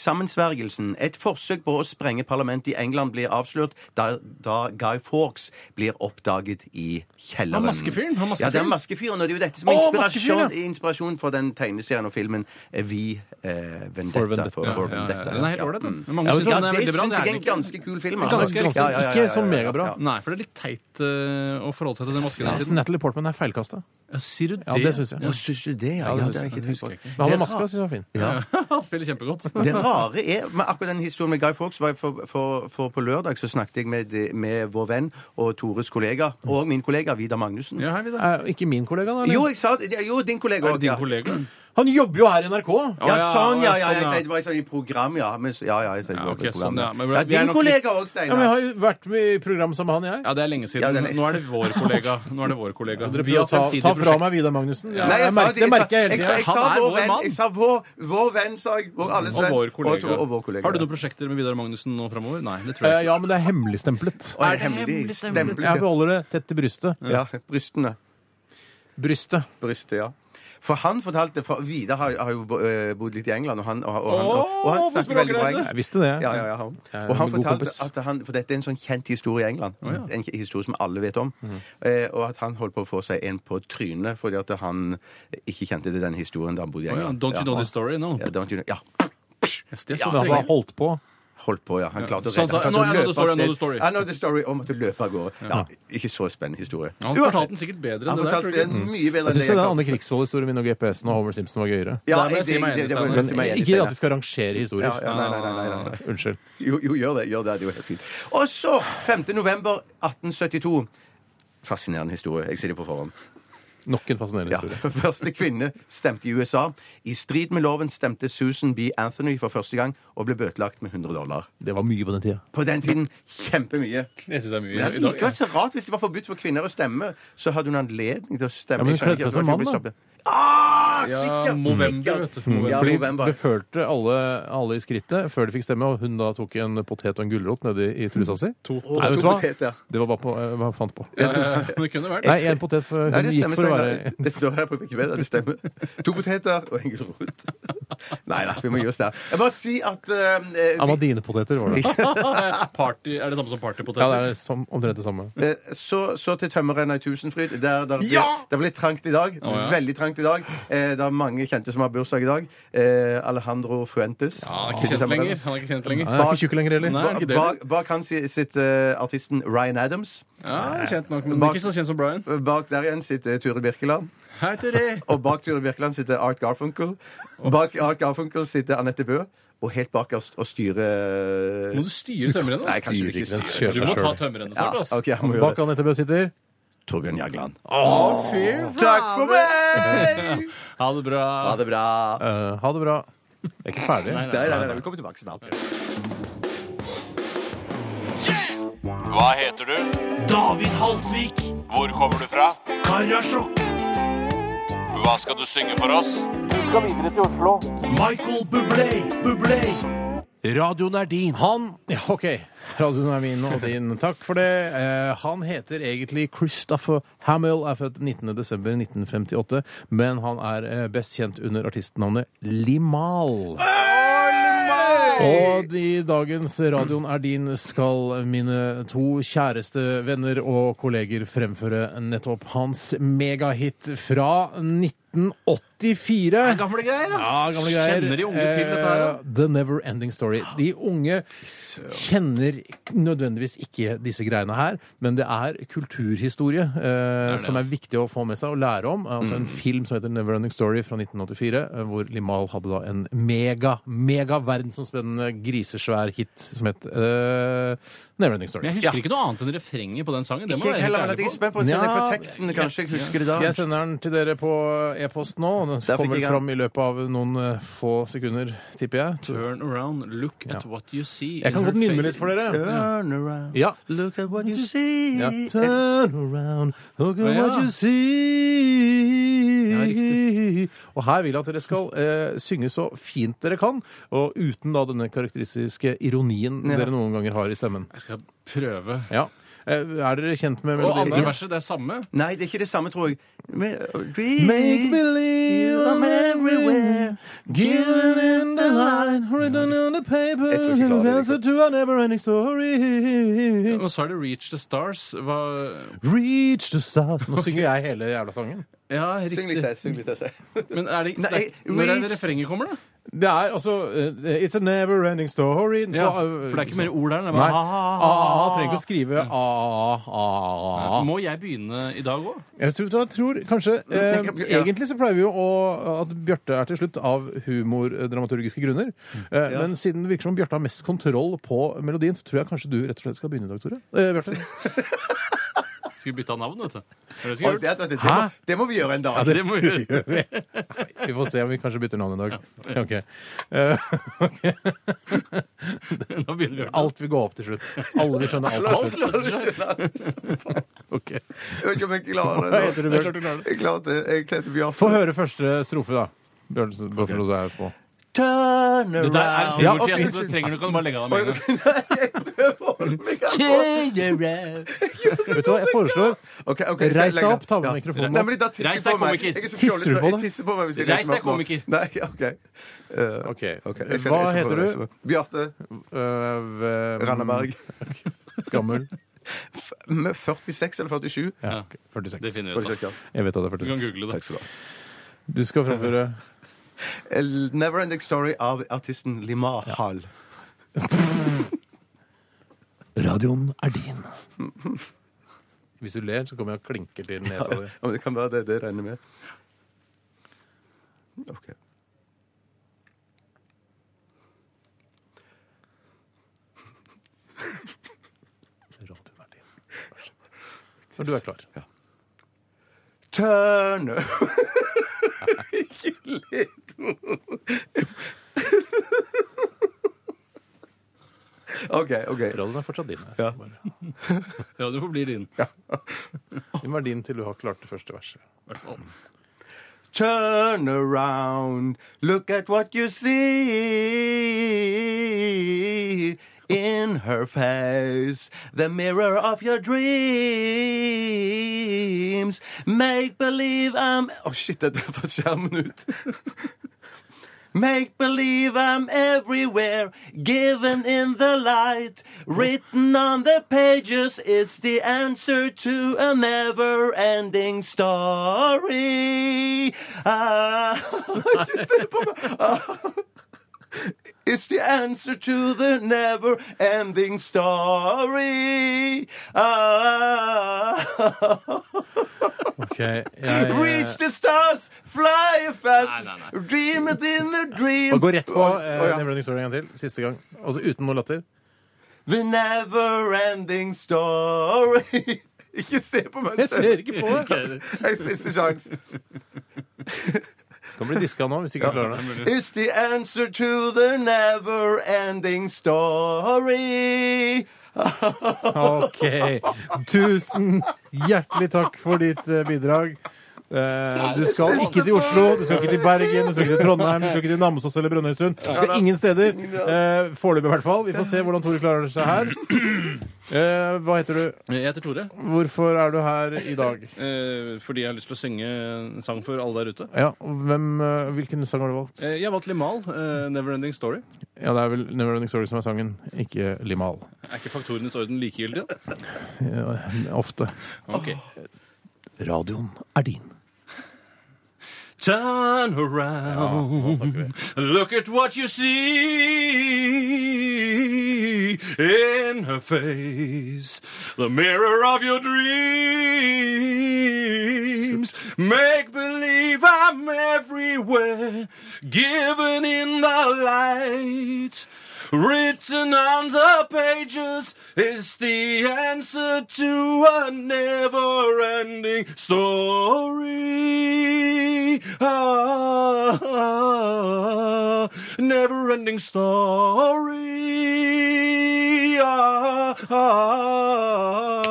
Speaker 5: Kruttsammensvergelsen. Et forsøk på å sprenge parlamentet i England blir avslørt da, da Guy Fawkes blir oppdaget i kjelleren.
Speaker 4: Han maskefyren, han maskefyren.
Speaker 5: Ja, det er maskefyren, og det er jo dette som er
Speaker 3: Å,
Speaker 5: inspirasjon,
Speaker 3: maskefyren,
Speaker 5: inspirasjon for den tegneserien og filmen eh, Vi eh, Vendetta.
Speaker 3: For Vendetta.
Speaker 5: For,
Speaker 4: Ja, ja,
Speaker 5: for
Speaker 4: ja.
Speaker 5: Vendetta.
Speaker 4: Den er helt
Speaker 5: Ja.
Speaker 4: ålreit, den.
Speaker 5: Mm.
Speaker 4: Men mange
Speaker 3: Ja, vet
Speaker 4: synes
Speaker 3: du hva,
Speaker 5: Ja,
Speaker 4: den er
Speaker 5: det
Speaker 4: veldig bra.
Speaker 5: syns
Speaker 4: Det er
Speaker 5: jeg er
Speaker 4: den
Speaker 5: en
Speaker 4: ikke.
Speaker 5: ganske kul film. altså.
Speaker 3: Ganske- ganske- ikke så megabra.
Speaker 4: Nei, for det er litt teit eh, å forholde seg til den masken. hele
Speaker 3: Nei, så
Speaker 4: tiden.
Speaker 3: Natalie Portman er feilkasta.
Speaker 4: Ja, sier du det?
Speaker 3: Ja, det syns jeg.
Speaker 5: Hva syns du det? Ja,
Speaker 3: det
Speaker 5: ja,
Speaker 3: syns
Speaker 5: det
Speaker 3: jeg.
Speaker 5: har jeg ikke
Speaker 4: Det
Speaker 5: tenkt
Speaker 4: husker
Speaker 5: på.
Speaker 4: jeg ikke.
Speaker 3: Men han
Speaker 5: Det
Speaker 3: med
Speaker 5: er
Speaker 3: maska
Speaker 5: rart.
Speaker 3: syns jeg var fin.
Speaker 4: (laughs) Han spiller kjempegodt.
Speaker 5: Det rare er med akkurat den historien med Guy Fawkes var jeg for, for, for på lørdag så snakket jeg med, med vår venn og Tores kollega, og min kollega Vidar Magnussen.
Speaker 4: Ja, her vi da.
Speaker 3: Er Eh, ikke min kollega, da? eller?
Speaker 5: Jo, jeg sa det. Jo, din kollega
Speaker 4: Er det
Speaker 5: også,
Speaker 4: din
Speaker 5: ja.
Speaker 4: kollega?
Speaker 3: Han jobber jo her i NRK!
Speaker 5: Ja,
Speaker 4: Å, ja,
Speaker 5: sånn, ja.
Speaker 4: å, ja,
Speaker 5: ja,
Speaker 4: sånn,
Speaker 5: jeg,
Speaker 4: ja.
Speaker 5: det var sånn i program, ja. Men, s- ja, ja, jeg, sa det
Speaker 4: Ja,
Speaker 5: var
Speaker 4: ok,
Speaker 5: på program,
Speaker 4: sånn,
Speaker 5: ja.
Speaker 4: ja. Men
Speaker 5: ja,
Speaker 4: vi er
Speaker 5: din
Speaker 4: nok
Speaker 5: kollega òg,
Speaker 3: Ja, men jeg
Speaker 5: Steinar.
Speaker 3: har jo vært med i program sammen med han, jeg.
Speaker 4: Ja, det er lenge
Speaker 5: Ja,
Speaker 4: siden.
Speaker 5: det er lenge.
Speaker 4: Nå er det vår kollega. Nå er det vår kollega.
Speaker 3: Dere
Speaker 4: Vi
Speaker 3: prøver
Speaker 4: har
Speaker 3: å ta,
Speaker 4: fremtidige
Speaker 3: ta fra
Speaker 4: prosjekter.
Speaker 3: meg Vidar Magnussen. Ja,
Speaker 5: Nei, jeg
Speaker 3: jeg
Speaker 5: sa
Speaker 3: merker,
Speaker 5: det
Speaker 3: det
Speaker 5: ikke.
Speaker 3: merker jeg
Speaker 5: Jeg
Speaker 3: hele tida.
Speaker 5: sa- jeg sa
Speaker 4: Han er
Speaker 5: vår
Speaker 4: vår
Speaker 5: venn.
Speaker 4: mann.
Speaker 5: Jeg sa vår, vår venn, sa jeg. Vår alles
Speaker 4: Og
Speaker 5: venn.
Speaker 4: vår
Speaker 5: Og, Tore-
Speaker 4: kollega.
Speaker 5: og vår kollega.
Speaker 4: Har du noen prosjekter med Vidar Magnussen nå framover? Nei, det tror jeg ikke.
Speaker 3: Eh, Ja, men det er hemmeligstemplet.
Speaker 5: Og en hemmelig
Speaker 3: Jeg
Speaker 5: stempel.
Speaker 3: beholder det tett til brystet.
Speaker 5: Ja, brystene.
Speaker 3: Brystet.
Speaker 5: brystet, ja. For han fortalte for Vidar har, har jo bo- eh, bodd litt i England, og han, og, og han, og, og han
Speaker 4: Åh, på
Speaker 5: snakker veldig bra
Speaker 4: språkreise!
Speaker 5: engelsk.
Speaker 3: Jeg visste det.
Speaker 5: Ja, ja, ja, han.
Speaker 3: Jeg er
Speaker 5: Og han
Speaker 3: en god
Speaker 5: fortalte
Speaker 3: kompis.
Speaker 5: at han, for dette er en sånn kjent historie i England, en k- historie som alle vet om, eh, og at han holdt på å få seg en på trynet fordi at han ikke kjente til den historien da han bodde i
Speaker 4: Å ja,
Speaker 5: England.
Speaker 4: Don't you know
Speaker 5: Ja,
Speaker 4: this story? No.
Speaker 5: ja, don't you know. ja,
Speaker 4: Yes, det er så
Speaker 3: Men han
Speaker 4: strenge.
Speaker 3: bare holdt på.
Speaker 5: holdt på, ja. Han klarte å
Speaker 4: Så han sa,
Speaker 5: han klarte
Speaker 4: «Nå
Speaker 5: å
Speaker 4: er det
Speaker 5: løpe
Speaker 4: story,
Speaker 5: av
Speaker 4: nå er det
Speaker 5: sted.»
Speaker 4: story.
Speaker 5: Ja, nå er det story, og måtte løpe av gårde. Ja, ikke så spennende historie.
Speaker 4: Ja, Han fortalte den sikkert bedre enn
Speaker 5: Han
Speaker 4: det der. tror
Speaker 5: fortalte
Speaker 4: du ikke?
Speaker 5: den mye bedre
Speaker 3: Jeg
Speaker 5: enn
Speaker 3: syns
Speaker 5: det
Speaker 3: den
Speaker 5: klarte.
Speaker 3: Anne Krigsvold-historien min og GPS-en og Homer Simpson var gøyere.
Speaker 4: Der
Speaker 5: Ja,
Speaker 4: må jeg si meg enig,
Speaker 5: det- det- det-
Speaker 4: Steinar.
Speaker 5: det-
Speaker 3: Men
Speaker 5: det- det- det-
Speaker 3: ikke at vi skal rangere
Speaker 5: ja, ja,
Speaker 3: historier.
Speaker 5: nei, nei, nei, nei, nei.
Speaker 3: Unnskyld.
Speaker 5: Jo, jo, gjør det. gjør det, det er jo helt fint. Og så 5. november 1872. Fascinerende historie. Jeg sier det på forhånd.
Speaker 3: Nok en fascinerende
Speaker 5: Ja. (laughs)
Speaker 3: historie.
Speaker 5: Første kvinne stemte i USA. I strid med loven stemte Susan B. Anthony for første gang og ble bøtelagt med 100 dollar.
Speaker 3: Det var mye på den tida.
Speaker 5: På den tiden kjempemye.
Speaker 4: Jeg synes det er
Speaker 5: Men
Speaker 4: mye
Speaker 5: det
Speaker 4: i
Speaker 5: er
Speaker 4: dag.
Speaker 5: likevel så rart. Hvis det var forbudt for kvinner å stemme, så hadde hun anledning til å stemme.
Speaker 3: Ja, men hun
Speaker 5: Jeg skjønner ikke
Speaker 3: kledde seg
Speaker 5: at
Speaker 3: som
Speaker 5: ikke
Speaker 3: mann, da.
Speaker 5: ble stoppet. Ah,
Speaker 4: Ja, Movember, vet du.
Speaker 5: Ja,
Speaker 3: Fordi
Speaker 5: november.
Speaker 3: Det følte alle, alle i skrittet før de fikk stemme, og hun da tok en potet og en gulrot nedi i trusa si. To, Nei, vet du
Speaker 5: to
Speaker 3: hva?
Speaker 5: poteter.
Speaker 3: Det var bare på, eh, hva jeg fant på.
Speaker 4: Eh, Men det kunne vært.
Speaker 3: Nei, en potet for,
Speaker 5: Nei,
Speaker 3: hun
Speaker 5: det
Speaker 3: gikk
Speaker 5: stemmer.
Speaker 3: for å
Speaker 5: Steinar.
Speaker 3: være
Speaker 5: Det står her på Wikipedia, det stemmer. To poteter og en gulrot. (laughs) Nei da, vi må gi oss der. Jeg bare si at eh, vi,
Speaker 3: Amadinepoteter, var det.
Speaker 4: Eh, Party, er det samme som
Speaker 3: (laughs)
Speaker 4: partypoteter?
Speaker 3: Ja, det er som, omtrent det samme.
Speaker 5: Eh, så, så til tømmerrenna i Tusenfryd. Der, der,
Speaker 4: Ja!
Speaker 5: Det ble litt trangt i dag.
Speaker 4: ja.
Speaker 5: Veldig trangt i dag. Eh, det er mange kjente som har bursdag i dag. Eh, Alejandro Fuentes.
Speaker 4: Ja, han er ikke kjent lenger. Han er ikke kjent lenger.
Speaker 3: Han er ikke tjukk lenger heller.
Speaker 4: Nei, er han ikke det?
Speaker 5: Bak, bak han si- sitter eh, artisten Ryan Adams.
Speaker 4: Ja, kjent nok, men ikke så kjent som Brian.
Speaker 5: Bak der igjen sitter Ture Birkeland.
Speaker 4: Hei, Turi.
Speaker 5: Og bak Ture Birkeland sitter Art Garfunkel. Bak Art Garfunkel sitter Anette Bøe. Og helt bakerst og styrer
Speaker 4: Må du styre tømmerrennet?
Speaker 5: Nei,
Speaker 4: ass?
Speaker 5: kanskje du ikke
Speaker 3: Den
Speaker 5: styrer.
Speaker 3: kjører
Speaker 4: Du må
Speaker 3: seg
Speaker 4: ta
Speaker 3: sjøl.
Speaker 4: tømmerrennet snart, ass.
Speaker 5: OK, jeg må gjøre
Speaker 3: Bak
Speaker 5: det.
Speaker 3: Anette Bøe sitter.
Speaker 5: Torbjørn Jagland.
Speaker 3: Takk for meg!
Speaker 4: Ha det bra.
Speaker 5: Ha det bra.
Speaker 3: Eh, ha det bra. Jeg er ikke ferdig.
Speaker 5: Nei, nei, nei, vi kommer tilbake snart.
Speaker 2: Hva heter du? David Haltvik. Hvor kommer du fra? Karasjok. Hva skal du synge for oss? Du skal videre til Oslo. Michael Bublé, Bublé. Radioen er din.
Speaker 3: Han Ja, OK. Radioen er min og din. Takk for det. Eh, han heter egentlig Christopher Hamill, er født 19.12.1958, men han er eh, best kjent under artistnavnet Limal. Og i dagens Radioen er din skal mine to kjæreste venner og kolleger fremføre nettopp hans megahit fra 1984.
Speaker 4: Gamle greier, ass.
Speaker 3: Ja, gamle greier.
Speaker 4: Kjenner de unge til dette her? da?
Speaker 3: Eh, The Never Ending Story. De unge kjenner nødvendigvis ikke disse greiene her, men det er kulturhistorie eh, som er
Speaker 4: altså.
Speaker 3: viktig å få med seg og lære om. Altså En film som heter Never Ending Story fra 1984, eh, hvor Limal hadde da en mega, mega verdensomspennende grisesvær hit som het eh, Never Ending Story.
Speaker 4: Men jeg husker ikke noe annet enn refrenget på den sangen. Det må
Speaker 5: Ikke
Speaker 4: jeg være
Speaker 5: heller, men
Speaker 4: helt
Speaker 5: jeg
Speaker 4: ærlig
Speaker 5: er
Speaker 4: på.
Speaker 5: spent på å se det fra
Speaker 3: Nja,
Speaker 5: teksten. Kanskje jeg husker det
Speaker 3: Så
Speaker 5: da.
Speaker 3: Jeg sender den til dere på e-post nå. og Den
Speaker 5: fikk
Speaker 3: kommer
Speaker 5: jeg den.
Speaker 3: fram i løpet av noen eh, få sekunder, tipper jeg.
Speaker 4: Turn around, look at what you see.
Speaker 3: Jeg kan
Speaker 4: in
Speaker 3: godt
Speaker 4: her
Speaker 3: nynne
Speaker 4: face.
Speaker 3: litt for dere.
Speaker 5: Turn around,
Speaker 3: Ja.
Speaker 5: look at what you see.
Speaker 3: Ja. Turn around, look at
Speaker 4: Å, ja.
Speaker 3: what you see.
Speaker 4: Ja,
Speaker 3: og her vil jeg at dere skal eh, synge så fint dere kan, og uten da denne karakteristiske ironien
Speaker 5: Ja.
Speaker 3: dere noen ganger har i stemmen.
Speaker 4: Jeg skal prøve.
Speaker 3: Ja. Eh, er dere kjent med
Speaker 4: Og andre
Speaker 3: melodien?
Speaker 4: verset, det er samme.
Speaker 5: Nei, det er ikke det samme, tror jeg. Men-
Speaker 3: Make believe I'm everywhere, giving in the light, written on the paper,
Speaker 5: Jeg tror ikke jeg klarer
Speaker 3: an
Speaker 5: det.
Speaker 3: answer to a never-ending story.
Speaker 4: Og så er det Reach the Stars. Hva
Speaker 3: Reach the stars. Nå synger jeg hele jævla sangen.
Speaker 4: Ja,
Speaker 5: Syng litt
Speaker 4: riktig.
Speaker 5: til, syng litt til.
Speaker 4: Men er det, så
Speaker 5: Nei,
Speaker 4: det er, når er det
Speaker 5: reach-
Speaker 4: refrenget kommer, da?
Speaker 3: Det er altså eh, It's a never ending story
Speaker 4: Ja, for det er ikke mer ord der. Det er
Speaker 3: Nei.
Speaker 4: bare,
Speaker 3: Ah,
Speaker 4: ha, ha,
Speaker 3: ah, ah,
Speaker 4: ha.
Speaker 3: trenger ikke å skrive ah, ah, ah.
Speaker 4: Må jeg begynne i dag òg?
Speaker 3: Jeg tror, jeg tror kanskje eh,
Speaker 5: Ja.
Speaker 3: Egentlig så pleier vi jo å, at Bjarte er til slutt av humordramaturgiske grunner. Eh, Men siden det virker som Bjarte har mest kontroll på melodien, så tror jeg kanskje du rett og slett skal begynne i dag, Tore. Eh, Bjarte. (laughs)
Speaker 4: Skal vi bytte av navn, vet du? Er det
Speaker 5: Oi,
Speaker 4: skal
Speaker 5: det, det, det,
Speaker 3: Hæ?
Speaker 5: må, det må vi gjøre en dag. (laughs)
Speaker 4: ja, det må vi gjøre.
Speaker 3: Vi får se om vi kanskje bytter navn i dag. Ok. Eh, (laughs) ok.
Speaker 4: Nå begynner vi å gjøre det.
Speaker 3: Alt vil gå opp til slutt. Alle vil skjønne alt til slutt. Ok.
Speaker 5: Jeg vet ikke om jeg klarer
Speaker 3: Hva heter
Speaker 5: det.
Speaker 3: du,
Speaker 5: nå.
Speaker 3: Bjørn?
Speaker 5: Jeg klarte det. Jeg klarte Bjørn.
Speaker 3: Få høre første strofe, da. Bjørnsen, bare for noe du er
Speaker 5: (laughs)
Speaker 3: på.
Speaker 5: Turn
Speaker 4: Det der er
Speaker 5: around.
Speaker 3: Ja,
Speaker 4: humorfjes. Det trenger du ikke bare legge av deg med en gang.
Speaker 3: Vet du hva, jeg foreslår
Speaker 5: Ok, ok, så jeg
Speaker 3: Reis deg
Speaker 5: legger-
Speaker 3: opp, ta med
Speaker 5: Ja.
Speaker 3: mikrofonen
Speaker 5: Nei,
Speaker 3: opp.
Speaker 5: men da tisser
Speaker 4: Reis
Speaker 5: jeg
Speaker 4: deg,
Speaker 5: på meg.
Speaker 4: komiker.
Speaker 5: Jeg er så
Speaker 3: Tisser du
Speaker 5: fjollete,
Speaker 3: på
Speaker 5: jeg
Speaker 3: det?
Speaker 5: tisser på meg hvis jeg
Speaker 4: Reis
Speaker 5: reiser meg
Speaker 4: deg,
Speaker 5: opp nå.
Speaker 4: komiker.
Speaker 5: Nei, ok. Eh,
Speaker 3: Ok.
Speaker 5: ok, jeg skal
Speaker 3: Hva
Speaker 5: reise meg
Speaker 3: heter
Speaker 5: og reise
Speaker 3: du?
Speaker 5: meg. Bjarte
Speaker 3: Øh,
Speaker 5: Randaberg.
Speaker 3: (laughs) Gammel. Mm.
Speaker 5: Med 46 eller 47?
Speaker 3: Ja,
Speaker 4: Ja.
Speaker 3: ok, 46.
Speaker 4: Det finner vi ut av.
Speaker 5: 46, ja.
Speaker 3: Jeg vet at det er
Speaker 4: Du kan
Speaker 3: 46.
Speaker 4: google det.
Speaker 3: Du skal framføre
Speaker 5: El- Neverending Story av artisten Limar Hall.
Speaker 3: Radioen er din. (laughs) Hvis du ler, så kommer jeg og klinker til nesa
Speaker 5: (laughs)
Speaker 3: di.
Speaker 5: Ja, men det kan være det. Det regner jeg med. Ok.
Speaker 3: Radioen er din. Vær så god. Når du er klar.
Speaker 5: Turn
Speaker 3: (laughs)
Speaker 5: Ikke le, Tor. (laughs) OK. ok.
Speaker 3: Radioen er fortsatt din.
Speaker 5: Ja.
Speaker 3: Altså. Bare-
Speaker 4: Ja, du forblir din.
Speaker 3: Den var din til du har klart det første verset.
Speaker 5: Turn around, look at what you see. In her face, the mirror of your dreams. Make believe I'm Å, shit, (laughs) jeg datt fra skjermen ut. Make believe I'm everywhere, given in the light. Written on the pages, it's the answer to a never ending story. Ah, (laughs) ikke se på meg. Ah. It's the answer to the never ending story. (laughs) Ah.
Speaker 3: Ok, jeg
Speaker 5: Reach the stars, fly a fantasy,
Speaker 4: Nei, nei,
Speaker 5: dream it in the dream.
Speaker 3: Og gå rett på
Speaker 5: Oi,
Speaker 3: eh,
Speaker 5: oi, ja.
Speaker 3: Never Ending Story en gang til. Siste gang. Altså uten noe latter.
Speaker 5: The never ending story. (laughs) Ikke se på meg
Speaker 3: Jeg ser ikke på
Speaker 5: Ikke
Speaker 3: det.
Speaker 5: heller. Nei, Siste sjanse.
Speaker 3: (laughs) Kan bli diska nå hvis ikke du klarer det.
Speaker 5: It's the answer to the never ending story.
Speaker 3: OK. Tusen hjertelig takk for ditt eh, bidrag. Eh, du skal ikke til Oslo, du skal ikke til Bergen, du skal ikke til Trondheim, du skal ikke til Namsos eller Brønnøysund. Du skal ingen steder. Eh, Foreløpig, i hvert fall. Vi får se hvordan Tore klarer seg her. Eh, hva heter du?
Speaker 4: Jeg heter Tore,
Speaker 3: Hvorfor er du her i dag?
Speaker 4: eh, fordi jeg har lyst til å synge en sang for alle der ute.
Speaker 3: Ja, og hvem, eh, Hvilken sang har du valgt?
Speaker 4: Eh, Jeg valgte Limal, eh, 'Neverending Story'.
Speaker 3: Ja, Det er vel Never Ending Story som er sangen, ikke Limal.
Speaker 4: Er ikke faktorenes orden likegyldig? da?
Speaker 3: Ja, Eh, ofte.
Speaker 4: Ok.
Speaker 3: Radioen er din.
Speaker 4: Turn around, look at what you see in her face, the mirror of your dreams. Make believe I'm everywhere, given in the light. Written on the pages is the answer to a never ending story. Ah, never ending story. Ah, ah.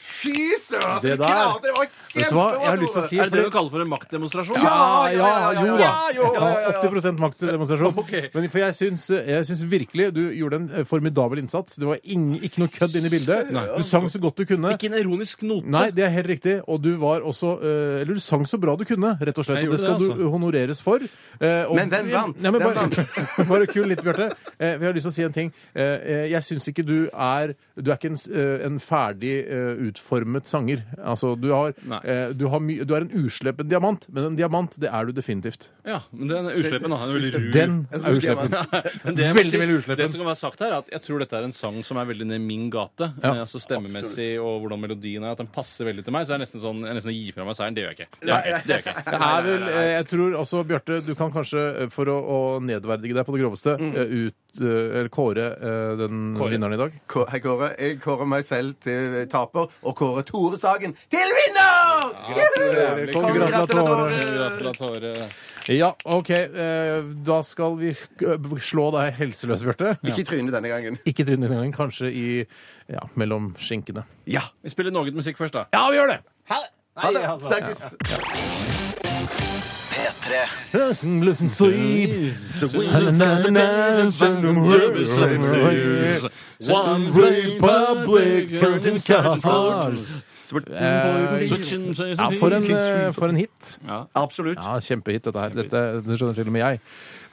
Speaker 5: Fy søren!
Speaker 3: Det der.
Speaker 5: klarte det. Det var
Speaker 3: Vet du hva, jeg har lyst til å si
Speaker 4: Er det det du
Speaker 3: fordi-
Speaker 4: kaller for en maktdemonstrasjon?
Speaker 3: ja, ja,
Speaker 5: Ja, ja, ja,
Speaker 3: jo
Speaker 5: ja,
Speaker 3: da.
Speaker 5: ja, jo, ja, ja, ja.
Speaker 3: 80
Speaker 5: (laughs)
Speaker 3: maktdemonstrasjon.
Speaker 4: Ok.
Speaker 3: Men for jeg syns, jeg syns virkelig du gjorde en eh, formidabel innsats. Det var ing- ikke noe kødd inne i bildet. Du sang så godt du kunne.
Speaker 4: Ikke en ironisk note.
Speaker 3: Nei, det er helt riktig. Og du var også eh, Eller du sang så bra du kunne, rett og slett.
Speaker 4: Jeg
Speaker 3: Og det skal
Speaker 4: gjorde det, altså.
Speaker 3: du honoreres for. Eh, og-
Speaker 5: Men hvem vant?
Speaker 3: Nei, men
Speaker 5: Hvem
Speaker 3: bare, (laughs) bare kul litt, Bjarte. Eh, vi har lyst til å si en ting. Eh, eh, jeg syns ikke du er Du er ikke en, s- eh, en ferdig eh, utformet sanger. Altså, du har,
Speaker 4: Nei.
Speaker 3: eh, du, har my, du er en uslepen diamant, men en diamant, det er du definitivt.
Speaker 4: Ja, men den er uslepen, da. Den er veldig ru.
Speaker 3: Den er uslepen.
Speaker 4: Men det jeg må
Speaker 3: Veldig, veldig uslepen.
Speaker 4: Det som kan være sagt her, er at jeg tror dette er en sang som er veldig ned min gate.
Speaker 3: Ja,
Speaker 4: eh, altså Stemmemessig og hvordan melodien er. At den passer veldig til meg. Så jeg er nesten sånn, jeg nesten gir fra meg seieren. Det gjør jeg ikke. Det gjør jeg ikke. Det gjør jeg ikke.
Speaker 3: Det er vel, eh, jeg tror også, Bjarte, du kan kanskje, eh, for å, å nedverdige deg på det groveste, eh, ut, eh, eller kåre eh, den
Speaker 4: Mm. Kåre.
Speaker 3: vinneren i dag.
Speaker 5: Kå- Hei, Kåre. Jeg kårer meg selv til taper, og kårer Tore Sagen til vinner! Juhu! Gratulerer.
Speaker 4: Gratulerer.
Speaker 3: Ja, OK. eh, Da skal vi eh, slå deg helseløs, Bjarte.
Speaker 5: Ikke i trynet denne gangen.
Speaker 3: Ikke trynet denne gangen, kanskje i ja, mellom skinkene.
Speaker 5: Ja.
Speaker 4: Vi spiller noe musikk først, da.
Speaker 3: Ja, vi gjør det!
Speaker 5: Ha det.
Speaker 3: altså.
Speaker 5: Snakkes.
Speaker 9: P3.
Speaker 4: One
Speaker 3: Eh, Ja, for en, eh, for en hit.
Speaker 5: Absolutt.
Speaker 3: Ja, Kjempehit, dette her. Dette, det skjønner til og med jeg.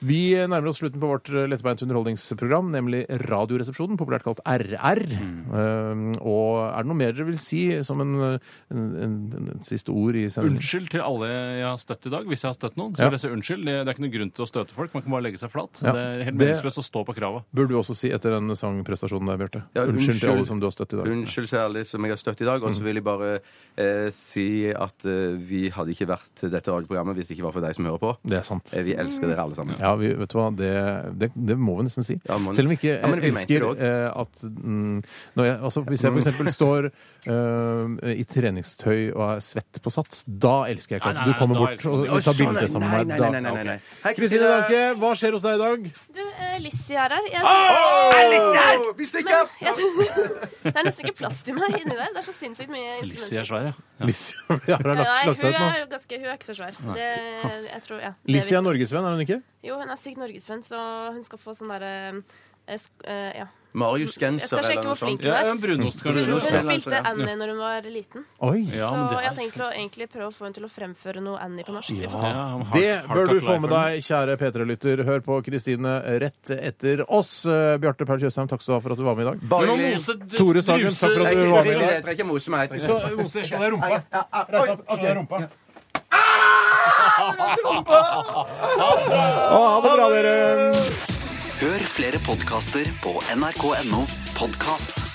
Speaker 3: Vi nærmer oss slutten på vårt eh, lettbeint underholdningsprogram, nemlig Radioresepsjonen, populært kalt RR. Eh, og er det noe mer dere vil si som en, eh, en, en, en, en siste ord i sendingen?
Speaker 4: Unnskyld til alle jeg har støtt i dag, hvis jeg har støtt noen. Så
Speaker 3: Ja.
Speaker 4: vil jeg si unnskyld. Det det er ikke noen grunn til å støte folk. Man kan bare legge seg flat.
Speaker 3: Ja.
Speaker 4: Det er helt
Speaker 3: Det-
Speaker 4: meningsløst å stå på kravet.
Speaker 3: Burde du også si etter den sangprestasjonen der, Bjarte.
Speaker 5: Ja,
Speaker 3: unnskyld til
Speaker 5: unnskyld.
Speaker 3: alle som du har støtt i dag.
Speaker 5: Unnskyld særlig som jeg har støtt i dag. Og så vil jeg bare eh, si at eh, vi hadde ikke vært dette radioprogrammet hvis det ikke var for deg som hører på.
Speaker 3: Det er sant.
Speaker 5: Eh, Vi elsker dere alle sammen.
Speaker 3: Ja, vi, vet du hva, det, det, det må vi nesten si.
Speaker 5: Ja, må nesten-
Speaker 3: Selv om vi ikke
Speaker 5: Ja, men vi mente det
Speaker 3: elsker
Speaker 5: også.
Speaker 3: eh, at mm, når jeg, altså, Hvis jeg f.eks. står eh, i treningstøy og er svett på sats, da elsker jeg ikke at
Speaker 4: Nei, nei,
Speaker 3: du
Speaker 4: nei,
Speaker 3: kommer
Speaker 4: da
Speaker 3: bort
Speaker 4: elsker
Speaker 3: og,
Speaker 4: jeg
Speaker 3: og tar bilde
Speaker 5: Nei,
Speaker 3: sammen
Speaker 5: nei,
Speaker 3: med
Speaker 5: nei,
Speaker 3: meg.
Speaker 5: nei, nei, nei, nei. Hei,
Speaker 3: Kristine Danke, hva skjer hos deg i dag?
Speaker 1: Du,
Speaker 7: eh, Lissi er her.
Speaker 2: Ah!
Speaker 7: Jeg
Speaker 5: Åh!
Speaker 7: tror-
Speaker 5: Er Lissi her? Vi stikker!
Speaker 7: Men jeg tror- Det er nesten ikke plass til meg inni der. Det er så sinnssykt mye
Speaker 4: Lissi er svær, ja.
Speaker 7: instrumenter.
Speaker 3: Lissi har lagt,
Speaker 7: Nei,
Speaker 3: lagt
Speaker 7: hun
Speaker 3: seg ut
Speaker 7: er
Speaker 3: nå.
Speaker 7: jo ganske, hun er ikke så svær.
Speaker 3: Nei.
Speaker 7: Det, jeg tror, ja. det
Speaker 3: Lissi er
Speaker 7: visste-
Speaker 3: norgesvenn, er hun ikke?
Speaker 7: Jo, hun er sykt norgesvenn, så hun skal få sånn derre eh, sk- eh, ja.
Speaker 5: Marius
Speaker 7: Jeg skal
Speaker 5: Genser
Speaker 7: sjekke hvor flink hun er. Hun spilte Annie når hun var liten.
Speaker 3: Oi.
Speaker 7: Så
Speaker 3: Ja, men det
Speaker 7: jeg
Speaker 3: er
Speaker 7: har tenkt å egentlig prøve å få henne til å fremføre noe Annie på norsk. Vi får se.
Speaker 3: Ja, det bør du få med deg, kjære P3-lytter. Hør på Kristine rett etter oss. Eh, Bjarte Paul Tjøstheim, takk skal du ha for at du var med i dag.
Speaker 5: Bare hyggelig.
Speaker 3: Tore Sagen, takk for at du var med i
Speaker 5: Jeg
Speaker 3: dag.
Speaker 5: trekker mose meg.
Speaker 3: Du skal mose, slå deg i rumpa. Reis opp, slå deg i rumpa. Å, ha det bra, dere.
Speaker 2: Hør flere podkaster på nrk.no podkast.